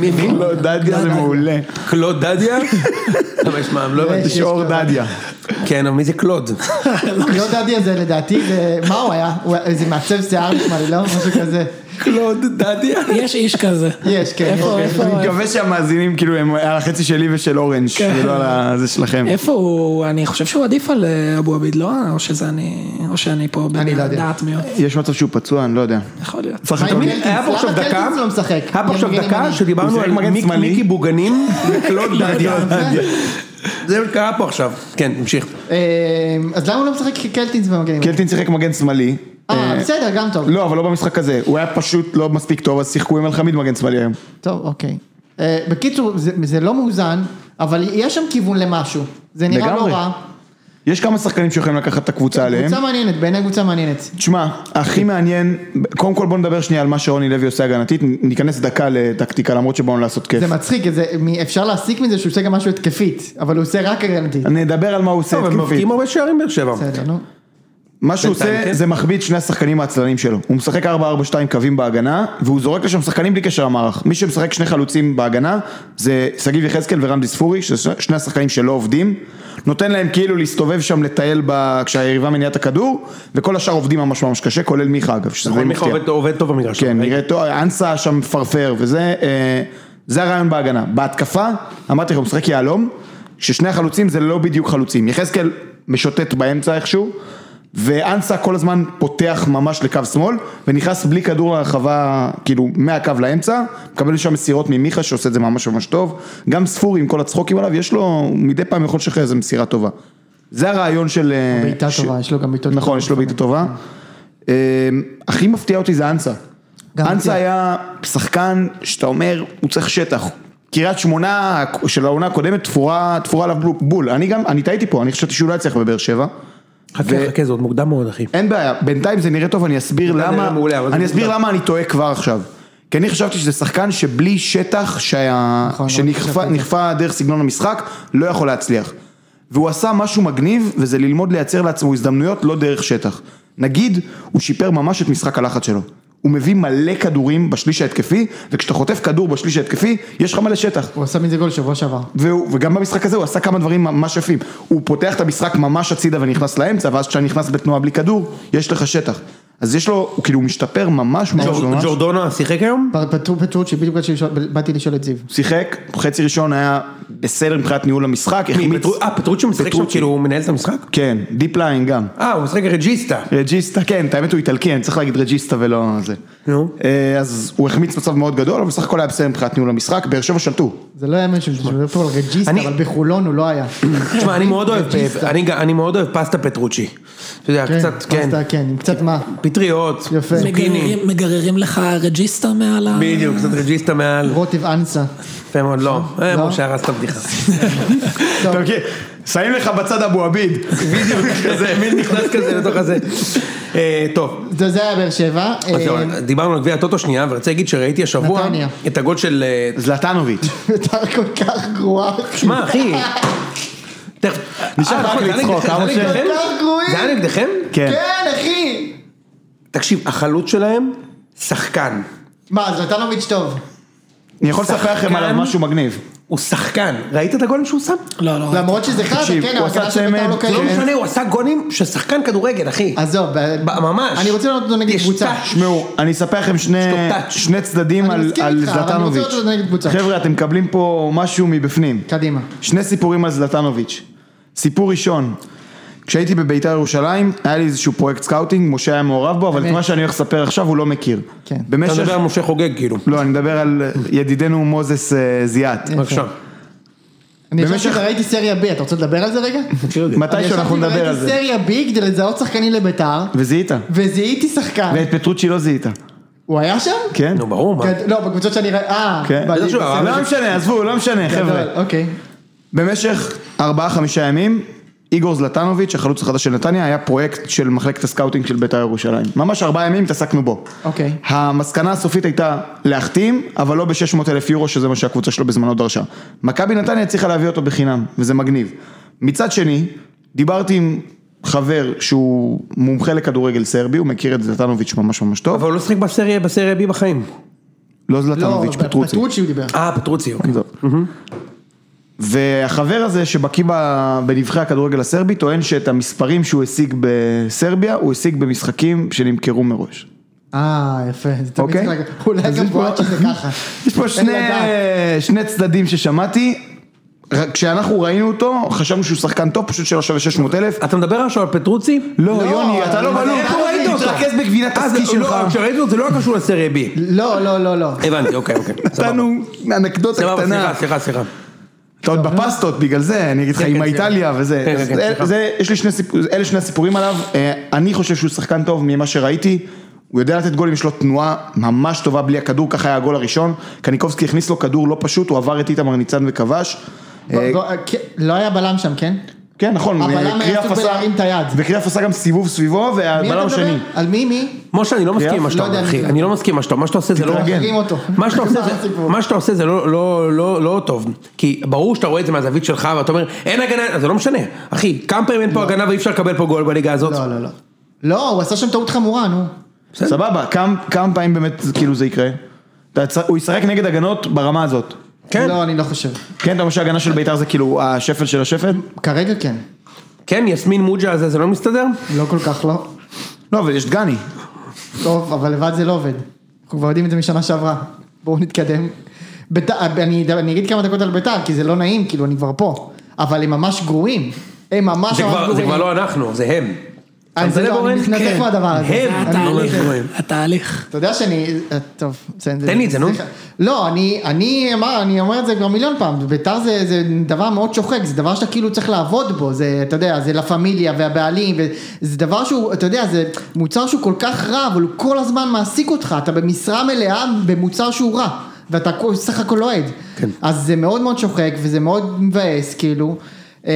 Speaker 1: מי? מי?
Speaker 3: לא, דדיה זה מעולה.
Speaker 1: קלוד דדיה? למה יש מע"מ? לא הבנתי.
Speaker 3: שור דדיה.
Speaker 1: כן, אבל מי זה קלוד?
Speaker 2: לא דדי הזה לדעתי, זה- מה הוא היה? הוא- איזה מעצב שיער נשמע לי, לא? משהו כזה,
Speaker 1: קלוד דדיה?
Speaker 4: יש איש כזה.
Speaker 2: יש, כן,
Speaker 4: איפה,
Speaker 2: יש,
Speaker 4: איפה,
Speaker 3: אני מקווה שהמאזינים כאילו הם על החצי שלי ושל אורנג' ולא על זה שלכם.
Speaker 4: איפה הוא? אני חושב שהוא עדיף על אה, אבו עביד, לא? או שזה אני... או שאני פה
Speaker 2: אני לא יודע.
Speaker 4: בדעת מיעוט.
Speaker 3: יש מצב שהוא פצוע, אני לא יודע.
Speaker 4: יכול להיות.
Speaker 3: צריך
Speaker 2: מה עם
Speaker 3: לקבל-
Speaker 2: קלטינס?
Speaker 1: היה פה עכשיו
Speaker 2: למה
Speaker 1: דקה,
Speaker 2: קלטינס לא משחק?
Speaker 1: היה פה עכשיו
Speaker 2: ימין
Speaker 1: דקה
Speaker 2: ימני.
Speaker 1: שדיברנו
Speaker 3: הוא
Speaker 1: על
Speaker 3: שיחק מגן
Speaker 1: מיק-
Speaker 3: שמאלי.
Speaker 1: מיקי בוגנים וקלוד דדיה. לא, זה מה שקרה פה עכשיו. כן, תמשיך.
Speaker 2: אה, אז למה הוא לא משחק קלטינס במגנים?
Speaker 3: קלטין שיחק מגן שמאלי.
Speaker 2: אה,
Speaker 3: אה,
Speaker 2: בסדר, גם טוב.
Speaker 3: לא, אבל לא במשחק הזה. הוא היה פשוט לא מספיק טוב, אז שיחקו עם אלחמיד מגן שמאלי היום.
Speaker 2: טוב, אוקיי. אה, בקיצור, זה- זה לא מאוזן, אבל יש שם כיוון למשהו. זה נראה לא
Speaker 3: לגמרי.
Speaker 2: רע.
Speaker 3: יש כמה שחקנים שיכולים לקחת את הקבוצה עליהם.
Speaker 2: קבוצה מעניינת, בעיניי קבוצה מעניינת.
Speaker 3: תשמע, הכי מעניין, קודם כל בוא נדבר שנייה על מה שרוני לוי עושה הגנתית, ניכנס דקה לטקטיקה למרות שבאנו לעשות כיף.
Speaker 2: זה מצחיק, זה- מ- אפשר להסיק מזה שהוא עושה גם משהו התקפית, אבל הוא עושה רק הגנתית.
Speaker 3: אני אדבר על מה הוא עושה
Speaker 1: טוב, הם
Speaker 3: התקפית.
Speaker 1: מבקיעים הרבה שערים באר שבע.
Speaker 2: בסדר, נו.
Speaker 3: מה שהוא
Speaker 1: בינתיים, כן.
Speaker 3: עושה זה מחביא את שני השחקנים העצלנים שלו. הוא משחק 4-4-2 קווים בהגנה, והוא זורק לשם שחקנים בלי קשר למערך. מי שמשחק שני חלוצים בהגנה זה שגיב יחזקאל ורמדי ספורי, שזה שני השחקנים שלא עובדים. נותן להם כאילו להסתובב שם לטייל ב... כשהיריבה מניעה את הכדור, וכל השאר עובדים ממש ממש קשה, כולל מיכה אגב, שזה די
Speaker 1: נכון, מיכה
Speaker 3: מפתיע.
Speaker 1: עובד- עובד טוב במגרש.
Speaker 3: כן, נראה טוב, אנסה שם מפרפר, וזה אה, זה הרעיון בהגנה. בהתקפה, אמרתי לך, הוא משחק יהלום, ששני החלוצים זה לא בדיוק חלוצים. יחזקאל משוטט באמצע איכשהו, ואנסה כל הזמן פותח ממש לקו שמאל, ונכנס בלי כדור לרחבה, כאילו, מהקו לאמצע, מקבל שם מסירות ממיכה שעושה את זה ממש ממש טוב. גם ספורי עם כל הצחוקים עליו, יש לו, הוא מדי פעם יכול לשחרר איזה מסירה טובה. זה הרעיון של... אה,
Speaker 2: בעיטה טובה, כן. יש לו גם בעיטות
Speaker 3: נכון,
Speaker 2: טובות.
Speaker 3: יש לו בעיטה טובה. אה, הכי מפתיע אותי זה אנסה.
Speaker 2: גם אותי.
Speaker 3: אנסה היה שחקן שאתה אומר, הוא צריך שטח. קריית שמונה של העונה הקודמת תפורה תפורה עליו בול- בול. אני גם, אני טעיתי פה, אני חשבתי שהוא לא יצליח בבאר שבע.
Speaker 1: חכה, חכה, זה עוד מוקדם מאוד, אחי.
Speaker 3: אין בעיה, בינתיים זה נראה טוב, אני אסביר
Speaker 1: נראה
Speaker 3: למה,
Speaker 1: מעולה, אבל זה
Speaker 3: אני אסביר
Speaker 1: מוקדם.
Speaker 3: למה אני טועה כבר עכשיו. כי אני חשבתי שזה שחקן שבלי שטח שהיה,
Speaker 2: נכון, לא חשבתי
Speaker 3: שנכפה
Speaker 2: על זה.
Speaker 3: נכפה דרך סגנון המשחק, לא יכול להצליח. והוא עשה משהו מגניב, וזה ללמוד לייצר לעצמו הזדמנויות לא דרך שטח. נגיד, הוא שיפר ממש את משחק הלחץ שלו. הוא מביא מלא כדורים בשליש ההתקפי, וכשאתה חוטף כדור בשליש ההתקפי, יש לך מלא שטח.
Speaker 2: הוא עשה מזה גול שבוע שעבר.
Speaker 3: והוא, וגם במשחק הזה הוא עשה כמה דברים ממש יפים. הוא פותח את המשחק ממש הצידה ונכנס לאמצע, ואז כשאתה נכנס בתנועה בלי כדור, יש לך שטח. אז יש לו, הוא כאילו משתפר ממש ממש
Speaker 1: ג'ור-
Speaker 3: ממש.
Speaker 1: ג'ורדונה שיחק היום?
Speaker 2: פטרוצ'י, בדיוק באתי לשאול- באתי לשאול את זיו.
Speaker 3: שיחק, חצי ראשון היה בסדר מבחינת ניהול המשחק,
Speaker 1: מי,
Speaker 3: החמיץ.
Speaker 1: פטרו- אה, פטרוצ'י משחק שם,
Speaker 3: פטרוצ'י.
Speaker 1: כאילו הוא מנהל את המשחק?
Speaker 3: כן, דיפ ליין גם.
Speaker 1: אה, הוא משחק רג'יסטה.
Speaker 3: רג'יסטה, כן, את האמת הוא איטלקי, אני צריך להגיד רג'יסטה ולא זה.
Speaker 1: נו.
Speaker 3: אה, אז הוא החמיץ מצב מאוד גדול, אבל בסך הכל היה בסדר מבחינת ניהול המשחק, באר שבע שלטו.
Speaker 2: זה לא היה משהו, שהוא מדבר פה על רג'יסט,
Speaker 1: אני-
Speaker 2: אבל בחולון הוא
Speaker 1: [COUGHS]
Speaker 2: לא היה.
Speaker 1: תשמע, אני מאוד אוהב, אה,
Speaker 2: רג'יסטה.
Speaker 1: אני גם- אני מאוד אוהב פסטה פטרוצ'י. אתה יודע,
Speaker 2: כן,
Speaker 1: קצת, כן,
Speaker 2: פסטה, כן, עם קצת מה.
Speaker 1: פטריות,
Speaker 2: יפה.
Speaker 1: סוגיני.
Speaker 4: מגררים- מגררים לך רג'יסטר מעל ה...
Speaker 1: בדיוק, קצת רג'יסטה מעל.
Speaker 2: רוטב אנסה.
Speaker 1: יפה מאוד, לא. אה,
Speaker 2: לא?
Speaker 1: משה הרס את הבדיחה.
Speaker 2: טוב,
Speaker 3: אתה מכיר? שמים לך בצד אבו עביד.
Speaker 1: בדיוק, כזה, מין נכנס כזה לתוך הזה. אה, טוב.
Speaker 2: זה זה היה באר שבע.
Speaker 1: אז זהו,
Speaker 2: [LAUGHS] אה,
Speaker 1: דיברנו על גביע הטוטו שנייה, ורציתי להגיד שראיתי השבוע
Speaker 2: נתניה.
Speaker 1: את הגול של... אה,
Speaker 3: [LAUGHS] זלטנוביץ'. כן.
Speaker 2: בית"ר כל כך גרועה. אחי.
Speaker 1: שמע, אחי, תכף.
Speaker 3: נשאר
Speaker 1: אה,
Speaker 3: רק
Speaker 1: נכון, זה היה
Speaker 3: לצחוק,
Speaker 1: נגדכם?
Speaker 3: אבא
Speaker 1: זה היה
Speaker 3: של-
Speaker 1: נגדכם?
Speaker 2: כל כך גרועים.
Speaker 1: זה היה נגדכם?
Speaker 3: כן.
Speaker 2: כן, אחי.
Speaker 1: תקשיב, החלוץ שלהם, שחקן.
Speaker 2: מה, זלטנוביץ' טוב.
Speaker 3: אני יכול לספר לכם עליו
Speaker 1: שחקן-
Speaker 3: משהו מגניב.
Speaker 1: הוא שחקן. ראית את הגולים שהוא שם?
Speaker 2: כן.
Speaker 4: לא, לא.
Speaker 2: למרות שזה חרטה,
Speaker 3: תקשיב,
Speaker 2: כן,
Speaker 3: הוא
Speaker 2: ההגנה
Speaker 3: עשה
Speaker 2: של בית"ר
Speaker 3: צמד,
Speaker 2: לא
Speaker 3: לא
Speaker 1: לא
Speaker 2: קיימת.
Speaker 1: משנה, הוא עשה גולים של שחקן כדורגל, אחי.
Speaker 2: עזוב, ב-
Speaker 1: ב- ממש.
Speaker 2: אני רוצה לראות אותו נגד
Speaker 1: יש
Speaker 2: קבוצה.
Speaker 1: טאץ'.
Speaker 3: תשמעו, אני אספר לכם שני,
Speaker 1: יש לו טאץ'.
Speaker 3: שני צדדים
Speaker 2: אני
Speaker 3: על,
Speaker 2: מסכים
Speaker 3: על
Speaker 2: איתך, אבל אני רוצה
Speaker 3: זלטנוביץ'.
Speaker 2: לראות אותו נגד קבוצה.
Speaker 3: חבר'ה, אתם מקבלים פה משהו מבפנים.
Speaker 2: קדימה.
Speaker 3: שני סיפורים על זלטנוביץ'. סיפור ראשון, כשהייתי בביתר ירושלים, היה לי איזשהו פרויקט סקאוטינג, משה היה מעורב בו, אבל את
Speaker 2: אמת.
Speaker 3: מה שאני הולך לספר עכשיו הוא לא מכיר.
Speaker 2: כן.
Speaker 1: אתה
Speaker 3: במשך...
Speaker 1: מדבר על משה חוגג, כאילו.
Speaker 3: לא, אני מדבר על ידידנו מוזס אה, זיאת.
Speaker 2: כן.
Speaker 1: בבקשה.
Speaker 2: אני ישבתי
Speaker 3: במשך-
Speaker 2: וראיתי סריה ב, אתה רוצה לדבר על זה
Speaker 3: [LAUGHS]
Speaker 2: רגע?
Speaker 3: מתי שאנחנו נדבר
Speaker 2: אני
Speaker 3: על זה.
Speaker 2: ישבתי וראיתי סריה ב כדי לזהות שחקנים לביתר,
Speaker 3: וזיהית.
Speaker 2: אה. וזיהיתי שחקן.
Speaker 3: ואת פטרוצ'י לא זיהית.
Speaker 2: הוא היה שם?
Speaker 3: כן?
Speaker 1: נו, ברור, מה?
Speaker 2: גד- לא, בקבוצות שאני ראיתי... אה,
Speaker 3: כן.
Speaker 2: בליגה.
Speaker 1: בטח שהוא היה.
Speaker 3: לא משנה, עזבו, לא משנה,
Speaker 2: גדול,
Speaker 3: חבר'ה.
Speaker 2: אוקיי.
Speaker 3: במשך ארבעה חמישה ימים, איגור זלטנוביץ', החלוץ החדש של נתניה, היה פרויקט של מחלקת הסקאוטינג של בית"ר ירושלים. ממש ארבעה ימים התעסקנו בו.
Speaker 2: אוקיי.
Speaker 3: המסקנה הסופית הייתה להחתים, אבל לא ב-600 אלף יורו, שזה מה שהקבוצה שלו בזמנו דרשה. מכבי נתניה הצליחה להביא אותו בחינם, וזה מגניב. מצד שני, דיברתי עם חבר שהוא מומחה לכדורגל סרבי, הוא מכיר את זלטנוביץ' ממש ממש טוב.
Speaker 1: אבל הוא לא שיחק בסריה, בסריה B בחיים.
Speaker 3: לא
Speaker 2: לא,
Speaker 3: זלטנוביץ', פטרוצי.
Speaker 2: פטרוצ'י הוא דיבר.
Speaker 1: אה, פטרוצי, אוקיי.
Speaker 3: עזוב. והחבר הזה שבקיא ב- בנבחרי הכדורגל הסרבי טוען שאת המספרים שהוא השיג בסרביה הוא השיג במשחקים שנמכרו מראש.
Speaker 2: אה, יפה. זה תמיד
Speaker 3: אוקיי?
Speaker 2: צריך להגיד. אולי
Speaker 3: אז
Speaker 2: גם
Speaker 3: יש פה-
Speaker 2: בואצ'י זה ככה.
Speaker 3: יש פה
Speaker 2: אין
Speaker 3: שני,
Speaker 2: לדעת.
Speaker 3: שני צדדים ששמעתי, רק כשאנחנו ראינו אותו חשבנו שהוא שחקן טוב פשוט שלא שווה 600 אלף.
Speaker 1: אתה מדבר עכשיו על פטרוצי?
Speaker 3: לא,
Speaker 2: לא,
Speaker 3: יוני אתה לא
Speaker 2: אבל
Speaker 3: בלום,
Speaker 2: איפה ראית אותו?
Speaker 3: תתרכז בגבינת
Speaker 1: אה,
Speaker 3: הסקי
Speaker 1: זה-
Speaker 3: שלך.
Speaker 1: לא, כשראיתי אותו זה לא היה קשור לסריה B.
Speaker 2: לא, לא, לא,
Speaker 3: אה,
Speaker 2: לא.
Speaker 1: הבנתי, אוקיי, אוקיי. [LAUGHS] סבבה.
Speaker 3: נתנו אנקדוטה
Speaker 1: סבבה,
Speaker 3: קטנה.
Speaker 1: סליחה, סליחה, סליחה.
Speaker 3: אתה עוד בפסטות בגלל זה, אני אגיד לך,
Speaker 1: לא, כן,
Speaker 3: עם
Speaker 1: כן,
Speaker 3: האיטליה
Speaker 1: כן.
Speaker 3: וזה.
Speaker 1: כן, כן,
Speaker 3: אז
Speaker 1: כן,
Speaker 3: אל-
Speaker 1: סליחה.
Speaker 3: זה- יש לי שני סיפורים, אלה שני הסיפורים עליו. אה, אני חושב שהוא שחקן טוב ממה שראיתי. הוא יודע לתת גולים, יש לו תנועה ממש טובה בלי הכדור, ככה היה הגול הראשון. קניקובסקי הכניס לו כדור לא פשוט, הוא עבר את איתמר ניצן וכבש. אה,
Speaker 2: בוא- בוא- כן, לא היה בלם שם, כן?
Speaker 3: כן, נכון,
Speaker 2: הבלם היה
Speaker 3: קריאף
Speaker 2: עסוק
Speaker 3: עשה-
Speaker 2: בלהרים את היד.
Speaker 3: וקריאף עשה גם סיבוב סביבו,
Speaker 2: מי
Speaker 3: והבלם
Speaker 2: אתה מדבר?
Speaker 3: השני.
Speaker 2: על מי מי?
Speaker 1: משה, אני לא מסכים עם מה
Speaker 2: לא
Speaker 1: שאתה
Speaker 2: יודע
Speaker 1: אומר,
Speaker 2: מי
Speaker 1: אחי.
Speaker 2: זה.
Speaker 1: אני לא מסכים עם מה שאתה אומר. מה שאתה עושה זה לא...
Speaker 3: תתרגל.
Speaker 2: מחזירים אותו.
Speaker 1: מה
Speaker 2: [LAUGHS]
Speaker 1: שאתה עושה
Speaker 2: מה
Speaker 1: זה,
Speaker 2: הסיפור?
Speaker 1: מה שאתה עושה זה לא, לא, לא, לא טוב, כי ברור שאתה רואה את זה מהזווית שלך ואתה אומר אין הגנה, אז זה לא משנה, אחי, כמה פעמים אין פה הגנה ואי אפשר לקבל פה גול בליגה הזאת,
Speaker 2: לא, לא, לא. לא, הוא עשה שם טעות חמורה, נו.
Speaker 3: סבבה, כמה- כמה פעמים באמת כאילו זה יקרה? אתה צ- הוא ישחק נגד הגנות ברמה הזאת.
Speaker 1: כן,
Speaker 2: לא, אני לא חושב.
Speaker 3: כן, אתה אומר שההגנה של בית"ר זה כאילו השפל של השפל?
Speaker 2: כרגע כן.
Speaker 1: כן, יסמין מוג'ה הזה, זה לא מסתדר?
Speaker 2: לא כל כך לא.
Speaker 3: לא, אבל יש דגני.
Speaker 2: טוב, אבל לבד זה לא עובד. אנחנו כבר יודעים את זה משנה שעברה. בואו נתקדם. בית- אני אני אגיד כמה דקות על ביתר, כי זה לא נעים, כאילו, אני כבר פה. אבל הם ממש גרועים. הם ממש
Speaker 1: זה
Speaker 2: ממש
Speaker 1: כבר, זה כבר
Speaker 2: גרועים.
Speaker 1: לא אנחנו, זה הם.
Speaker 2: אה,
Speaker 1: אתה
Speaker 2: זה
Speaker 1: מבין,
Speaker 2: לא,
Speaker 1: אורן?
Speaker 2: אני מתנתק
Speaker 1: כן.
Speaker 2: מהדבר הזה.
Speaker 1: הם,
Speaker 2: אני
Speaker 1: אתה
Speaker 4: התהליך,
Speaker 1: לא רואה.
Speaker 4: התהליך.
Speaker 2: אתה יודע שאני, אה, טוב, בסדר.
Speaker 1: תן לי את זה, נו.
Speaker 2: סליחה. לא, אני, אני, אמר, אני אומר את זה כבר מיליון פעם, ביתר זה, זה דבר מאוד שוחק, זה דבר שאתה כאילו צריך לעבוד בו, זה, אתה יודע, זה לה פמיליה והבעלים, וזה דבר שהוא, אתה יודע, זה מוצר שהוא כל כך רע, אבל הוא כל הזמן מעסיק אותך, אתה במשרה מלאה במוצר שהוא רע, ואתה כל- סך הכל אוהד. כן. אז זה מאוד מאוד שוחק, וזה מאוד מבאס, כאילו, אה,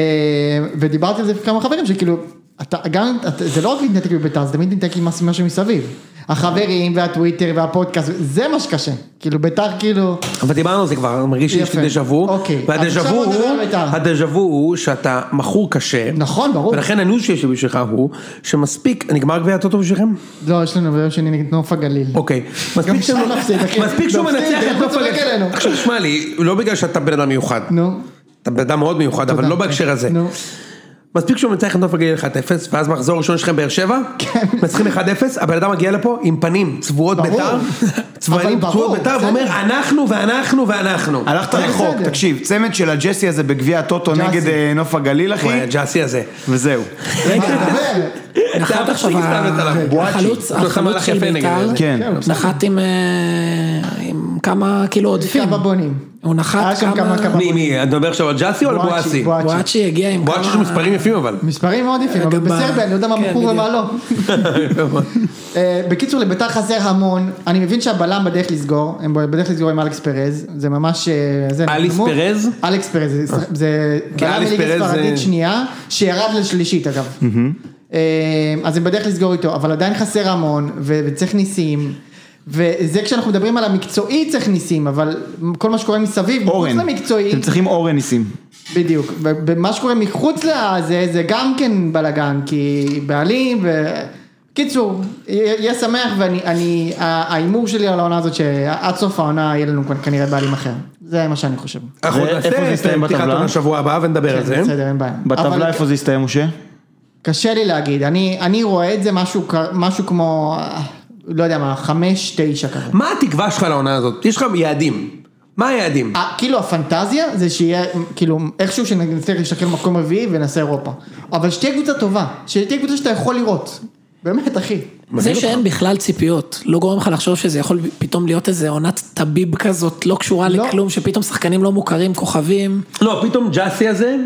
Speaker 2: ודיברתי על זה עם כמה חברים, שכאילו, אתה גם, אתה, זה לא רק להתנתק מביתר, זה תמיד להתנתק עם מה שמסביב. החברים והטוויטר והפודקאסט, זה מה שקשה. כאילו ביתר כאילו,
Speaker 1: אבל דיברנו על זה כבר, אני מרגיש שיש לי
Speaker 2: יפה.
Speaker 1: דז'ה וו,
Speaker 2: אוקיי, אז
Speaker 1: והדז'ה
Speaker 2: עכשיו
Speaker 1: וו
Speaker 2: בוא נדבר
Speaker 1: הוא,
Speaker 2: על בית"ר.
Speaker 1: הדז'ה וו הוא שאתה מכור קשה,
Speaker 2: נכון, ברור.
Speaker 1: ולכן הניוז שיש לי בשבילך הוא, שמספיק, נגמר גביע הטוטו בשבילכם?
Speaker 2: לא, יש לנו ביום שני נגד נוף הגליל.
Speaker 1: אוקיי,
Speaker 2: גם
Speaker 1: מספיק
Speaker 2: שם
Speaker 1: שהוא-
Speaker 2: נפסיד, אחי.
Speaker 1: מספיק שהוא
Speaker 2: נפסיד,
Speaker 1: מנצח
Speaker 2: איך
Speaker 1: את
Speaker 2: הוא
Speaker 1: נוף
Speaker 2: צוחק
Speaker 1: הגליל.
Speaker 2: עלינו?
Speaker 1: עכשיו שמע לי, לא בגלל שאתה בן אדם מיוחד,
Speaker 2: נו.
Speaker 1: אתה בן אדם מאוד מיוחד, אבל
Speaker 2: תודה.
Speaker 1: לא בהקשר הזה.
Speaker 2: נו.
Speaker 1: מספיק שהוא מנצח את נוף הגליל 1-0, ואז מחזור ראשון שלכם באר שבע, מנצחים 1-0, הבן אדם מגיע לפה עם פנים צבועות
Speaker 2: כן. ברור.
Speaker 1: בית"ר, צבעים
Speaker 2: אבל ברור,
Speaker 1: צבועות בית"ר,
Speaker 2: בסדר.
Speaker 1: ואומר אנחנו ואנחנו ואנחנו.
Speaker 3: הלכת
Speaker 2: זה
Speaker 3: רחוק,
Speaker 2: בסדר.
Speaker 3: תקשיב, צמד של הג'סי הזה בגביע הטוטו
Speaker 2: ג'סי.
Speaker 3: נגד אה, נוף הגליל, אחי,
Speaker 1: וואי, הג'אסי הזה.
Speaker 3: וזהו. כן.
Speaker 2: מה, דבר.
Speaker 4: נחת
Speaker 1: תפסיק
Speaker 4: נכון, עכשיו,
Speaker 1: סתם את הלב. בואצ'י.
Speaker 4: החלוץ
Speaker 1: הוא עשה
Speaker 4: החלוץ
Speaker 1: מהלך
Speaker 4: של
Speaker 1: יפה נגד
Speaker 4: בית"ר,
Speaker 1: זה.
Speaker 3: כן.
Speaker 4: נחת עם, אה, עם כמה כאילו עודפים.
Speaker 2: כמה בונים.
Speaker 4: הוא נחת
Speaker 2: היה שם כמה כמה
Speaker 1: מי, מי, אתה מדבר עכשיו על ג'אסי או על
Speaker 2: בואצ'י,
Speaker 1: בואסי?
Speaker 2: בואצ'י.
Speaker 4: בואצ'י הגיע עם כמה...
Speaker 1: בואצ'י יש לו מספרים יפים אבל.
Speaker 2: מספרים מאוד יפים, אבל
Speaker 4: גם ב-
Speaker 2: בסרביה אני לא יודע מה
Speaker 4: כן,
Speaker 2: מכור ומה לא.
Speaker 4: בדיוק.
Speaker 2: אה, בקיצור לביתר חסר המון, אני מבין שהבלם בדרך לסגור, הם בדרך לסגור עם אלכס פרז, זה ממש... אה, זה
Speaker 1: אליס
Speaker 2: נמוך.
Speaker 1: פרז?
Speaker 2: אלכס פרז, זה- זה
Speaker 1: כי
Speaker 2: בלם
Speaker 1: אליס
Speaker 2: מליגה
Speaker 1: פרז אה, זה-
Speaker 2: ספרדית שנייה, שירד לשלישית אגב. אה, אז הם בדרך לסגור איתו, אבל עדיין חסר המון, ו- וצריך ניסים. וזה כשאנחנו מדברים על המקצועי צריך ניסים, אבל כל מה שקורה מסביב,
Speaker 3: אורן,
Speaker 2: חוץ למקצועי,
Speaker 3: אתם צריכים אורן ניסים.
Speaker 2: בדיוק, ומה שקורה מחוץ לזה זה גם כן בלאגן, כי בעלים ו... קיצור, יהיה שמח ואני, אני, ההימור שלי על העונה הזאת שעד סוף העונה יהיה לנו כנראה בעלים אחר, זה מה שאני חושב.
Speaker 1: אנחנו
Speaker 3: ואיפה זה
Speaker 1: נעשה את
Speaker 3: יסתיים
Speaker 1: פתיחת
Speaker 3: בטבלה?
Speaker 1: עונה שבוע הבא ונדבר על זה.
Speaker 2: כן, בסדר, אין בעיה. אבל-
Speaker 3: בטבלה איפה זה יסתיים, משה?
Speaker 2: קשה לי להגיד, אני, אני רואה את זה משהו, כ- משהו כמו, אה, לא יודע מה, חמש, תשע כזה.
Speaker 1: מה התקווה שלך לעונה הזאת? יש לך יעדים. מה היעדים?
Speaker 2: ה- כאילו הפנטזיה זה שיהיה, כאילו, איכשהו שנצטרך להשתכל במקום רביעי ונעשה אירופה. אבל שתהיה קבוצה טובה, שתהיה קבוצה שאתה יכול לראות. באמת, אחי.
Speaker 1: מבין
Speaker 4: זה
Speaker 1: אותך.
Speaker 4: שאין בכלל ציפיות, לא גורם לך לחשוב שזה יכול פתאום להיות איזה עונת טביב כזאת, לא קשורה
Speaker 2: לא.
Speaker 4: לכלום, שפתאום שחקנים לא מוכרים, כוכבים,
Speaker 1: לא, פתאום ג'אסי הזה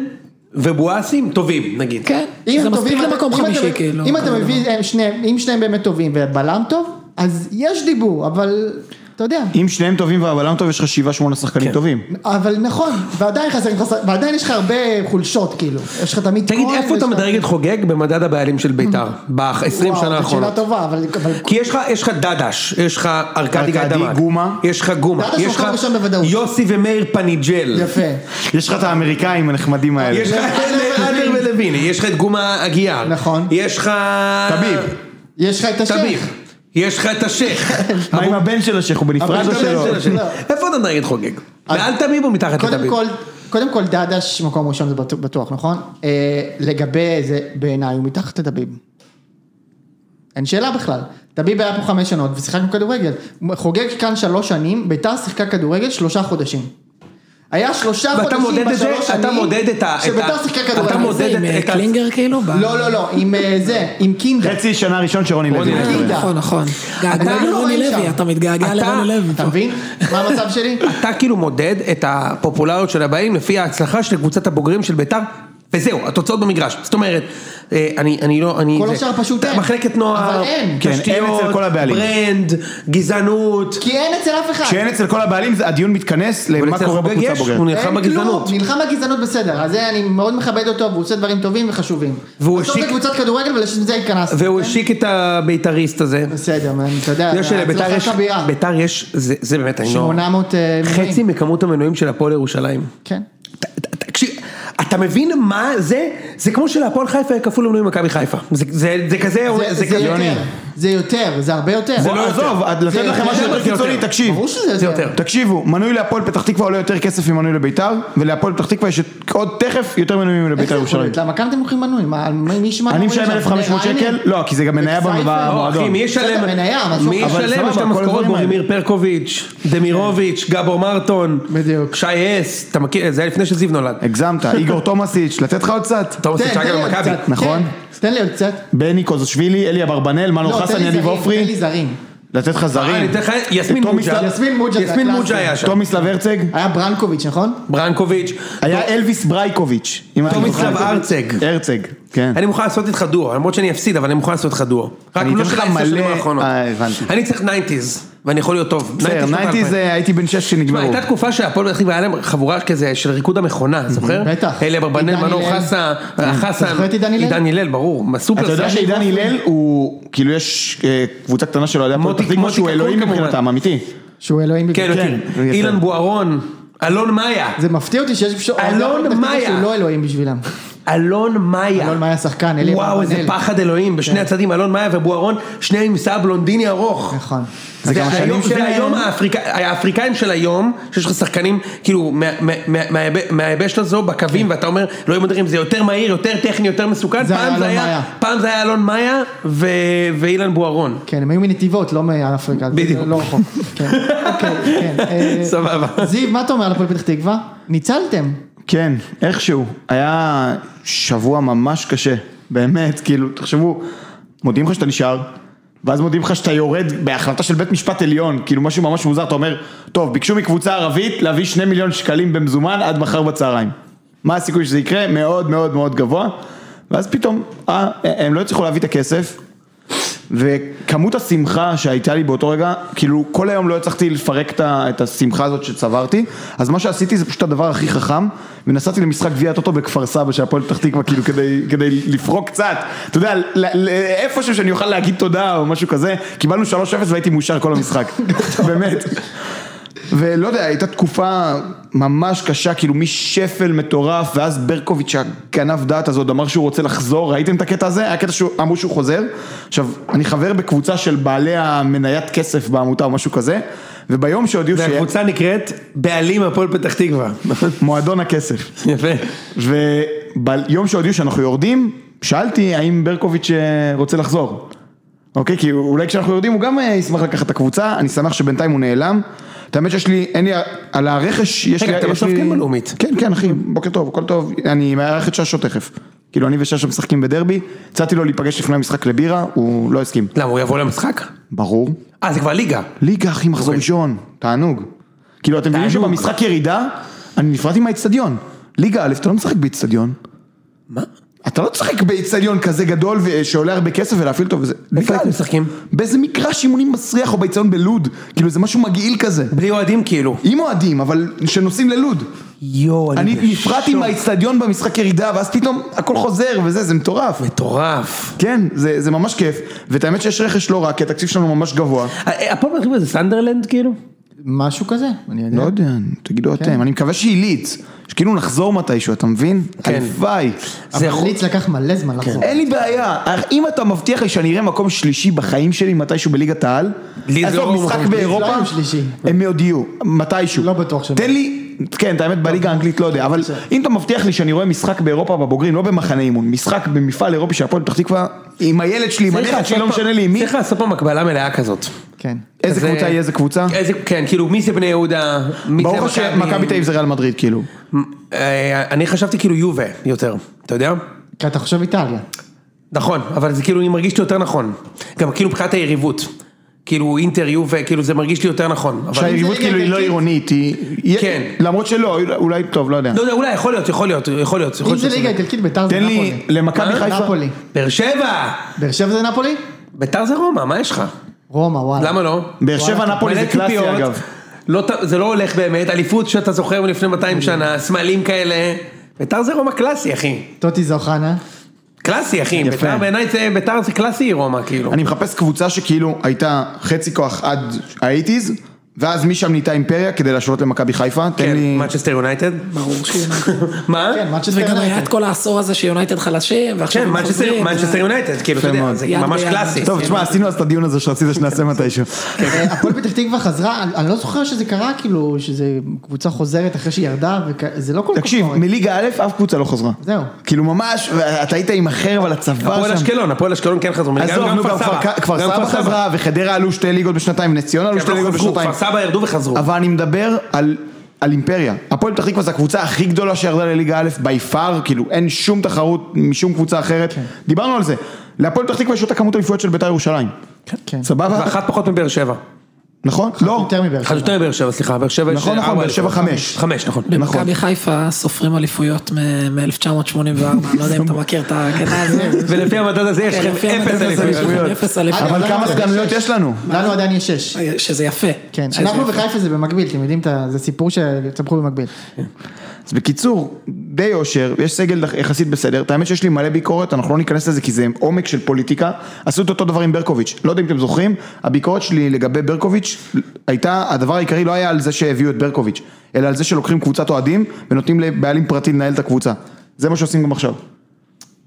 Speaker 1: ובואסים טובים, נגיד.
Speaker 4: כן,
Speaker 2: אם
Speaker 4: זה
Speaker 2: הם
Speaker 4: מספיק
Speaker 2: טובים, אתה-
Speaker 4: למקום
Speaker 2: אם אתה-
Speaker 4: חמישי, כאילו.
Speaker 2: אם אתה מביא, הם שניהם, אם שניהם באמת טובים ובלם טוב, אז יש דיבור, אבל, אתה יודע.
Speaker 3: אם שניהם טובים והבלם טוב, יש לך שבעה שמונה
Speaker 1: כן.
Speaker 3: שחקנים טובים.
Speaker 2: אבל נכון, ועדיין חסרים, חסר- ועדיין יש לך הרבה חולשות, כאילו. יש לך תמיד...
Speaker 1: תגיד,
Speaker 2: כהן
Speaker 1: איפה
Speaker 2: ויש
Speaker 1: אתה
Speaker 2: לך-
Speaker 1: מדרג את חוגג במדד הבעלים של ביתר? ב-20
Speaker 2: וואו,
Speaker 1: שנה
Speaker 2: זאת
Speaker 1: האחרונות.
Speaker 2: שאלה טובה, אבל... אבל...
Speaker 1: כי יש לך, יש לך דדש, יש לך ארכדי
Speaker 3: ארכדי,
Speaker 1: גדמק,
Speaker 3: גומה.
Speaker 1: יש לך גומה,
Speaker 2: דדש הוא
Speaker 1: יש
Speaker 2: מקום
Speaker 1: לך
Speaker 2: ראשון בוודאות.
Speaker 1: יוסי ומאיר פניג'ל,
Speaker 2: יפה.
Speaker 3: יש לך את האמריקאים הנחמדים האלה.
Speaker 1: יש לך את אדלר ולויני, יש לך את גומה אגיאר,
Speaker 2: נכון.
Speaker 1: יש לך...
Speaker 3: טביב.
Speaker 2: אה, יש לך את השם.
Speaker 1: טביב, יש לך את
Speaker 2: [LAUGHS]
Speaker 1: השייח,
Speaker 3: מה עם הבן של השייח, הוא בנפרד
Speaker 2: הבן
Speaker 3: או
Speaker 2: של
Speaker 3: שלו?
Speaker 2: השייח. לא.
Speaker 1: איפה אתה מדרג את חוגג? מעל תמיב או מתחת
Speaker 2: קודם
Speaker 1: לתמיב?
Speaker 2: כל, קודם כל דדש מקום ראשון זה בטוח- בטוח, נכון? אה, לגבי זה, בעיניי הוא מתחת לדביב. אין שאלה בכלל. דביב היה פה חמש שנות ושיחקנו כדורגל. חוגג כאן שלוש שנים, ביתר שיחקה כדורגל שלושה חודשים. היה שלושה
Speaker 1: ואתה
Speaker 2: חודשים
Speaker 1: מודד את זה,
Speaker 2: בשלוש
Speaker 1: אתה
Speaker 2: שנים
Speaker 1: מודד את ה... את
Speaker 2: שביתר
Speaker 1: ה-
Speaker 2: שיחקה כדורגל.
Speaker 1: אתה מודד
Speaker 4: עם
Speaker 1: את-
Speaker 4: אה,
Speaker 1: את ה...
Speaker 4: קלינגר כאילו? ב-
Speaker 2: לא, לא, לא, עם אה, זה, עם קינדה.
Speaker 3: חצי שנה ראשון שרוני לוי.
Speaker 1: לוי.
Speaker 3: מדבר.
Speaker 2: קינדה.
Speaker 4: נכון, נכון.
Speaker 2: אתה
Speaker 4: געגע
Speaker 2: לא
Speaker 4: לרוני
Speaker 2: רואה
Speaker 4: לוי,
Speaker 2: שם.
Speaker 4: אתה מתגעגע
Speaker 1: אתה-
Speaker 4: לרוני לוי.
Speaker 2: אתה
Speaker 4: פה.
Speaker 2: מבין? מה המצב שלי?
Speaker 1: אתה כאילו מודד את הפופולריות של הבאים לפי ההצלחה של קבוצת הבוגרים של ביתר, וזהו, התוצאות במגרש. זאת אומרת, אה, אני, אני לא, אני...
Speaker 2: כל
Speaker 1: זה-
Speaker 2: השאר פשוט אין.
Speaker 1: מחלקת נוער,
Speaker 2: אבל אין.
Speaker 3: כן, אין אצל כל הבעלים.
Speaker 1: ברנד, גזענות.
Speaker 2: כי אין אצל אף אחד.
Speaker 3: כשאין אצל כל הבעלים, זה- הדיון מתכנס
Speaker 1: אבל
Speaker 3: למה
Speaker 1: אצל
Speaker 3: קורה
Speaker 1: חוגג
Speaker 3: בקבוצה
Speaker 1: יש, הוא
Speaker 3: הבוגרת.
Speaker 1: נלחם
Speaker 2: אין
Speaker 1: בגזענות.
Speaker 2: כלום, נלחם בגזענות בסדר, אז זה אני מאוד מכבד אותו והוא עושה דברים טובים וחשובים.
Speaker 1: והוא
Speaker 2: בסוף זה
Speaker 1: השיק-
Speaker 2: קבוצת כדורגל ולשם זה התכנסנו.
Speaker 1: והוא
Speaker 2: כן?
Speaker 1: השיק את הבית"ריסט הזה.
Speaker 2: בסדר, מה, אתה יודע,
Speaker 1: זה שלביתר יש,
Speaker 2: הצלחה כבירה.
Speaker 1: בית"ר יש, זה זה באמת, אני לא...
Speaker 2: 800 אה, מנויים.
Speaker 1: חצי מכמות המנויים של הפועל ירושלים.
Speaker 2: כן.
Speaker 1: ת- ת- תקשיב, אתה מבין מה זה? זה כמו שלהפועל חיפה היה כפול למנויים מכבי חיפה. זה- זה זה כזה... זה
Speaker 2: זה- זה
Speaker 1: כזה-
Speaker 2: יותר, זה יותר, זה הרבה יותר.
Speaker 1: זה
Speaker 3: בוא,
Speaker 1: לא יותר.
Speaker 3: עזוב, עד לתת
Speaker 2: אה, אוקיי. זה-
Speaker 3: לכם
Speaker 2: זה לא
Speaker 3: משהו
Speaker 2: יותר,
Speaker 3: יותר
Speaker 1: זה
Speaker 3: קיצוני,
Speaker 1: יותר.
Speaker 3: תקשיב.
Speaker 2: ברור שזה
Speaker 1: זה
Speaker 2: יותר.
Speaker 1: יותר.
Speaker 3: תקשיבו, מנוי להפועל פתח תקווה עולה יותר כסף ממנוי לביתר, ולהפועל פתח תקווה יש את- עוד תכף יותר מנויים
Speaker 2: איך
Speaker 3: לביתר
Speaker 2: זה יכול
Speaker 3: ירושלים.
Speaker 2: להיות? למה כאן אתם לוקחים מנוי? מה, מי מי ישמע?
Speaker 3: אני
Speaker 2: מנוי
Speaker 3: משלם
Speaker 2: שם?
Speaker 3: 1,500
Speaker 2: בני
Speaker 3: שקל,
Speaker 2: ריינה?
Speaker 3: לא, כי זה גם מניה
Speaker 2: בכסייפה?
Speaker 3: במ-
Speaker 1: לא, אחי,
Speaker 3: במועדון.
Speaker 1: מי
Speaker 2: בסדר,
Speaker 1: ישלם?
Speaker 2: מניה, משהו.
Speaker 1: מי
Speaker 3: אבל
Speaker 1: ישלם?
Speaker 3: סבבה,
Speaker 1: יש את
Speaker 3: כל
Speaker 1: המשכורות,
Speaker 3: הדברים האלה.
Speaker 1: בורימיר פרקוביץ', דמירוביץ', גבור מרטון,
Speaker 2: כן. בדיוק. כן,
Speaker 1: שי אס, אתה מכיר, זה היה לפני שזיו נולד.
Speaker 2: [LAUGHS]
Speaker 3: הגזמת, איגור תומאסיץ', לתת לך עוד קצת?
Speaker 1: אתה עושה
Speaker 2: תן, תן
Speaker 1: צ'אגה
Speaker 2: לי עוד
Speaker 1: במכבי.
Speaker 2: קצת, תן,
Speaker 3: נכון.
Speaker 2: תן לי עוד קצת.
Speaker 3: בני קוזשווילי, אלי אברבנאל, מנו
Speaker 2: לא, תן
Speaker 3: חסן,
Speaker 2: לי
Speaker 3: יניב
Speaker 2: זרים, תן
Speaker 3: עופרי,
Speaker 2: לי זרים.
Speaker 3: לתת לך
Speaker 1: אה, אני
Speaker 3: זרים.
Speaker 1: אתן לך, יסמין
Speaker 3: תומי
Speaker 1: מוג'ה.
Speaker 3: סל-
Speaker 2: יסמין מוג'ה זה
Speaker 1: יסמין
Speaker 2: הקלאסי.
Speaker 1: מוג'ה היה שם.
Speaker 3: תומיסלב הרצג,
Speaker 2: היה ברנקוביץ', נכון?
Speaker 1: ברנקוביץ'.
Speaker 3: היה אלוויס ברייקוביץ'. אם אתם
Speaker 1: תומיסלב
Speaker 3: זוכרים.
Speaker 1: הרצג.
Speaker 3: הרצג, כן.
Speaker 1: [LAUGHS] אני מוכן לעשות איתך דואו, למרות שאני אפסיד, אבל אני מוכן לעשות איתך דואו. רק
Speaker 3: אני
Speaker 1: לא
Speaker 3: אתן
Speaker 1: של
Speaker 3: לך
Speaker 1: העשר שנים
Speaker 3: מלא-
Speaker 1: האחרונות.
Speaker 3: אה, הבנתי.
Speaker 1: אני צריך 90's, ואני יכול להיות טוב.
Speaker 3: בסדר,
Speaker 1: 90s, שנות
Speaker 3: 90's
Speaker 1: האלפיים.
Speaker 3: אה, הייתי בן שש
Speaker 1: תשמע,
Speaker 3: שנגמרו.
Speaker 1: הייתה תקופה שהפועל פתח תקווה היה להם חבורה כזה של ריקוד המכונה, זוכר?
Speaker 2: בטח.
Speaker 1: אלה ברבנל,
Speaker 2: עידן
Speaker 1: מנור
Speaker 2: הלל.
Speaker 1: חסה, חסן,
Speaker 2: אתה זוכר את עידן הלל?
Speaker 1: עידן הלל, ברור, מה,
Speaker 3: אתה
Speaker 1: סופר
Speaker 3: יודע
Speaker 1: סייאן.
Speaker 3: שעידן הלל הוא, כאילו יש אה, קבוצה קטנה של אוהדי הפועל
Speaker 1: מוטי-
Speaker 3: פתח תקווה
Speaker 1: מוטי
Speaker 3: שהוא
Speaker 1: קקון
Speaker 3: אלוהים
Speaker 1: כמובן.
Speaker 3: מבחינתם, אמיתי.
Speaker 2: שהוא אלוהים
Speaker 1: כן,
Speaker 2: בגלל-
Speaker 1: כן,
Speaker 3: יפה.
Speaker 1: אילן בוארון, אלון מאיה,
Speaker 2: זה מפתיע אותי שיש אפשר...
Speaker 1: אלון מאיה.
Speaker 2: שהוא לא אלוהים בשבילם.
Speaker 1: אלון מאיה.
Speaker 2: אלון מאיה שחקן, אלי
Speaker 1: וואו, איזה
Speaker 2: אברבנאל.
Speaker 1: פחד אלוהים, בשני הצדדים, אלון מאיה ובוארון, שניהם עם שיער בלונדיני ארוך.
Speaker 2: נכון.
Speaker 1: זה
Speaker 3: גם השנים
Speaker 2: כן,
Speaker 1: היום-
Speaker 3: שלהם.
Speaker 1: זה היום האפריקא- האפריקאים של היום, שיש לך שחקנים כאילו מה- מה- מה- מהיב- מהיבשת הזו
Speaker 3: כן.
Speaker 1: בקווים ואתה אומר, לא יודעים אם זה יותר מהיר, יותר טכני, יותר מסוכן,
Speaker 2: זה היה
Speaker 1: פעם זה
Speaker 2: אלון
Speaker 1: היה-
Speaker 2: מאיה.
Speaker 1: פעם זה היה אלון מאיה ו- ואילן בוארון.
Speaker 2: כן, הם היו מנתיבות, לא מאפריקה. זה
Speaker 1: בדיוק.
Speaker 2: לא רחוק. כן, אוקיי, כן. אה,
Speaker 3: [LAUGHS]
Speaker 1: סבבה.
Speaker 2: זיו, מה אתה אומר על הפועל פתח תקווה? ניצלתם.
Speaker 3: כן, איכשהו. היה שבוע ממש קשה, באמת, כאילו, תחשבו, מודיעים לך שאתה נשאר, ואז מודיעים לך שאתה יורד בהחלטה של בית משפט עליון, כאילו משהו ממש מוזר, אתה אומר, טוב, ביקשו מקבוצה ערבית להביא שני מיליון שקלים במזומן עד מחר בצהריים. מה הסיכוי שזה יקרה? מאוד מאוד מאוד גבוה, ואז פתאום, אה, הם לא הצליחו להביא את הכסף, וכמות השמחה שהייתה לי באותו רגע, כאילו כל היום לא הצלחתי לפרק את ה- את השמחה הזאת שצברתי, אז מה שעשיתי זה פשוט הדבר הכי חכם, ונסעתי למשחק גביע הטוטו בכפר סבא של הפועל פתח תקווה, כאילו כדי, כדי לפרוק קצת, אתה יודע, ל- ל- איפשהו שאני אוכל להגיד תודה או משהו כזה, קיבלנו 3-0 [LAUGHS] והייתי מאושר כל המשחק, באמת. ולא יודע, הייתה תקופה ממש קשה, כאילו משפל מטורף, ואז ברקוביץ' הגנב דעת הזאת אמר שהוא רוצה לחזור, ראיתם את הקטע הזה? היה קטע שאמרו שהוא חוזר. עכשיו, אני חבר בקבוצה של בעלי המניית כסף בעמותה או משהו כזה, וביום שהודיעו ש...
Speaker 1: והקבוצה נקראת בעלים הפועל פתח תקווה. [LAUGHS]
Speaker 3: מועדון הכסף.
Speaker 1: יפה.
Speaker 3: וביום שהודיעו שאנחנו יורדים, שאלתי האם ברקוביץ' אה, רוצה לחזור. אוקיי? כי אולי כשאנחנו יורדים הוא גם אה, ישמח לקחת את הקבוצה, אני שמח שבינתיים הוא נעלם. את האמת שיש לי, אין לי, על הרכש יש לי...
Speaker 1: רגע, אתם
Speaker 3: יש לי-
Speaker 1: משחקים בלאומית.
Speaker 3: כן, כן, אחי, בוקר טוב, הכל טוב. אני מארח את ששו תכף. כאילו, אני וששו משחקים בדרבי, הצעתי לו להיפגש לפני המשחק לבירה, הוא לא הסכים.
Speaker 1: למה, הוא יבוא למשחק?
Speaker 3: ברור.
Speaker 1: אה, זה כבר ליגה.
Speaker 3: ליגה, אחי, מחזור ראשון, תענוג. כאילו, אתם מבינים
Speaker 1: אוקיי. תענוג.
Speaker 3: שבמשחק ירידה, אני נפרדתי מהאיצטדיון. ליגה א', אתה לא משחק באיצטדיון.
Speaker 1: מה?
Speaker 3: אתה לא תשחק באיצטדיון כזה גדול ו- שעולה הרבה כסף ולהפעיל אותו וזה.
Speaker 1: איפה
Speaker 3: ליגה
Speaker 1: אתם
Speaker 3: א'.
Speaker 1: משחקים?
Speaker 3: באיזה מגרש אימונים מסריח או באיצטדיון בלוד. כאילו זה משהו מגעיל כזה.
Speaker 1: בלי אוהדים כאילו.
Speaker 3: עם אוהדים, אבל שנוסעים ללוד.
Speaker 1: יואו,
Speaker 3: אני נפרדתי
Speaker 1: בשוק.
Speaker 3: מהאיצטדיון במשחק ירידה, ואז פתאום הכל חוזר וזה, זה מטורף.
Speaker 1: מטורף.
Speaker 3: כן, זה זה ממש כיף. ואת האמת שיש רכש לא רע, כי התקציב שלנו ממש גבוה.
Speaker 1: אה, הפועל פתח תקווה זה סנדרלנד כאילו?
Speaker 2: משהו כזה, אני יודע.
Speaker 3: לא יודע, תגידו אתם. אני מקווה שעילית, שכאילו נחזור מתישהו, אתה מבין?
Speaker 1: כן.
Speaker 3: הלוואי.
Speaker 1: זה
Speaker 2: אבל
Speaker 1: יכול...
Speaker 2: ליץ לקח מלא זמן לחזור.
Speaker 3: אין לי בעיה, אם אתה מבטיח לי שאני אראה מקום שלישי בחיים שלי מתישהו בליגת העל,
Speaker 1: לי זה
Speaker 3: עזוב,
Speaker 1: לא
Speaker 3: משחק
Speaker 1: מקום-
Speaker 3: באירופה,
Speaker 2: לא היו שלישי.
Speaker 3: הם עוד יהיו, מתישהו.
Speaker 2: לא בטוח שהם-
Speaker 3: תן לי, כן, את האמת בליגה האנגלית לא יודע, אבל אם אתה מבטיח לי שאני רואה משחק באירופה בבוגרים, לא במחנה אימון, משחק במפעל אירופי של הפועל פתח תקווה, עם הילד שלי, עם הנכד שלי, לא משנה לי עם מי,
Speaker 1: צריך לעשות פה מקבלה מלאה כזאת.
Speaker 2: כן.
Speaker 3: איזה
Speaker 1: כזה-
Speaker 3: קבוצה היא איזה קבוצה?
Speaker 1: אה, איזה, כן, כאילו מי זה בני יהודה? מי זה
Speaker 3: ברור שמכבי תל אביב זה ריאל מדריד, כאילו.
Speaker 1: אה, אני חשבתי כאילו יובה יותר, אתה יודע?
Speaker 2: כי אתה חושב איטליה.
Speaker 1: נכון, אבל זה כאילו, אני מרגיש לי יותר נכון. גם כאילו מבחינת היריבות. כאילו אינטר יובה, כאילו זה מרגיש לי יותר נכון. אבל-
Speaker 3: שהיריבות כאילו היא לא עירונית, היא...
Speaker 1: כן.
Speaker 3: למרות שלא, אולי טוב, לא יודע.
Speaker 1: לא יודע, אולי יכול להיות, יכול להיות, יכול להיות. יכול
Speaker 2: אם
Speaker 1: להיות
Speaker 2: זה
Speaker 1: שזה-
Speaker 2: ליגה איטלקית, ביתר זה
Speaker 3: תן לי,
Speaker 2: נפולי. אה?
Speaker 3: למכבי
Speaker 1: מה?
Speaker 3: חיפה...
Speaker 2: נפולי.
Speaker 1: באר שבע!
Speaker 2: באר שבע זה נפולי?
Speaker 1: ביתר זה רומא, מה יש לך?
Speaker 2: רומא, וואלה.
Speaker 1: למה לא?
Speaker 3: באר שבע נפולי זה
Speaker 1: מלא
Speaker 3: קלאסי
Speaker 1: ציפיות.
Speaker 3: אגב.
Speaker 1: לא, ת- זה לא הולך באמת, אליפות שאתה זוכר מלפני 200
Speaker 3: Mm.
Speaker 1: שנה, סמלים כאלה. ביתר זה רומא קלאסי, אחי.
Speaker 2: טוטי זה אוחנה.
Speaker 1: קלאסי, אחי.
Speaker 3: יפה.
Speaker 1: ביתר בעיניי זה, ביתר זה קלאסי רומא, כאילו.
Speaker 3: אני מחפש קבוצה שכאילו הייתה חצי כוח עד האייטיז, ואז משם נהייתה אימפריה כדי להשוות למכבי חיפה, תן
Speaker 1: כן,
Speaker 3: לי...
Speaker 1: מנצ'סטר יונייטד.
Speaker 4: ברור שיהיה.
Speaker 1: מה?
Speaker 2: כן, מנצ'סטר
Speaker 4: וגם היה את
Speaker 2: יונייטד.
Speaker 4: כל העשור הזה שיונייטד חלשים, ועכשיו
Speaker 1: כן,
Speaker 4: הם
Speaker 1: מנצ'סטר
Speaker 4: חוזרים,
Speaker 1: מנצ'סטר
Speaker 4: ו-
Speaker 1: יונייטד, כאילו, אתה
Speaker 3: יפה
Speaker 1: יודע,
Speaker 3: מאוד.
Speaker 1: זה
Speaker 4: יד
Speaker 1: ממש
Speaker 4: ביד,
Speaker 1: קלאסי.
Speaker 4: מנצ'סטר.
Speaker 3: טוב, תשמע, עשינו אז את הדיון הזה שרצית שנעשה
Speaker 1: [LAUGHS]
Speaker 3: מתישהו.
Speaker 2: אה, הפועל פתח תקווה חזרה, אני- אני לא זוכר שזה קרה, כאילו, שזה קבוצה חוזרת אחרי שהיא ירדה, וזה לא כל כך...
Speaker 3: תקשיב,
Speaker 2: קורה.
Speaker 3: מליגה א' אף קבוצה לא חזרה.
Speaker 2: זהו.
Speaker 3: כאילו ממש, אתה היית עם החרב
Speaker 1: הפועל
Speaker 3: על הצוואר שם.
Speaker 1: אשקלון, הפועל אשקלון כן חזרו. גם-
Speaker 3: עזוב,
Speaker 1: גם
Speaker 3: נו, גם כפר- כפר
Speaker 1: גם
Speaker 3: סבא חזרה, וחדרה עלו שתי ליגות בשנתיים, נס ציונה
Speaker 1: כי
Speaker 3: עלו
Speaker 1: הם
Speaker 3: שתי
Speaker 1: לא
Speaker 3: ליגות
Speaker 1: חזרו,
Speaker 3: בשנתיים.
Speaker 1: כפר סבא ירדו וחזרו.
Speaker 3: אבל אני מדבר על, על אימפריה. הפועל פתח תקווה זו הקבוצה הכי גדולה שירדה לליגה א' בי פאר, כאילו אין שום תחרות משום קבוצה אחרת. כן. דיברנו על זה. להפועל פתח תקווה יש אותה כמות אליפויות של בית"ר ירושלים.
Speaker 2: כן.
Speaker 3: סבבה?
Speaker 1: ואחת פחות מבאר שבע.
Speaker 3: נכון? לא.
Speaker 2: יותר מבאר
Speaker 1: אחת
Speaker 2: שבע.
Speaker 1: יותר מבאר שבע, סליחה. באר שבע יש
Speaker 3: נכון, נכון,
Speaker 1: ארבע
Speaker 3: באר שבע
Speaker 1: אליפויות.
Speaker 3: חמש.
Speaker 1: חמש, נכון.
Speaker 3: נכון.
Speaker 4: במכבי חיפה סופרים אליפויות מ-1984, אני לא יודע אם אתה מכיר את הקטע הזה.
Speaker 1: ולפי המדד הזה יש
Speaker 4: כן, לפי
Speaker 1: לכם אפס
Speaker 4: המדד הזה יש
Speaker 1: אליפויות.
Speaker 4: לכם אפס אליפויות.
Speaker 2: אגב,
Speaker 3: אבל כמה סגנויות יש לנו?
Speaker 2: לנו עדיין יש שש.
Speaker 4: שזה יפה.
Speaker 2: כן,
Speaker 4: שזה
Speaker 2: אנחנו
Speaker 4: יפה.
Speaker 2: וחיפה זה במקביל, אתם יודעים, את ה- זה סיפור שצמחו במקביל.
Speaker 3: אז בקיצור, די יושר, יש סגל יחסית בסדר, את האמת שיש לי מלא ביקורת, אנחנו לא ניכנס לזה כי זה עומק של פוליטיקה, עשו את אותו דבר עם ברקוביץ', לא יודע אם אתם זוכרים, הביקורת שלי לגבי ברקוביץ' הייתה, הדבר העיקרי לא היה על זה שהביאו את ברקוביץ', אלא על זה שלוקחים קבוצת אוהדים ונותנים לבעלים פרטי לנהל את הקבוצה, זה מה שעושים גם עכשיו.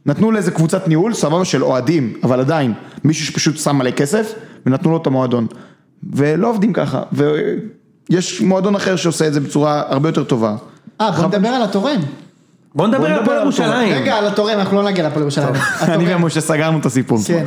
Speaker 3: נתנו לאיזה קבוצת ניהול, סבבה, של אוהדים, אבל עדיין, מישהו שפשוט שם מלא כסף, ונתנו לו את המועדון. ולא עובדים ככה, ויש מועדון אחר שעושה את זה בצורה הרבה יותר טובה.
Speaker 2: אה, בוא נדבר על התורם.
Speaker 1: בוא נדבר
Speaker 3: בוא
Speaker 1: על
Speaker 3: נדבר
Speaker 1: הפועל
Speaker 3: על
Speaker 1: ירושלים.
Speaker 2: רגע, על התורם, אנחנו לא נגיע לפועל ירושלים. התורם,
Speaker 3: אני ומשה סגרנו את הסיפור.
Speaker 2: כן,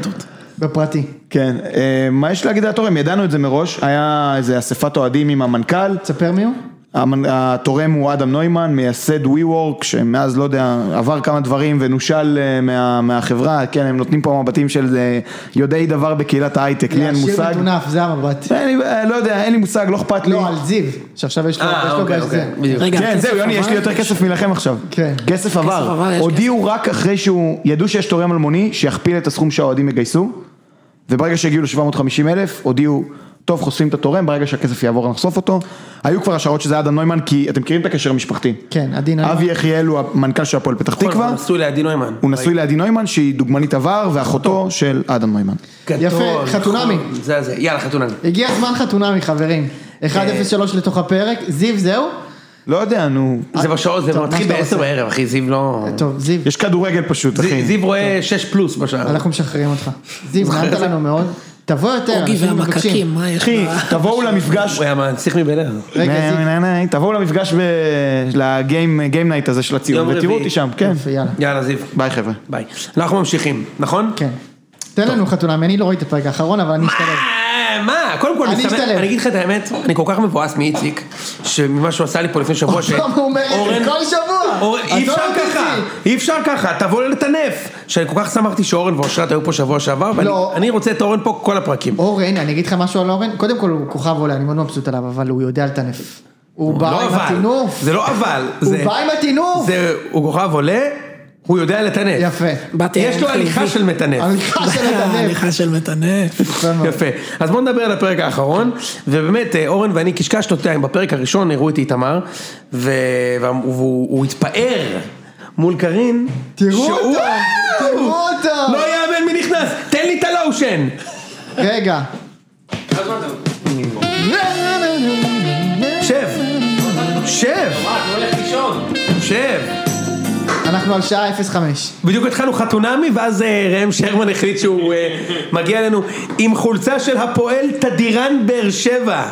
Speaker 2: בפרטי.
Speaker 3: כן, אה, מה יש להגיד על התורם? ידענו את זה מראש, היה איזה אספת אוהדים עם המנכ"ל,
Speaker 2: תספר מי הוא?
Speaker 3: המנ- התורם הוא אדם נוימן, מייסד ווי וורק, שמאז לא יודע, עבר כמה דברים ונושל אה, מה, מהחברה, כן, הם נותנים פה מבטים של אה, יודעי דבר בקהילת ההייטק, לי אין
Speaker 2: השיר
Speaker 3: מושג.
Speaker 2: מטונף, זה המבט.
Speaker 3: אין לי, אה, לא יודע, אין לי מושג, לא אכפת לי.
Speaker 2: לא, על זיו, שעכשיו יש לו,
Speaker 1: אה,
Speaker 2: יש לו
Speaker 1: אוקיי,
Speaker 2: בעיה שזה.
Speaker 1: אוקיי. בדיוק.
Speaker 4: רגע,
Speaker 3: כן,
Speaker 4: הכסף
Speaker 3: זהו, יוני, יש לי
Speaker 4: עבר?
Speaker 3: יותר כסף מלכם עכשיו.
Speaker 2: כן.
Speaker 3: כסף
Speaker 4: עבר,
Speaker 3: עבר.
Speaker 4: יש
Speaker 3: הודיעו רק אחרי שהוא, ידעו שיש תורם אלמוני שיכפיל את הסכום שהאוהדים יגייסו, וברגע שהגיעו ל-750 אלף, הודיעו, טוב, חושפים את התורם, ברגע שהכסף יעבור נחשוף אותו. היו כבר השערות שזה אדם נוימן, כי אתם מכירים את הקשר המשפחתי.
Speaker 2: כן, עדי נוימן.
Speaker 3: אבי יחיאל הוא המנכ"ל של הפועל פתח
Speaker 1: נכון,
Speaker 3: תקווה,
Speaker 1: הוא נשוי לעדי נוימן.
Speaker 3: הוא נשוי לעדי נוימן, שהיא דוגמנית עבר, ואחותו של אדם נוימן.
Speaker 1: גדול,
Speaker 2: יפה, חתונמי.
Speaker 1: נכון, זה זה, יאללה חתונמי.
Speaker 2: הגיע זמן חתונמי, חברים. 1-0-3 לתוך הפרק, זיו זהו?
Speaker 3: לא יודע, נו.
Speaker 1: זה בשעות, זה
Speaker 2: אה, טוב, מה
Speaker 1: מתחיל
Speaker 2: שאתה
Speaker 1: בעשר
Speaker 2: רוצה.
Speaker 1: בערב, אחי, זיו לא...
Speaker 2: טוב, זיו,
Speaker 3: יש כדורגל פשוט,
Speaker 1: זיו-
Speaker 3: אחי.
Speaker 1: זיו רואה שש פלוס בשעה.
Speaker 2: אנחנו משחררים אותך. זיו, נעמת לנו מאוד. תבוא יותר,
Speaker 4: אוגי
Speaker 2: אנחנו מבקשים.
Speaker 4: והמקקים, מה יש
Speaker 3: אחי,
Speaker 4: לה?
Speaker 3: תבואו למפגש,
Speaker 1: הוא היה מנציח מביננו.
Speaker 2: רגע,
Speaker 3: נה,
Speaker 2: זיו.
Speaker 3: נה, נה, נה, תבואו למפגש, ב- לגיים גיים נייט הזה של
Speaker 1: יום
Speaker 3: הציון, ותראו
Speaker 1: רביעי.
Speaker 3: אותי שם, כן.
Speaker 2: יפה, יאללה.
Speaker 1: יאללה, זיו.
Speaker 3: ביי חבר'ה.
Speaker 1: ביי. אנחנו ממשיכים, נכון?
Speaker 2: כן. תן לנו חתונמי, אני לא ראיתי את הפרק האחרון, אבל אני אשתלב.
Speaker 1: אה, מה? קודם כל,
Speaker 2: אני
Speaker 1: אני
Speaker 2: אשתלב.
Speaker 1: שמח- אני אגיד לך את האמת, אני כל כך מבואס מאיציק, שממה שהוא עשה לי פה לפני שבוע,
Speaker 2: פעם הוא אומר את זה כל שבוע.
Speaker 1: אורן, אי
Speaker 2: עזוב
Speaker 1: אפשר
Speaker 2: אותי,
Speaker 1: ככה,
Speaker 2: איציק.
Speaker 1: אי אפשר ככה, תבוא לטנף. שאני כל כך שמחתי שאורן ואושרת היו פה שבוע שעבר, ואני
Speaker 2: לא.
Speaker 1: אני רוצה את אורן פה כל הפרקים.
Speaker 2: אורן, אני אגיד לך משהו על אורן, קודם כל הוא כוכב עולה, אני מאוד מבסוט עליו, אבל הוא יודע לטנף. הוא בא
Speaker 1: לא
Speaker 2: עם
Speaker 1: אבל,
Speaker 2: הטינוף.
Speaker 1: זה לא אבל,
Speaker 2: הוא
Speaker 1: זה-
Speaker 2: בא עם הטינוף.
Speaker 1: זה, הוא כוכב עולה, הוא יודע לטנף.
Speaker 2: יפה.
Speaker 4: באתי
Speaker 1: יש לו
Speaker 4: עם
Speaker 1: הליכה
Speaker 4: חיובי.
Speaker 1: של מטנף.
Speaker 2: הליכה של
Speaker 1: [LAUGHS]
Speaker 2: הטנף.
Speaker 4: הליכה של מטנף.
Speaker 2: יפה מאוד.
Speaker 1: יפה. אז בואו נדבר על הפרק האחרון, ובאמת אה, אורן ואני קשקשנו, אתה יודע, אם בפרק הראשון הראו את איתמר, ו- והוא והוא התפאר מול קארין.
Speaker 2: תראו
Speaker 1: שהוא-
Speaker 2: אותו, תראו אותו.
Speaker 1: לא יאמן מי נכנס, תן לי את הלושן. [LAUGHS]
Speaker 2: רגע.
Speaker 1: שב, שב, שב.
Speaker 2: אנחנו על שעה 05.
Speaker 1: בדיוק התחלנו חתונמי, ואז אה, ראם שרמן החליט שהוא אה, מגיע אלינו עם חולצה של הפועל תדירן באר שבע.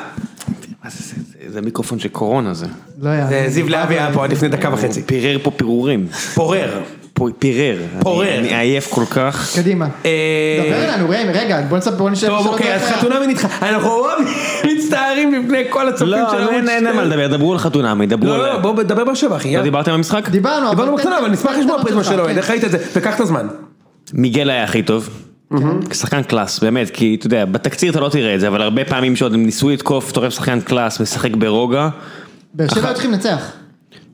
Speaker 5: זה מיקרופון של קורונה זה.
Speaker 2: לא יאללה.
Speaker 1: זה אה, זיו להבי היה פה עד לפני דקה וחצי.
Speaker 5: הוא פירר פה פירורים.
Speaker 1: פורר.
Speaker 5: פו- פירר.
Speaker 1: פורר.
Speaker 5: אני אני עייף כל כך.
Speaker 2: קדימה.
Speaker 1: אה,
Speaker 2: דבר אלינו, ראם, רגע, בוא נספר, בוא נשאר.
Speaker 1: טוב, אוקיי, אז חתונמי נדחה. אנחנו מאוד [LAUGHS] מצטערים בפני כל הצופים
Speaker 5: לא,
Speaker 1: של ערוץ
Speaker 5: לא, אין אין
Speaker 1: שתיים.
Speaker 5: על מה לדבר, דברו על חתונמי, דברו
Speaker 1: לא,
Speaker 5: על...
Speaker 1: לא, לא, בוא, דבר באר שבע, אחי.
Speaker 5: לא
Speaker 1: יאללה.
Speaker 5: דיברתם על המשחק?
Speaker 2: דיברנו, אבל...
Speaker 1: דיברנו בקטנה, אבל נשמח לשמוע פריזמה
Speaker 2: שלך,
Speaker 1: של אוהד,
Speaker 2: כן.
Speaker 1: איך ראית את זה? וקח את הזמן.
Speaker 5: מיגל היה הכי טוב. שחקן קלאס, באמת, כי אתה יודע, בתקציר אתה לא תראה את זה, אבל הרבה פעמים שעוד הם ניסו לתקוף, אתה רואה שחקן קלאס, משחק ברוגע.
Speaker 2: באר שבע היו צריכים לנצח.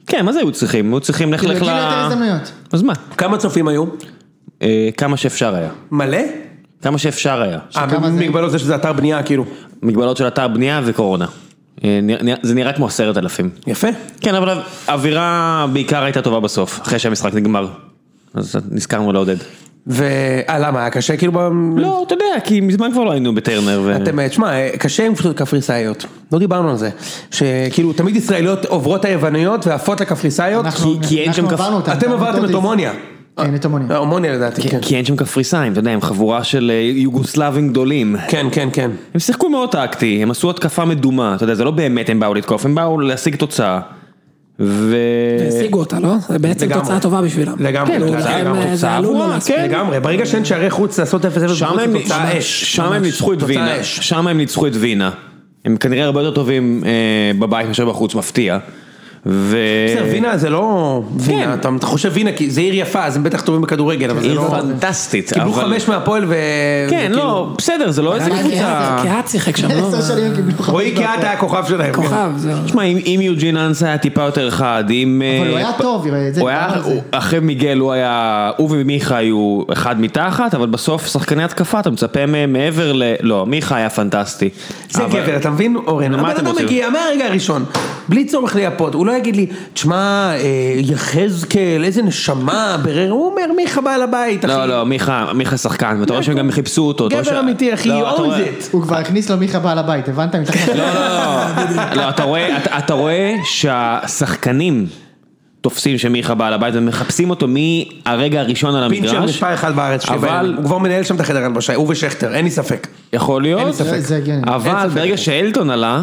Speaker 5: כן, מה זה היו צריכים? היו צריכים לך
Speaker 2: כאילו,
Speaker 5: לך
Speaker 2: הגיעו יותר
Speaker 5: ל...
Speaker 2: הזדמנויות.
Speaker 5: אז מה?
Speaker 1: כמה צופים היו?
Speaker 5: אה, כמה שאפשר היה.
Speaker 1: מלא?
Speaker 5: כמה שאפשר היה.
Speaker 1: אה,
Speaker 2: שכמה זה?
Speaker 1: מגבלות זה שזה אתר בנייה, כאילו.
Speaker 5: מגבלות של אתר בנייה וקורונה. אה, נרא- נרא- זה נראה כמו עשרת אלפים.
Speaker 1: יפה.
Speaker 5: כן, אבל האווירה בעיקר הייתה טובה בסוף, אחרי שהמשחק נגמר. אז נזכרנו לעודד.
Speaker 1: ו... אה, למה? היה קשה כאילו ב...
Speaker 5: לא, אתה יודע, כי מזמן כבר לא היינו בטרנר. ו-
Speaker 1: אתם, אה, תשמע, אה, קשה עם קפריסאיות. לא דיברנו על זה. שכאילו, תמיד ישראליות עוברות היווניות ועפות לקפריסאיות.
Speaker 2: אנחנו-
Speaker 5: כי- כי אין
Speaker 2: אנחנו
Speaker 5: שם כפ-
Speaker 2: עברנו אותם,
Speaker 1: אתם
Speaker 2: גם
Speaker 1: עברתם את
Speaker 2: הטוטיס.
Speaker 1: הומוניה.
Speaker 2: כן, את הומוניה.
Speaker 1: אה, הומוניה לדעתי, כן.
Speaker 5: כי אין שם קפריסאים, אתה יודע, הם חבורה של אה, יוגוסלבים גדולים.
Speaker 1: כן, כן, כן.
Speaker 5: הם שיחקו מאוד טקטי, הם עשו התקפה מדומה, אתה יודע, זה לא באמת הם באו לתקוף, הם באו להשיג תוצאה. ו...
Speaker 4: השיגו אותה, לא? זה בעצם
Speaker 1: לגמרי.
Speaker 4: תוצאה טובה בשבילם.
Speaker 1: לגמרי,
Speaker 4: כן,
Speaker 1: לגמרי,
Speaker 4: הם,
Speaker 1: לגמרי.
Speaker 4: אה, זה
Speaker 5: אה, תוצאה
Speaker 4: עלול לא
Speaker 5: עבורם,
Speaker 4: להספיק.
Speaker 5: כן.
Speaker 1: לגמרי, ברגע שאין שערי חוץ לעשות 0-0
Speaker 5: שם
Speaker 1: בחוץ,
Speaker 5: הם,
Speaker 1: זה תוצאה אש.
Speaker 5: שם הם ניצחו את
Speaker 1: תוצאה
Speaker 5: וינה,
Speaker 1: אש.
Speaker 5: שם הם ניצחו את וינה. הם כנראה הרבה יותר טובים אה, בבית מאשר בחוץ, מפתיע. ו...
Speaker 1: בסדר, וינה זה לא וינה, אתה אתה חושב וינה, כי זה עיר יפה, אז הם בטח טובים בכדורגל, אבל זה
Speaker 5: עיר
Speaker 1: לא...
Speaker 5: פנטסטית,
Speaker 1: קיבלו
Speaker 5: אבל-
Speaker 1: חמש מהפועל ו...
Speaker 5: כן,
Speaker 1: וכאילו-
Speaker 5: לא, בסדר, זה לא איזה
Speaker 4: גם
Speaker 5: קבוצה.
Speaker 4: קיאט- קיאט שיחק שם,
Speaker 2: [LAUGHS]
Speaker 4: לא?
Speaker 2: עשר שנים הם קיבלו חמש
Speaker 1: רועי קיאט
Speaker 2: דקות.
Speaker 1: היה הכוכב שלהם. כן.
Speaker 4: כוכב, זהו.
Speaker 5: תשמע, אם אם יוג'ין אנסה היה טיפה יותר חד, אם...
Speaker 2: אבל הוא
Speaker 5: אה,
Speaker 2: היה
Speaker 5: פ-
Speaker 2: טוב, יראה, זה,
Speaker 5: הוא היה,
Speaker 2: דיברנו על זה.
Speaker 5: הוא- אחרי מיגל הוא היה, הוא ומיכה היו אחד מתחת, אבל בסוף שחקני התקפה אתה מצפה מהם מעבר ל... לא, מיכה היה פנטסטי.
Speaker 1: זה
Speaker 5: אבל-
Speaker 1: גבר, אתה מבין, אורן?
Speaker 5: מה
Speaker 1: הבן
Speaker 5: אתם
Speaker 1: אדם
Speaker 5: רוצים?
Speaker 1: מגיע מהרגע הראשון, בלי צורך לייפות, הוא לא יגיד לי, תשמע, אה, יחזקאל, איזה נשמה, ברר, הוא אומר, מיכה בעל הבית, אחי.
Speaker 5: לא, לא, מיכה, מיכה שחקן, ואתה רואה שהם גם חיפשו אותו. אתה רואה
Speaker 1: גבר
Speaker 5: ש-
Speaker 1: אמיתי, אחי,
Speaker 5: לא, אתה רואה-
Speaker 1: אונזט.
Speaker 2: הוא כבר הכניס לו מיכה בעל הבית, הבנת? מתחת
Speaker 5: לא, לא, לא. לא, אתה רואה, אתה- אתה רואה שהשחקנים תופסים שמיכה בעל הבית ומחפשים אותו מהרגע הראשון על
Speaker 1: פינצ'ר
Speaker 5: המגרש.
Speaker 1: מספר אחד בארץ, שלי
Speaker 5: אבל-
Speaker 1: בערב. הוא כבר מנהל שם את החדר הלבשה, הוא ושכטר, אין לי ספק.
Speaker 5: יכול
Speaker 1: אין לי
Speaker 5: להיות,
Speaker 1: ספק.
Speaker 2: זה הגיוני.
Speaker 5: אבל ברגע שאלטון עלה,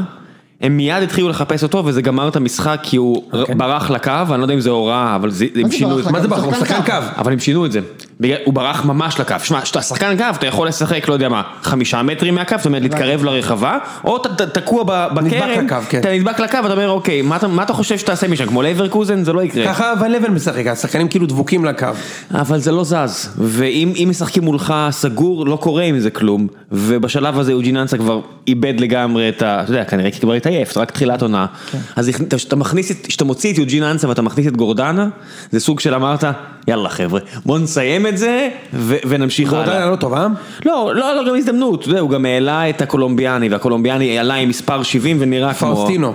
Speaker 5: הם מיד התחילו לחפש אותו וזה גמר את המשחק כי הוא ברח לקו, אני לא יודע אם זה הוראה, אבל זה- הם
Speaker 2: זה
Speaker 5: שינו
Speaker 2: ברח
Speaker 5: את
Speaker 2: לקו?
Speaker 1: אוקיי. מה זה בחור?
Speaker 2: שחקן
Speaker 1: שחקן
Speaker 2: קו.
Speaker 1: קו.
Speaker 5: אבל הם שינו את זה, בגלל- הוא ברח ממש לקו, שמע, כשאתה שחקן קו אתה יכול לשחק לא יודע מה, חמישה מטרים מהקו, זאת אומרת להתקרב לרחבה, או אתה ת- תקוע ב- בקרן,
Speaker 1: לקו, כן.
Speaker 5: אתה נדבק לקו ואתה אומר אוקיי, מה אתה- מה אתה חושב שתעשה משם, כמו לייברקוזן זה לא יקרה,
Speaker 1: ככה ון לבן משחק, השחקנים כאילו דבוקים לקו.
Speaker 5: אבל זה לא זז, ואם אם משחקים מולך סגור לא קורה עם זה כלום, ובשלב הזה יוג'ין אנסה כבר איבד לגמרי את ה... אתה יודע, כנראה כי כבר התעייף, זה רק תחילת עונה,
Speaker 1: כן.
Speaker 5: אז הכ- כשאתה מכניס את... כשאתה מוציא את יוג'ין אנסה ואתה מכניס את גורדנה, זה סוג של אמרת, יאללה חבר'ה, בוא נסיים את זה ו- ונמשיך
Speaker 1: גורדנה
Speaker 5: הלאה.
Speaker 1: לא טוב, אה?
Speaker 5: לא, לא היה לו גם הזדמנות, אתה יודע, הוא גם העלה את הקולומביאני, והקולומביאני עלה עם מספר 70 ונראה כמו...
Speaker 1: פאוסטינו.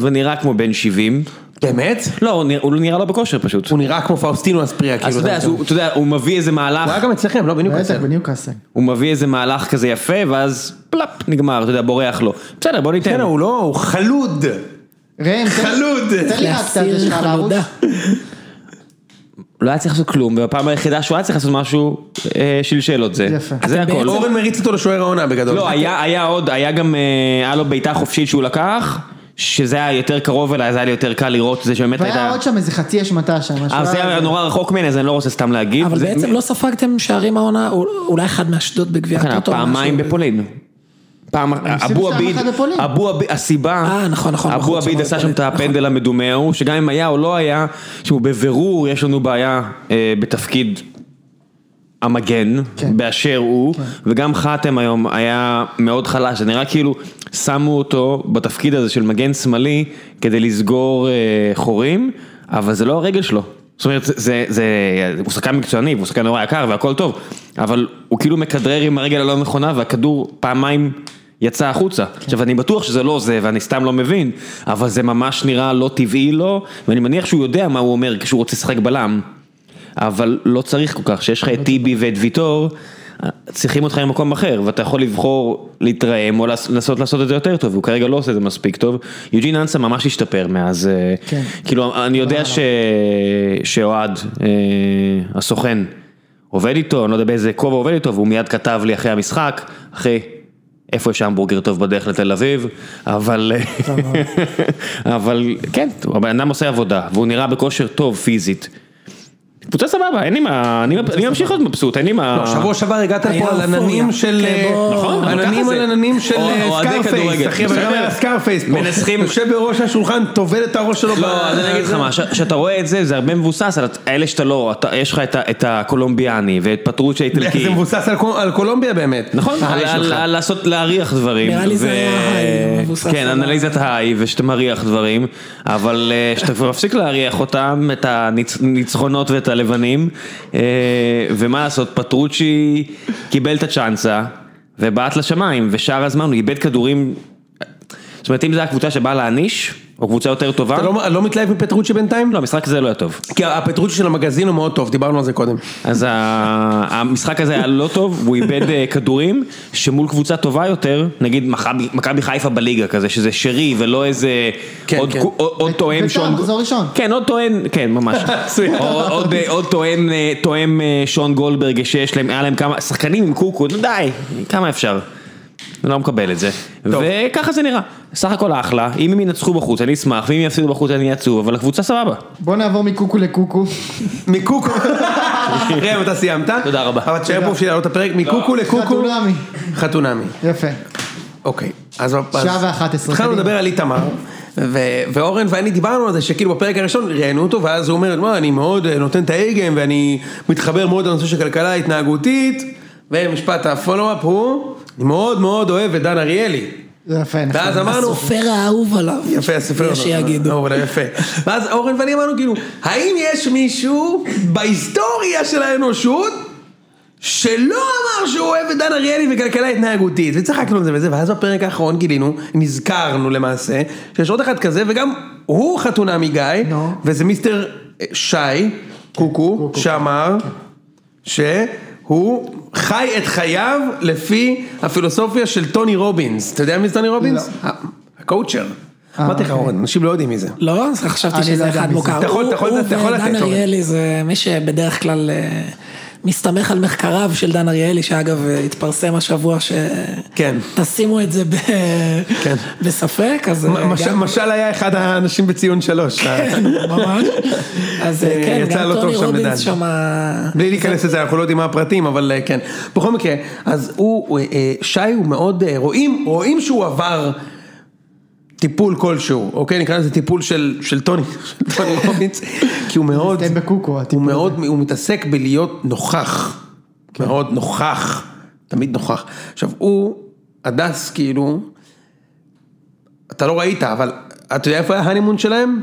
Speaker 5: ונראה כמו בן 70.
Speaker 1: באמת?
Speaker 5: לא, הוא נראה- הוא נראה לא בכושר פשוט.
Speaker 1: הוא נראה כמו פאוסטינו אספריה, כאילו.
Speaker 5: אז אתה יודע, אז
Speaker 1: הוא
Speaker 5: הוא- אתה יודע, הוא מביא איזה מהלך,
Speaker 1: היה גם אצלכם, לא? בדיוק
Speaker 2: בטח,
Speaker 1: אצלכם.
Speaker 2: בניוקאסל.
Speaker 5: הוא מביא איזה מהלך כזה
Speaker 2: כן,
Speaker 5: יפה, ואז פלאפ, נגמר, אתה יודע, בורח לו. בסדר, בוא ניתן.
Speaker 1: כן, הוא לא, הוא חלוד.
Speaker 2: ראם, תן-
Speaker 1: חלוד.
Speaker 2: תן לי רק את הזה שלך על הערוץ.
Speaker 4: חלודה.
Speaker 5: לא היה צריך לעשות כלום, ובפעם היחידה שהוא היה צריך לעשות משהו, אה, שלשל עוד זה.
Speaker 2: יפה.
Speaker 5: זה
Speaker 4: אתם
Speaker 5: הכל.
Speaker 4: בעצם-
Speaker 1: אורן מריץ אותו לשוער העונה בגדול.
Speaker 5: לא, היה, היה עוד, היה גם, אה, היה לו בעיטה חופשית שהוא לקח, שזה היה יותר קרוב אליי, אז היה לי יותר קל לראות את זה שבאמת
Speaker 2: והיה
Speaker 5: הייתה...
Speaker 2: עוד שם איזה חצי השמטה שם. משהו.
Speaker 5: אבל זה היה נורא רחוק ממני, אז אני לא רוצה סתם להגיד.
Speaker 4: אבל
Speaker 5: זה-
Speaker 4: בעצם לא ספגתם שערים העונה, אולי אחד מאשדוד בגביע
Speaker 1: אוקיי,
Speaker 5: כן,
Speaker 4: הטוטו.
Speaker 5: פעמיים
Speaker 4: משהו.
Speaker 5: בפולין. פעם, אבו
Speaker 2: הפסידו
Speaker 5: עביד,
Speaker 2: פעם אחת בפולין.
Speaker 5: אבו עביד, הסיבה,
Speaker 4: אה, נכון, נכון,
Speaker 5: אבו
Speaker 4: בחוץ,
Speaker 5: עביד
Speaker 4: אמרו
Speaker 5: עשה שם את
Speaker 4: בפולין,
Speaker 5: הפנדל המדומה ההוא, שגם אם היה או לא היה, שהוא בבירור יש לנו בעיה אה, בתפקיד המגן,
Speaker 2: כן.
Speaker 5: באשר הוא, וגם חתם היום היה מאוד חלש, זה נראה כאילו שמו אותו בתפקיד הזה של מגן שמאלי כדי לסגור אה, חורים, אבל זה לא הרגל שלו. זאת אומרת, זה, זה, זה, הוא שחקן מקצועני, והוא שחקן נורא יקר והכל טוב, אבל הוא כאילו מכדרר עם הרגל הלא נכונה והכדור פעמיים יצא החוצה.
Speaker 2: כן.
Speaker 5: עכשיו, אני בטוח שזה לא זה ואני סתם לא מבין, אבל זה ממש נראה לא טבעי לו, ואני מניח שהוא יודע מה הוא אומר כשהוא רוצה לשחק בלם. אבל לא צריך כל כך, שיש לך את טיבי ואת ויטור, צריכים אותך למקום אחר, ואתה יכול לבחור להתרעם או לעס- לנסות לעשות את זה יותר טוב, והוא כרגע לא עושה את זה מספיק טוב. יוג'ין אנסה ממש השתפר מאז, אה,
Speaker 2: כן.
Speaker 5: כאילו אני יודע ש... שאוהד, אה, הסוכן, עובד איתו, אני לא יודע באיזה כובע עובד איתו, והוא מיד כתב לי אחרי המשחק, אחי, איפה יש המבורגר טוב בדרך לתל אביב, אבל, אה, [LAUGHS] אבל כן, הבן אדם עושה עבודה, והוא נראה בכושר טוב פיזית. קבוצה סבבה, אין לי מה, אני- אני ממשיך להיות מבסוט, אין לי מה...
Speaker 1: לא, שבוע שעבר הגעת
Speaker 4: היה
Speaker 1: פה על עננים
Speaker 4: אופוריה.
Speaker 1: של...
Speaker 4: כן,
Speaker 1: אה,
Speaker 4: בוא.
Speaker 5: נכון, אבל
Speaker 1: עננים
Speaker 5: ככה
Speaker 1: על
Speaker 5: זה.
Speaker 1: עננים של
Speaker 5: אוה-
Speaker 1: אה,
Speaker 5: אוהדי
Speaker 1: סקארפייס,
Speaker 5: כדורגל.
Speaker 1: אחי, אבל גם
Speaker 5: בסדר.
Speaker 1: על סקארפייס פה.
Speaker 5: מנסחים-
Speaker 1: יושב בראש השולחן, טובל את הראש שלו. ב-
Speaker 5: לא, אז אני אגיד לך מה, כשאתה רואה את זה, זה הרבה מבוסס על הת- אלה שאתה לא, אתה- יש לך את ה- את הקולומביאני ואת פטרוצ'ה האיטלקי.
Speaker 1: זה מבוסס על קול- על קולומביה באמת.
Speaker 5: נכון,
Speaker 1: ההיי
Speaker 5: על- על-
Speaker 1: שלך.
Speaker 5: על לעשות, להריח דברים.
Speaker 4: נראה לי זה
Speaker 5: ו-
Speaker 4: היה מבוסס
Speaker 5: כן,
Speaker 4: על ה-
Speaker 5: אנליזת היי, ושאתה מריח דברים, אבל אה, שאתה כבר מפסיק להריח אותם, את הניצחונות ואת הלבנים, אה, ומה לעשות, פטרוצ'י קיבל את הצ'אנסה, ובעט לשמיים, ושאר הזמן הוא איבד כדורים, זאת אומרת, אם זו הקבוצה שבאה להעניש, או קבוצה יותר טובה,
Speaker 1: אתה לא- לא מתלהב מפטרוצ'י בינתיים?
Speaker 5: לא, המשחק הזה לא היה טוב.
Speaker 1: כי הפטרוצ'י של המגזין הוא מאוד טוב, דיברנו על זה קודם.
Speaker 5: אז ה- המשחק הזה היה לא טוב, הוא איבד אה, כדורים, שמול קבוצה טובה יותר, נגיד מכבי- מכבי חיפה בליגה כזה, שזה שרי ולא איזה
Speaker 1: כן,
Speaker 5: עוד
Speaker 1: כן.
Speaker 5: קו- עוד- עוד
Speaker 2: ב-
Speaker 5: תואם
Speaker 2: בית"ר,
Speaker 5: שון...
Speaker 2: מחזור ראשון.
Speaker 5: כן, עוד טוען, כן, ממש. עוד- עוד- עוד תואם, אה, תואם אה, שון גולדברג שיש להם, היה להם כמה, שחקנים עם קוקו, נו, די, כמה אפשר. אני לא מקבל את זה. וככה זה נראה. סך הכל אחלה, אם הם ינצחו בחוץ אני אשמח, ואם יפסידו בחוץ אני אהיה עצוב, אבל הקבוצה סבבה.
Speaker 2: בוא נעבור מקוקו לקוקו.
Speaker 5: [LAUGHS]
Speaker 1: מקוקו. ראם, אתה סיימת?
Speaker 5: תודה רבה.
Speaker 1: אבל תשאר פה בשביל לעלות את הפרק,
Speaker 2: לא,
Speaker 1: מקוקו לקוקו.
Speaker 2: חתונמי.
Speaker 1: חתונמי.
Speaker 2: יפה.
Speaker 1: אוקיי, אז... אז-
Speaker 2: שעה ואחת עשרה,
Speaker 1: התחלנו
Speaker 2: קדימה.
Speaker 1: לדבר על איתמר, ו- ואורן ואני דיברנו על זה שכאילו בפרק הראשון ראיינו אותו, ואז הוא אומר, מה, אני מאוד אה, נותן את ההיגם, ואני מתחבר מאוד לנושא של כלכלה התנהגותית, ומשפט הפולו-אפ הוא, אני מאוד מאוד אוהב את דן אריאלי.
Speaker 2: יפה, נכון.
Speaker 1: ואז אמרנו,
Speaker 4: הסופר האהוב עליו.
Speaker 1: יפה, הסופר.
Speaker 4: יש שיגידו.
Speaker 1: אבל יפה. ואז אורן ואני אמרנו כאילו, האם יש מישהו בהיסטוריה של האנושות שלא אמר שהוא אוהב את דן אריאלי וכלכלה התנהגותית? וצחקנו על זה וזה, ואז בפרק האחרון גילינו, נזכרנו למעשה, שיש עוד אחד כזה, וגם הוא חתונה מגיא,
Speaker 2: נו.
Speaker 1: וזה מיסטר אה, שי, קוקו, שאמר, שהוא... חי את חייו לפי הפילוסופיה של טוני רובינס. אתה יודע מי זה טוני רובינס? ה- הקואוצ'ר. אמרתי לך,
Speaker 2: אוקיי.
Speaker 1: אורן, אנשים לא יודעים מי זה.
Speaker 4: לא, אז חשבתי
Speaker 2: אני לא
Speaker 4: שזה
Speaker 2: יודע
Speaker 4: אחד
Speaker 2: מי זה.
Speaker 4: מוכר.
Speaker 1: אתה יכול-
Speaker 4: הוא-
Speaker 1: אתה יכול-
Speaker 4: הוא
Speaker 1: אתה יכול לתת,
Speaker 4: ודן
Speaker 1: אורן.
Speaker 4: אריאלי זה מי שבדרך כלל אה, מסתמך על מחקריו של דן אריאלי, שאגב אה, התפרסם השבוע ש...
Speaker 1: כן.
Speaker 4: אה, תשימו את זה ב...
Speaker 1: כן.
Speaker 4: בספק, אז... אה,
Speaker 1: מ- מש-
Speaker 4: גם-
Speaker 1: משל היה אחד האנשים בציון שלוש.
Speaker 4: כן, ממש. אז אה,
Speaker 1: אה,
Speaker 4: כן,
Speaker 1: יצא
Speaker 4: גם
Speaker 1: לא טוב
Speaker 4: טוני
Speaker 1: שם לדן.
Speaker 4: רובינס שמה...
Speaker 1: בלי להיכנס לזה, אנחנו לא יודעים מה הפרטים, אבל אה, כן. בכל מקרה, אז הוא, הוא, אה, שי הוא מאוד, אה, רואים, רואים שהוא עבר טיפול כלשהו, אוקיי? נקרא לזה טיפול של, של טוני, [LAUGHS] של טוני רובינס, כי הוא מאוד,
Speaker 2: מסתיים בקוקו,
Speaker 1: הוא
Speaker 2: הטיפול
Speaker 1: מאוד, הוא מתעסק בלהיות נוכח, מאוד נוכח, תמיד נוכח. עכשיו, הוא, הדס כאילו, אתה לא ראית, אבל אתה יודע איפה היה ההנימון שלהם?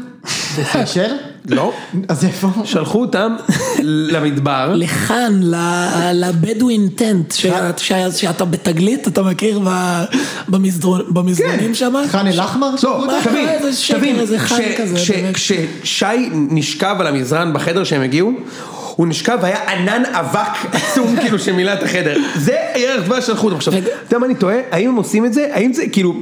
Speaker 2: בסיישל?
Speaker 1: לא.
Speaker 2: אז איפה?
Speaker 1: שלחו אותם [LAUGHS] למדבר.
Speaker 4: לכאן, ל- לבדואין טנט, ש-
Speaker 1: אה?
Speaker 4: ש- שאתה בתגלית, אתה מכיר ב- במסדרון-
Speaker 1: כן.
Speaker 4: במסדרונים שם?
Speaker 2: חאן אל-אחמר?
Speaker 1: לא,
Speaker 4: מה
Speaker 1: תבין,
Speaker 4: קרה? איזה שקר,
Speaker 1: תבין,
Speaker 4: איזה חי
Speaker 1: כש-
Speaker 4: כזה,
Speaker 1: כש-
Speaker 4: באמת.
Speaker 1: כששי נשכב על המזרן בחדר שהם הגיעו, הוא נשכב והיה ענן אבק עצום [LAUGHS] כאילו שמילא את החדר. זה הערך מה שלחו אותם. עכשיו, אתה יודע מה אני תוהה? האם הם עושים את זה? האם זה כאילו...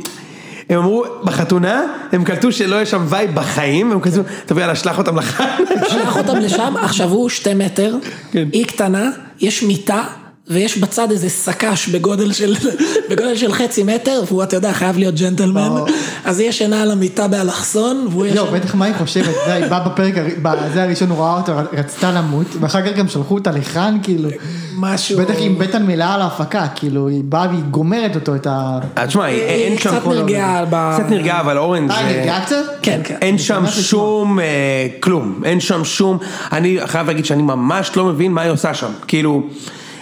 Speaker 1: הם אמרו, בחתונה, הם קלטו שלא יהיה שם וייב בחיים, הם כזה, טוב יאללה, שלח אותם לחיים.
Speaker 4: שלח אותם לשם, עכשיו הוא שתי מטר,
Speaker 1: כן.
Speaker 4: היא קטנה, יש מיטה, ויש בצד איזה סק"ש בגודל של, [LAUGHS] בגודל של חצי מטר, והוא, אתה יודע, חייב להיות ג'נטלמן,
Speaker 2: ברור.
Speaker 4: אז היא ישנה על המיטה באלכסון, והוא ישן...
Speaker 2: לא, בטח מה היא חושבת, זה, היא באה בפרק, הר- בזה הראשון הוא ראה אותו, ר- רצתה למות, ואחר כך גם שלחו אותה לכאן, כאילו,
Speaker 4: משהו...
Speaker 2: בטח עם בטן מלאה על ההפקה, כאילו, היא באה והיא גומרת אותו, את ה...
Speaker 1: אה, תשמע,
Speaker 4: היא-
Speaker 1: אין
Speaker 4: היא
Speaker 1: שם...
Speaker 4: קצת
Speaker 1: כל העולם.
Speaker 4: נרגעה ב-
Speaker 1: קצת נרגעה, אבל אורן
Speaker 2: אה, היא
Speaker 1: זה...
Speaker 2: נרגעה קצת?
Speaker 4: כן, כן.
Speaker 1: אין שם
Speaker 2: שמח לשמוע.
Speaker 1: שום אה, כלום, אין שם שום, אני חייב להגיד שאני ממש לא מבין מה היא עושה שם, כאילו,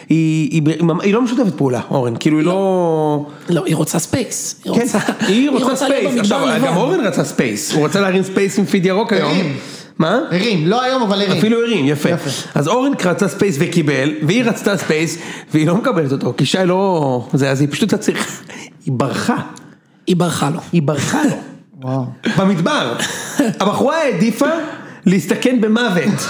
Speaker 1: היא, היא, היא, היא לא משותפת פעולה, אורן, כאילו היא לא...
Speaker 4: לא, היא רוצה ספייס.
Speaker 1: כן, היא רוצה
Speaker 4: לא- להיות
Speaker 1: ספייס,
Speaker 4: במדבר
Speaker 1: עכשיו
Speaker 4: לבד.
Speaker 1: גם אורן רצה ספייס, הוא רצה להרים ספייס עם פיד ירוק היום,
Speaker 2: הרים.
Speaker 1: מה?
Speaker 2: הרים, לא היום, אבל הרים.
Speaker 1: אפילו הרים, יפה.
Speaker 2: יפה.
Speaker 1: אז אורן רצה ספייס וקיבל, והיא רצתה ספייס, והיא לא מקבלת אותו, כי שי לא... זה, אז היא פשוט הייתה צריכה... היא ברחה,
Speaker 4: היא ברחה לו.
Speaker 1: היא ברחה לו.
Speaker 2: וואו.
Speaker 1: במדבר. הבחורה העדיפה להסתכן במוות.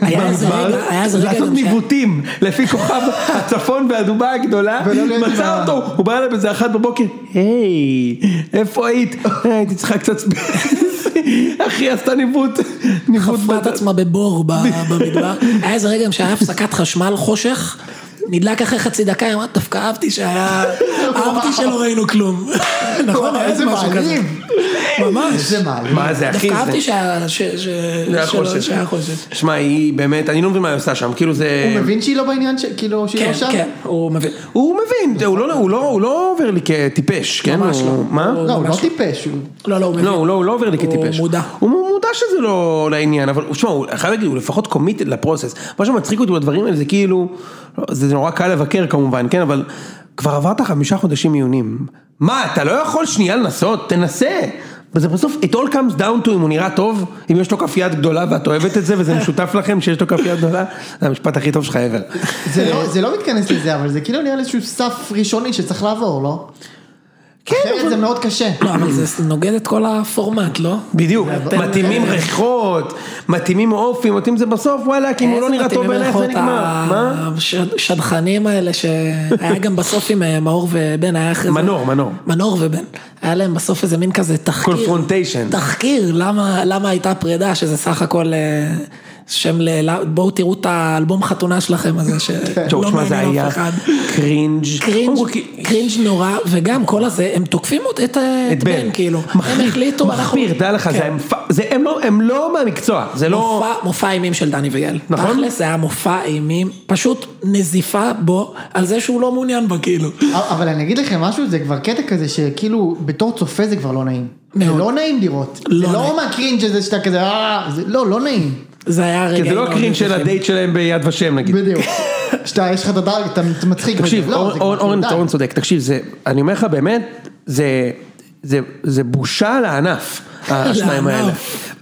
Speaker 4: היה איזה
Speaker 1: במדבר,
Speaker 4: רגע- היה איזה רגע
Speaker 1: לעשות
Speaker 4: גם ש-
Speaker 1: ניווטים לפי כוכב הצפון והדובה הגדולה,
Speaker 2: ולא להיות
Speaker 1: מצא
Speaker 2: ב-
Speaker 1: אותו, הוא בא אליי באיזה אחת בבוקר, היי, איפה היית? "אה, הייתי צריכה קצת ספייס. אחי עשתה ניווט, ניווט
Speaker 4: חפרה את
Speaker 1: בד-
Speaker 4: עצמה בבור
Speaker 1: [LAUGHS]
Speaker 4: ב- במדבר. היה איזה רגע גם שהיה הפסקת חשמל חושך, נדלק אחרי חצי דקה, היא אמרת, דווקא
Speaker 1: [LAUGHS]
Speaker 4: אהבתי שהיה... אהבתי שלא ראינו כלום. נכון, היה איזה
Speaker 2: איזה
Speaker 4: משהו כזה.
Speaker 2: אה, מעליב.
Speaker 4: ממש.
Speaker 2: איזה מעליב.
Speaker 1: מה זה אחי?
Speaker 4: דווקא
Speaker 1: זה-
Speaker 4: אהבתי שהיה... ש- ש-
Speaker 1: זה היה
Speaker 4: שלא-
Speaker 1: חושך.
Speaker 4: שהיה חושך.
Speaker 1: שמע, היא באמת, אני לא מבין מה היא עושה שם, כאילו זה...
Speaker 2: הוא מבין שהיא לא בעניין, ש- כאילו, שהיא
Speaker 4: כן,
Speaker 2: לא שם?
Speaker 4: כן, הוא מבין.
Speaker 1: הוא מבין, הוא לא- הוא לא- הוא לא עובר לי כטיפש, כן?
Speaker 4: ממש
Speaker 1: הוא-
Speaker 4: לא.
Speaker 1: מה?
Speaker 2: לא, הוא לא
Speaker 4: ממש לא.
Speaker 2: טיפש, הוא...
Speaker 4: לא, לא, הוא מבין.
Speaker 1: לא, הוא לא, הוא לא עובר לי
Speaker 4: הוא
Speaker 1: כטיפש.
Speaker 4: מודע.
Speaker 1: הוא מודע שזה לא לעניין, אבל הוא- שמע, הוא חייב להגיד, הוא לפחות קומיטד לפרוסס. מה שמצחיק אותי בדברים האלה זה כאילו, לא, זה נורא קל לבקר כמובן, כן, אבל כבר עברת חמישה חודשים עיונים. מה, אתה לא יכול שנייה לנסות? תנסה. וזה בסוף, it all comes down to אם הוא נראה טוב, אם יש לו כף יד גדולה ואת אוהבת את זה וזה משותף לכם שיש לו כף יד גדולה, זה המשפט הכי טוב שלך ever.
Speaker 2: זה לא- זה לא מתכנס לזה, אבל זה כאילו נראה לי איזשהו סף ראשוני שצריך לעבור, לא?
Speaker 1: כן,
Speaker 2: אחרת
Speaker 1: אבל-
Speaker 2: זה מאוד קשה.
Speaker 4: לא, אבל זה נוגד את כל הפורמט, לא?
Speaker 1: בדיוק,
Speaker 4: אתם-
Speaker 1: מתאימים ריחות, מתאימים אופי, מתאים זה בסוף, וואלה, כי אם הוא לא נראה טוב בעינייך זה נגמר, מה?
Speaker 4: השדכנים האלה שהיה גם בסוף עם אה, מאור ובן, היה אחרי זה...
Speaker 1: מנור, מנור.
Speaker 4: מנור ובן. היה להם בסוף איזה מין כזה תחקיר.
Speaker 1: Confrontation.
Speaker 4: תחקיר, למה, למה הייתה פרידה, שזה סך הכל אה, שם ל... ל- בואו תראו את האלבום חתונה שלכם הזה,
Speaker 1: תשמעו,
Speaker 4: שלא
Speaker 1: תשמע, זה
Speaker 4: לא מעניין
Speaker 1: היה
Speaker 4: אף אחד.
Speaker 1: קרינג'.
Speaker 4: קרינג',
Speaker 1: הוא כאילו-
Speaker 4: קרינג' נורא, וגם כל הזה, הם תוקפים את, את, אה,
Speaker 1: את בן,
Speaker 4: כאילו. הם
Speaker 1: מחריד,
Speaker 4: החליטו,
Speaker 1: מחפיר, דע לך, זה
Speaker 4: כן.
Speaker 1: הם פ- זה- הם לא- הם לא מהמקצוע, זה לא...
Speaker 4: מופע, מופע אימים של דני ויאל.
Speaker 1: נכון.
Speaker 4: תכלס זה היה מופע אימים, פשוט נזיפה בו על זה שהוא לא מעוניין בה, כאילו.
Speaker 2: אבל אני אגיד לכם משהו, זה כבר קטע כזה שכאילו בתור צופה זה כבר לא נעים. זה
Speaker 4: מאוד.
Speaker 2: לא נעים לראות.
Speaker 4: לא
Speaker 2: זה לא
Speaker 4: נעים.
Speaker 2: מהקרינג' הזה שאתה כזה, אה, זה לא, לא נעים.
Speaker 4: זה היה רגע...
Speaker 1: כי זה לא הקרינג' של הדייט שלהם ביד ושם נגיד.
Speaker 2: בדיוק. שאתה, יש לך את הדרג, אתה מצחיק.
Speaker 1: תקשיב,
Speaker 2: וזה- לא,
Speaker 1: אור-
Speaker 2: זה כבר
Speaker 1: אור-
Speaker 2: כאילו
Speaker 1: אורן
Speaker 2: די.
Speaker 1: אורן צודק, תקשיב, זה- אני אומר לך באמת, זה- זה- זה בושה לענף, השניים
Speaker 4: לענף.
Speaker 1: האלה.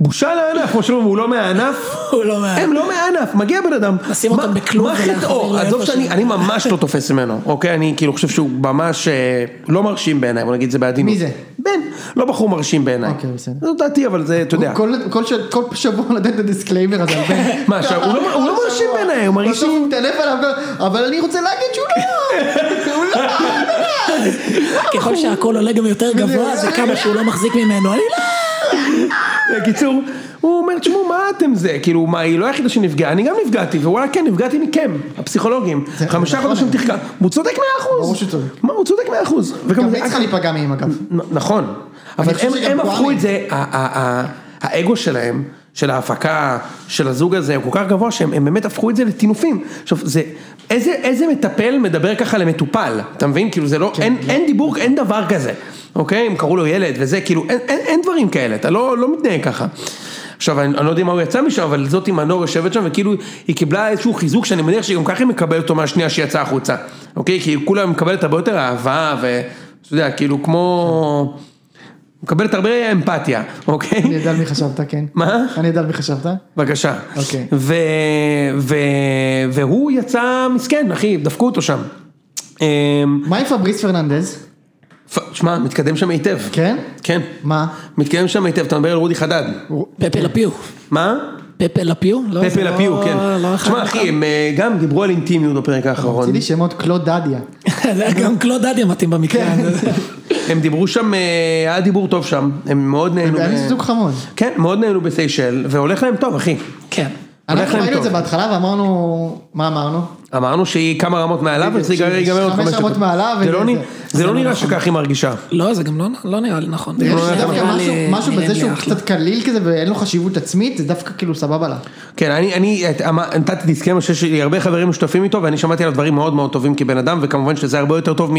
Speaker 1: בושה לענף, כמו שאומרים, הוא לא מהענף.
Speaker 4: [LAUGHS] הוא לא מה...
Speaker 1: הם לא מהענף, מגיע בן אדם.
Speaker 4: לשים
Speaker 1: מה-
Speaker 4: אותם בכלוב
Speaker 1: מה
Speaker 4: ולהחזיר
Speaker 1: חטאו?
Speaker 4: לאיפה
Speaker 1: עזוב שאני
Speaker 4: שהוא.
Speaker 1: אני ממש לא תופס ממנו, אוקיי? אני כאילו חושב שהוא ממש אה, לא מרשים בעיניי, בוא נגיד את זה בעדינות.
Speaker 2: מי זה?
Speaker 1: בן, לא בחור מרשים בעיניי.
Speaker 2: אוקיי, בסדר.
Speaker 1: זו דעתי, אבל זה, אתה יודע.
Speaker 2: כל- כל ש- כל שבוע [LAUGHS] לתת את הדיסקליימר הזה. על בן.
Speaker 1: [LAUGHS] מה, עכשיו, הוא לא- הוא לא
Speaker 2: כל
Speaker 1: מרשים
Speaker 2: שבוע.
Speaker 1: בעיניי, הוא מרגיש
Speaker 2: בסוף
Speaker 1: שהוא-
Speaker 2: הוא מטנף עליו, כל- אבל אני רוצה להגיד שהוא לא.
Speaker 1: [LAUGHS]
Speaker 2: הוא לא.
Speaker 1: לא
Speaker 4: ככל שהכל עולה גם יותר גבוה, זה כמה שהוא לא מחזיק ממנו. אני לא...
Speaker 1: בקיצור, הוא אומר, תשמעו, מה אתם זה? כאילו, מה, היא לא היחידה שנפגעה, אני גם נפגעתי, ווואלה, כן, נפגעתי מכם, הפסיכולוגים. חמישה
Speaker 2: נכון.
Speaker 1: חודשים תחקר. הוא צודק מאה אחוז.
Speaker 2: ברור שהוא צודק.
Speaker 1: מה, הוא צודק מאה אחוז. וגם
Speaker 2: גם
Speaker 1: זה-
Speaker 2: היא צריכה להיפגע מהם אגב.
Speaker 1: נ- נכון, אבל
Speaker 2: חושב
Speaker 1: הם,
Speaker 2: שגם
Speaker 1: הם הפכו
Speaker 2: גואני.
Speaker 1: את זה, ה- ה- ה- האגו שלהם, של ההפקה, של הזוג הזה, הוא כל כך גבוה שהם הם באמת הפכו את זה לטינופים. עכשיו, זה, איזה, איזה מטפל מדבר ככה למטופל, אתה מבין? כאילו זה לא, כן, אין, אין דיבור, אין דבר כזה, אוקיי? הם קראו לו ילד וזה, כאילו, אין, אין, אין דברים כאלה, אתה לא, לא מתנהג ככה. עכשיו, אני, אני לא יודע מה הוא יצא משם, אבל זאתי מנור יושבת שם, וכאילו, היא קיבלה איזשהו חיזוק שאני מניח שגם ככה היא מקבלת אותו מהשנייה שיצאה החוצה, אוקיי? כי כולה מקבלת הרבה יותר אהבה, ואתה יודע, כאילו, כמו... מקבלת הרבה אמפתיה,
Speaker 2: אני
Speaker 1: אוקיי?
Speaker 2: יודע על מי חשבת, כן.
Speaker 1: מה?
Speaker 2: אני יודע על מי חשבת.
Speaker 1: בבקשה.
Speaker 2: אוקיי.
Speaker 1: ו... ו... והוא יצא מסכן, אחי, דפקו אותו שם. אמ,
Speaker 2: מה עם פבריס פרננדז?
Speaker 1: פ- שמע, מתקדם שם היטב.
Speaker 2: כן?
Speaker 1: כן.
Speaker 2: מה?
Speaker 1: מתקדם שם היטב, אתה מדבר על רודי חדד.
Speaker 4: פפה לפיו.
Speaker 1: מה?
Speaker 4: פפה לפיו? לא, זה
Speaker 1: פפה
Speaker 4: לא-
Speaker 1: לפיו, כן.
Speaker 4: לא אחד
Speaker 1: תשמע,
Speaker 4: אחד.
Speaker 1: אחי, הם אה, גם דיברו על אינטימיות בפרק האחרון. כאילו,
Speaker 4: [LAUGHS]
Speaker 2: הוציא לי שמות קלוד דדיה.
Speaker 1: כן.
Speaker 4: זה היה גם קלוד דדיה מתאים במקרה הזה.
Speaker 1: הם דיברו שם, אה, היה דיבור טוב שם, הם מאוד נהנו.
Speaker 2: היה לי
Speaker 1: ב-
Speaker 2: זוג חמוד.
Speaker 1: כן, מאוד נהנו בסיישל, והולך להם טוב, אחי.
Speaker 4: כן.
Speaker 1: הולך
Speaker 2: אנחנו
Speaker 1: להם
Speaker 2: ראינו את
Speaker 1: טוב. כאילו,
Speaker 2: זה בהתחלה ואמרנו, מה אמרנו?
Speaker 1: אמרנו שהיא כמה רמות מעליו,
Speaker 2: בדיוק,
Speaker 1: וזה ייגמר
Speaker 2: שהיא
Speaker 1: ייגמר עוד
Speaker 2: חמש
Speaker 1: חמש
Speaker 2: רמות
Speaker 1: דקות.
Speaker 2: מעליו,
Speaker 1: זה לא
Speaker 2: וזה-
Speaker 1: נראה- זה לא נראה שכך היא מרגישה.
Speaker 4: לא, זה גם לא- לא נראה לי נכון.
Speaker 2: יש
Speaker 1: לא
Speaker 2: דווקא
Speaker 4: נראה
Speaker 2: משהו-
Speaker 4: לי-
Speaker 2: משהו
Speaker 4: נראה
Speaker 2: בזה
Speaker 4: לי
Speaker 2: שהוא
Speaker 4: אחלה.
Speaker 2: קצת קליל כזה ואין לו חשיבות עצמית, זה דווקא כאילו סבבה לה.
Speaker 1: כן, אני, אני את- אמר- נתתי דיסקלמר שיש לי הרבה חברים משותפים איתו ואני שמעתי עליו דברים מאוד מאוד טובים כבן אדם וכמובן שזה הרבה יותר טוב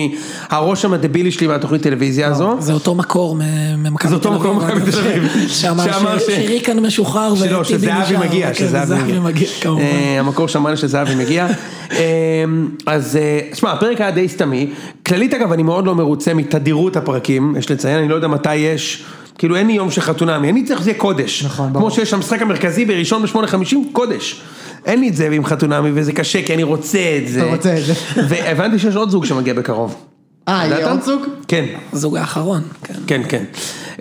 Speaker 1: מהרושם הדבילי שלי מהתוכנית
Speaker 2: לא,
Speaker 1: טלוויזיה הזו.
Speaker 4: זה אותו מקור מ- ממכבי
Speaker 1: זה אותו מקור ממכבי תל אביב. שאמר
Speaker 4: [LAUGHS] שאמר
Speaker 1: ש-
Speaker 4: ש- שריקן משוחרר
Speaker 1: שלא,
Speaker 4: וטיבי נשאר.
Speaker 1: שזהבי מגיע,
Speaker 4: כן,
Speaker 1: שזהבי מגיע,
Speaker 4: כמובן.
Speaker 1: אה, המקור שאמר לי שזהבי מגיע.
Speaker 2: [LAUGHS]
Speaker 1: אה, אז אה, שמע, הפרק היה די סתמי. כללית אגב, אני מאוד לא מרוצה מתדירות הפרקים, יש לציין, אני לא יודע מתי יש. כאילו אין לי יום של חתונמי, אני צריך שזה יהיה קודש.
Speaker 2: נכון, ברור.
Speaker 1: כמו שיש המשחק המרכזי בראשון ב-8.50, קודש. אין לי את זה עם חתונמי וזה קשה כי אני רוצה את זה.
Speaker 2: אתה רוצה את זה.
Speaker 1: [LAUGHS] והבנתי שיש עוד זוג שמגיע בקרוב.
Speaker 2: אה, יהיה
Speaker 1: ידעת?
Speaker 2: עוד זוג?
Speaker 1: כן.
Speaker 4: זוג האחרון, כן.
Speaker 1: כן, כן.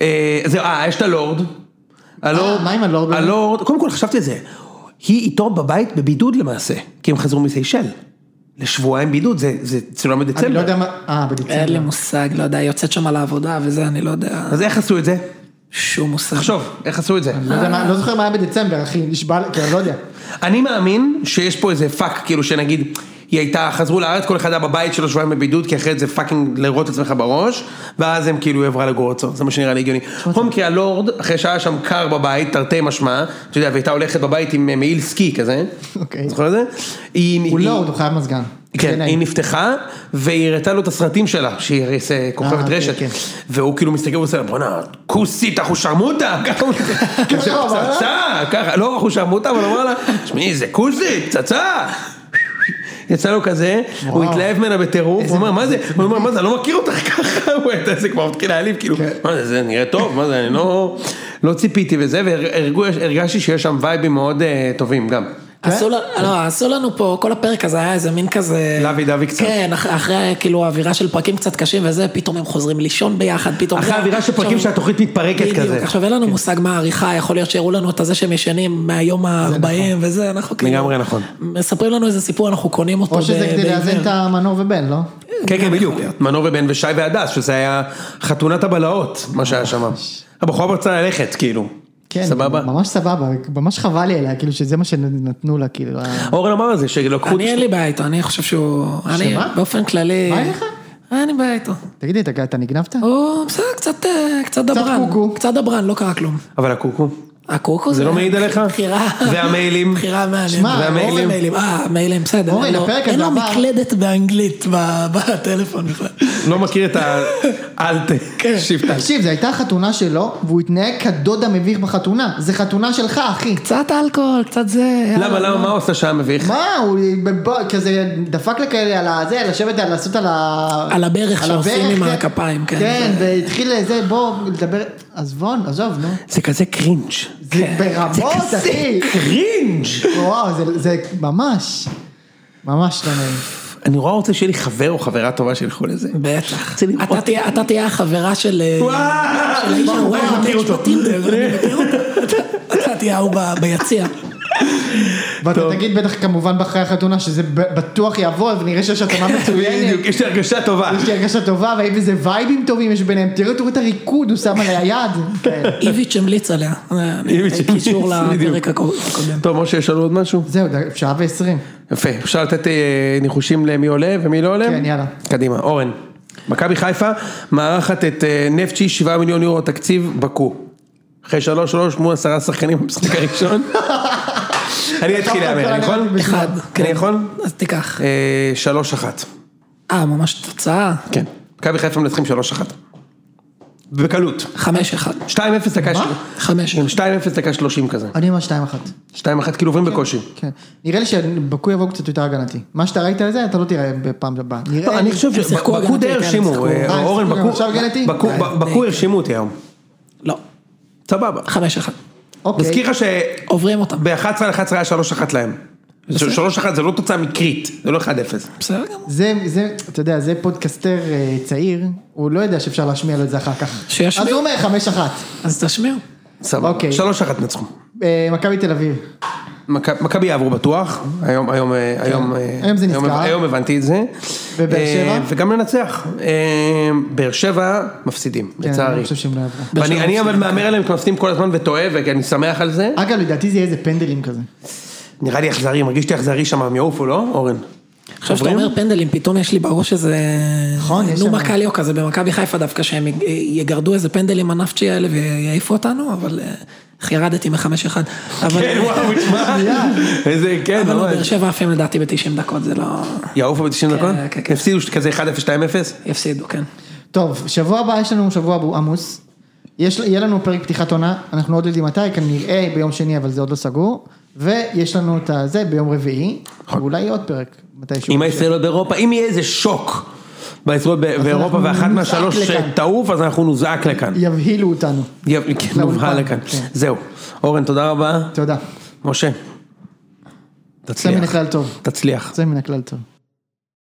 Speaker 1: אה, זהו, אה, יש את הלורד. הלורד,
Speaker 2: אה, מה עם הלורד?
Speaker 1: הלורד, קודם כל חשבתי על זה. היא איתו בבית בבידוד למעשה, כי הם חזרו מסיישל. לשבועיים בידוד, זה- זה צולם
Speaker 2: אני לא
Speaker 1: בדצמבר.
Speaker 2: יודע מה... אה,
Speaker 4: אין לי
Speaker 2: בדצמבר.
Speaker 4: מושג, לא יודע, היא יוצאת שם על העבודה וזה, אני לא יודע,
Speaker 1: אז איך עשו את זה?
Speaker 4: שום מושג.
Speaker 1: תחשוב, איך עשו את זה?
Speaker 2: לא יודע מה- לא זוכר מה היה בדצמבר, אחי, נשבע, לי- כאילו, לא יודע.
Speaker 1: אני מאמין שיש פה איזה פאק, כאילו שנגיד, היא הייתה, חזרו לארץ, כל אחד היה בבית שלו שבועיים בבידוד, כי אחרת זה פאקינג לראות את עצמך בראש, ואז הם כאילו היא עברה לגורצו, זה מה שנראה לי הגיוני.
Speaker 2: אוקיי.
Speaker 1: בכל מקרה הלורד, אחרי שהיה שם קר בבית, תרתי משמע, אתה יודע, והייתה הולכת בבית עם אה, מעיל סקי כזה,
Speaker 2: אוקיי.
Speaker 1: זוכר את זה? היא-
Speaker 2: הוא
Speaker 1: היא-
Speaker 2: לא, הוא חייב מזגן.
Speaker 1: כן,
Speaker 2: בעיניי.
Speaker 1: היא נפתחה, והיא הראתה לו את הסרטים שלה, שהיא הרי זה
Speaker 2: אה,
Speaker 1: כוכבת
Speaker 2: אוקיי,
Speaker 1: רשת,
Speaker 2: כן.
Speaker 1: והוא כאילו מסתכל ועושה לה, בואנה, כוסית, אחושרמוטה, [LAUGHS] ככה הוא מסתכל,
Speaker 2: [LAUGHS]
Speaker 1: "זה
Speaker 2: הוא אמר לה?
Speaker 1: פצצה, ככה, לא אחושרמוטה, אבל הוא אמר לה, שמעי, זה כוסית, פצצה. [LAUGHS] יצא לו כזה, הוא
Speaker 2: וואו.
Speaker 1: התלהב ממנה בטירוף, הוא אומר, מה זה, הוא אומר, מה זה, אני לא מכיר אותך ככה, [LAUGHS] הוא הייתה, זה כבר מתחיל להעליב, כאילו,
Speaker 2: כן.
Speaker 1: מה זה, זה נראה טוב, מה זה, אני לא, לא ציפיתי וזה, והרגשתי שיש שם וייבים מאוד אה, טובים גם.
Speaker 4: עשו לנו- לא, עשו לנו פה, כל הפרק הזה היה איזה מין כזה...
Speaker 1: לוי דווי קצת.
Speaker 4: כן, אח- אחרי כאילו האווירה של פרקים קצת קשים וזה, פתאום הם חוזרים לישון ביחד, פתאום...
Speaker 1: אחרי האווירה של פרקים
Speaker 4: לא. עכשיו-
Speaker 1: שהתוכנית מתפרקת כן, כזה.
Speaker 4: בדיוק, עכשיו אין לנו מושג מה העריכה, יכול להיות שהראו לנו את הזה שהם ישנים מהיום ה-40 וזה, אנחנו כאילו...
Speaker 1: נכון. לגמרי נכון.
Speaker 4: מספרים לנו איזה סיפור, אנחנו קונים אותו
Speaker 2: או שזה
Speaker 4: ב-
Speaker 2: כדי לאזן
Speaker 4: בעיוור.
Speaker 2: את המנור ובן, לא?
Speaker 1: כן, כן, בדיוק. מנור ובן ושי והדס, שזה היה חתונת הבלהות, מה שהיה שם. הבחורה רצה ללכת, כאילו.
Speaker 2: כן,
Speaker 1: סבבה?
Speaker 2: ממש סבבה, ממש חבל לי עליה, כאילו שזה מה שנתנו לה, כאילו. ה-
Speaker 1: אורן אמר את זה, שלקחו...
Speaker 4: אני אין לי בעיה איתו, אני חושב שהוא... אני
Speaker 2: שמה?
Speaker 4: באופן כללי...
Speaker 2: מה אין לך?
Speaker 4: אין לי בעיה איתו.
Speaker 2: תגידי, אתה- אתה נגנבת?
Speaker 4: הוא בסדר, קצת, אה, קצת דברן.
Speaker 2: קוקו.
Speaker 4: קצת דברן, לא קרה כלום.
Speaker 1: אבל הקוקו.
Speaker 4: הקוקו
Speaker 1: זה לא מעיד עליך?
Speaker 4: אה, בחירה.
Speaker 1: והמיילים?
Speaker 4: בחירה מעניינת.
Speaker 2: שמע,
Speaker 1: והמיילים?
Speaker 4: אורן, מיילים. אה, המיילים, בסדר.
Speaker 2: אורן,
Speaker 4: אין לו-
Speaker 2: הפרק
Speaker 4: אין
Speaker 2: הזה
Speaker 4: לו
Speaker 2: עבר.
Speaker 4: מקלדת באנגלית ב- [LAUGHS] בטלפון בכלל.
Speaker 1: לא מכיר את
Speaker 4: [LAUGHS]
Speaker 1: ה... אל
Speaker 4: כן.
Speaker 1: ת... שבטה.
Speaker 2: תקשיב, זו הייתה חתונה שלו, והוא התנהג כדוד המביך בחתונה. זה חתונה שלך, אחי.
Speaker 4: קצת אלכוהול, קצת זה.
Speaker 1: למה, למה, מה הוא עשה שהיה מביך?
Speaker 2: מה, הוא בב- כזה דפק לכאלה על הזה, לשבת, על לעשות על ה...
Speaker 4: על הברך
Speaker 2: על
Speaker 4: שעושים
Speaker 2: הברך,
Speaker 4: עם
Speaker 2: כן.
Speaker 4: הכפיים, כן.
Speaker 2: כן, והתחיל זה, בוא, לדבר, עזבון, עזוב, נו.
Speaker 1: זה כזה קרינג'.
Speaker 2: זה
Speaker 4: כן.
Speaker 2: ברמות, אחי.
Speaker 1: קרינג'!
Speaker 2: וואו, זה- זה ממש, ממש לא נעים.
Speaker 1: אני נורא רוצה שיהיה לי חבר או חברה טובה שילכו לזה.
Speaker 4: בטח.
Speaker 1: רוצה לראות.
Speaker 4: אתה תהיה- אתה תהיה החברה של... אה, של האיש
Speaker 1: וואו,
Speaker 4: ההוא,
Speaker 1: אני מכיר
Speaker 4: האיש
Speaker 1: אותו.
Speaker 4: בטינדר,
Speaker 1: [LAUGHS]
Speaker 4: אני מכיר אותו. אתה- אתה תהיה ההוא ב- ביציע.
Speaker 2: ואתה
Speaker 1: טוב.
Speaker 2: תגיד בטח כמובן באחרי החתונה שזה ב- בטוח יעבוד ונראה שיש התאמה
Speaker 1: [LAUGHS]
Speaker 2: מצוינת.
Speaker 1: בדיוק, יש לי הרגשה טובה.
Speaker 2: יש לי הרגשה טובה והאם איזה וייבים טובים יש ביניהם. תראו תראו את הריקוד, הוא שם עליה
Speaker 1: [LAUGHS]
Speaker 2: יד. כן. כאלה.
Speaker 4: איביץ' המליץ עליה. אה,
Speaker 1: איביץ'
Speaker 4: קישור
Speaker 1: המליץ, [LAUGHS]
Speaker 4: לפרק
Speaker 1: בדיוק.
Speaker 4: הקו- הקודם.
Speaker 1: טוב, משה, יש לנו עוד משהו?
Speaker 2: זהו, די, שעה ועשרים.
Speaker 1: יפה, אפשר לתת אה, ניחושים למי עולה ומי לא עולה?
Speaker 2: כן, יאללה.
Speaker 1: קדימה, אורן. מכבי חיפה מארחת את אה, נפצ'י, 7 מיליון יורו תקציב, בקו. אחרי 3-3 מול עשרה שחקנים במשחק
Speaker 2: [LAUGHS]
Speaker 1: הראשון. אני אתחיל להמר, נכון? אני יכול?
Speaker 4: אחד.
Speaker 1: אני יכול?
Speaker 4: כן. אז תיקח.
Speaker 1: נכון? אה, 3-1.
Speaker 4: אה, ממש תוצאה?
Speaker 1: כן. מכבי חיפה מנצחים 3-1. בקלות.
Speaker 4: חמש אחד.
Speaker 1: 2-0 דקה
Speaker 2: מה?
Speaker 1: של-
Speaker 4: חמש.
Speaker 1: עם 2-0 דקה 30 כזה.
Speaker 2: אני אומר שתיים אחת.
Speaker 1: 2-1 כאילו עוברים בקושי.
Speaker 2: כן. נראה לי שבקו יבואו קצת יותר הגנתי. מה שאתה ראית על זה אתה לא תראה בפעם הבאה. נראה
Speaker 1: לא,
Speaker 2: לי-
Speaker 1: אני חושב
Speaker 4: הם שיחקו
Speaker 1: שבקו
Speaker 4: הגנתי,
Speaker 1: די
Speaker 4: כן, הם
Speaker 1: הרשימו,
Speaker 4: שיחקו.
Speaker 1: אה,
Speaker 2: אה, הם
Speaker 1: אורן,
Speaker 2: שיחקו גם עכשיו הגנתי?
Speaker 1: בקו-
Speaker 2: אה,
Speaker 1: בקו- בקו הרשימו אותי היום.
Speaker 4: לא.
Speaker 1: סבבה.
Speaker 4: חמש אחד.
Speaker 2: אוקיי.
Speaker 1: מזכיר לך
Speaker 4: עוברים אותם.
Speaker 1: שב-11 על 11 היה 3-1 להם. 3-1 זה לא תוצאה מקרית, זה לא 1-0.
Speaker 4: בסדר גמור.
Speaker 2: זה, זה, אתה יודע, זה פודקסטר אה, צעיר, הוא לא יודע שאפשר להשמיע לו את זה אחר כך.
Speaker 4: שישמיע.
Speaker 2: אז הוא אומר חמש אחת.
Speaker 4: אז תשמיעו.
Speaker 1: סבבה.
Speaker 2: אוקיי.
Speaker 1: 3-1 נצחו.
Speaker 2: אה, מכבי תל אביב.
Speaker 1: מכ- מכבי יעברו בטוח, היום, היום, אה, היום, אה,
Speaker 2: כן. היום זה
Speaker 1: היום-
Speaker 2: נזכר.
Speaker 1: היום הבנתי את זה.
Speaker 2: ובאר שבע?
Speaker 1: אה, וגם לנצח. אה, באר שבע מפסידים,
Speaker 2: כן, אני
Speaker 1: לצערי.
Speaker 2: חושב שהם לא יעברו.
Speaker 1: ואני אני אבל מהמר עליהם כי מפסידים כל הזמן וטועה ואני שמח על זה.
Speaker 2: אגב, לדעתי זה יהיה איזה פנדלים כזה.
Speaker 1: נראה לי אכזרי, מרגיש לי אכזרי שם, הם יעופו, לא, אורן?
Speaker 4: עכשיו שאתה
Speaker 1: עוברים?
Speaker 4: אומר פנדלים, פתאום יש לי בראש איזה...
Speaker 2: נכון, יש
Speaker 4: נו
Speaker 2: שם-
Speaker 4: מקליו כזה במכבי חיפה דווקא, שהם יג- יגרדו איזה פנדל עם הנפצ'י האלה ויעיפו אותנו, אבל אה, איך ירדתי מחמש אחד. אבל
Speaker 1: כן, [LAUGHS] וואו,
Speaker 4: [LAUGHS]
Speaker 1: תשמע, איזה, כן,
Speaker 4: אבל לא,
Speaker 1: ממש.
Speaker 4: באר שבע עפים לדעתי ב-90 דקות, זה לא...
Speaker 1: יעופו ב-90 דקות?
Speaker 4: כן, כן.
Speaker 1: הפסידו כזה 1-0, 2-0?
Speaker 4: יפסידו, כן.
Speaker 2: טוב, שבוע הבא יש לנו שבוע אבו- עמוס. יש, יהיה לנו פרק פתיחת עונה, אנחנו עוד לא יודעים מתי, כנראה ביום שני, אבל זה עוד לא סגור. ויש לנו את הזה ביום רביעי, ואולי יהיה עוד פרק, מתישהו.
Speaker 1: אם הישראלות באירופה, אם יהיה איזה שוק בישראלות ב- באירופה
Speaker 2: אנחנו
Speaker 1: ואחת
Speaker 2: נוזעק
Speaker 1: מהשלוש
Speaker 2: לכאן.
Speaker 1: שתעוף, אז אנחנו נוזעק לכאן.
Speaker 2: יבהילו אותנו.
Speaker 1: יב- כן,
Speaker 4: לא,
Speaker 1: נובהל
Speaker 4: נכון.
Speaker 2: לאולפן,
Speaker 1: לכאן.
Speaker 2: כן.
Speaker 1: זהו. אורן, תודה רבה.
Speaker 2: תודה.
Speaker 1: משה.
Speaker 2: יוצא מן
Speaker 1: תצליח.
Speaker 2: הכלל טוב.
Speaker 1: תצליח.
Speaker 2: יוצא מן הכלל טוב.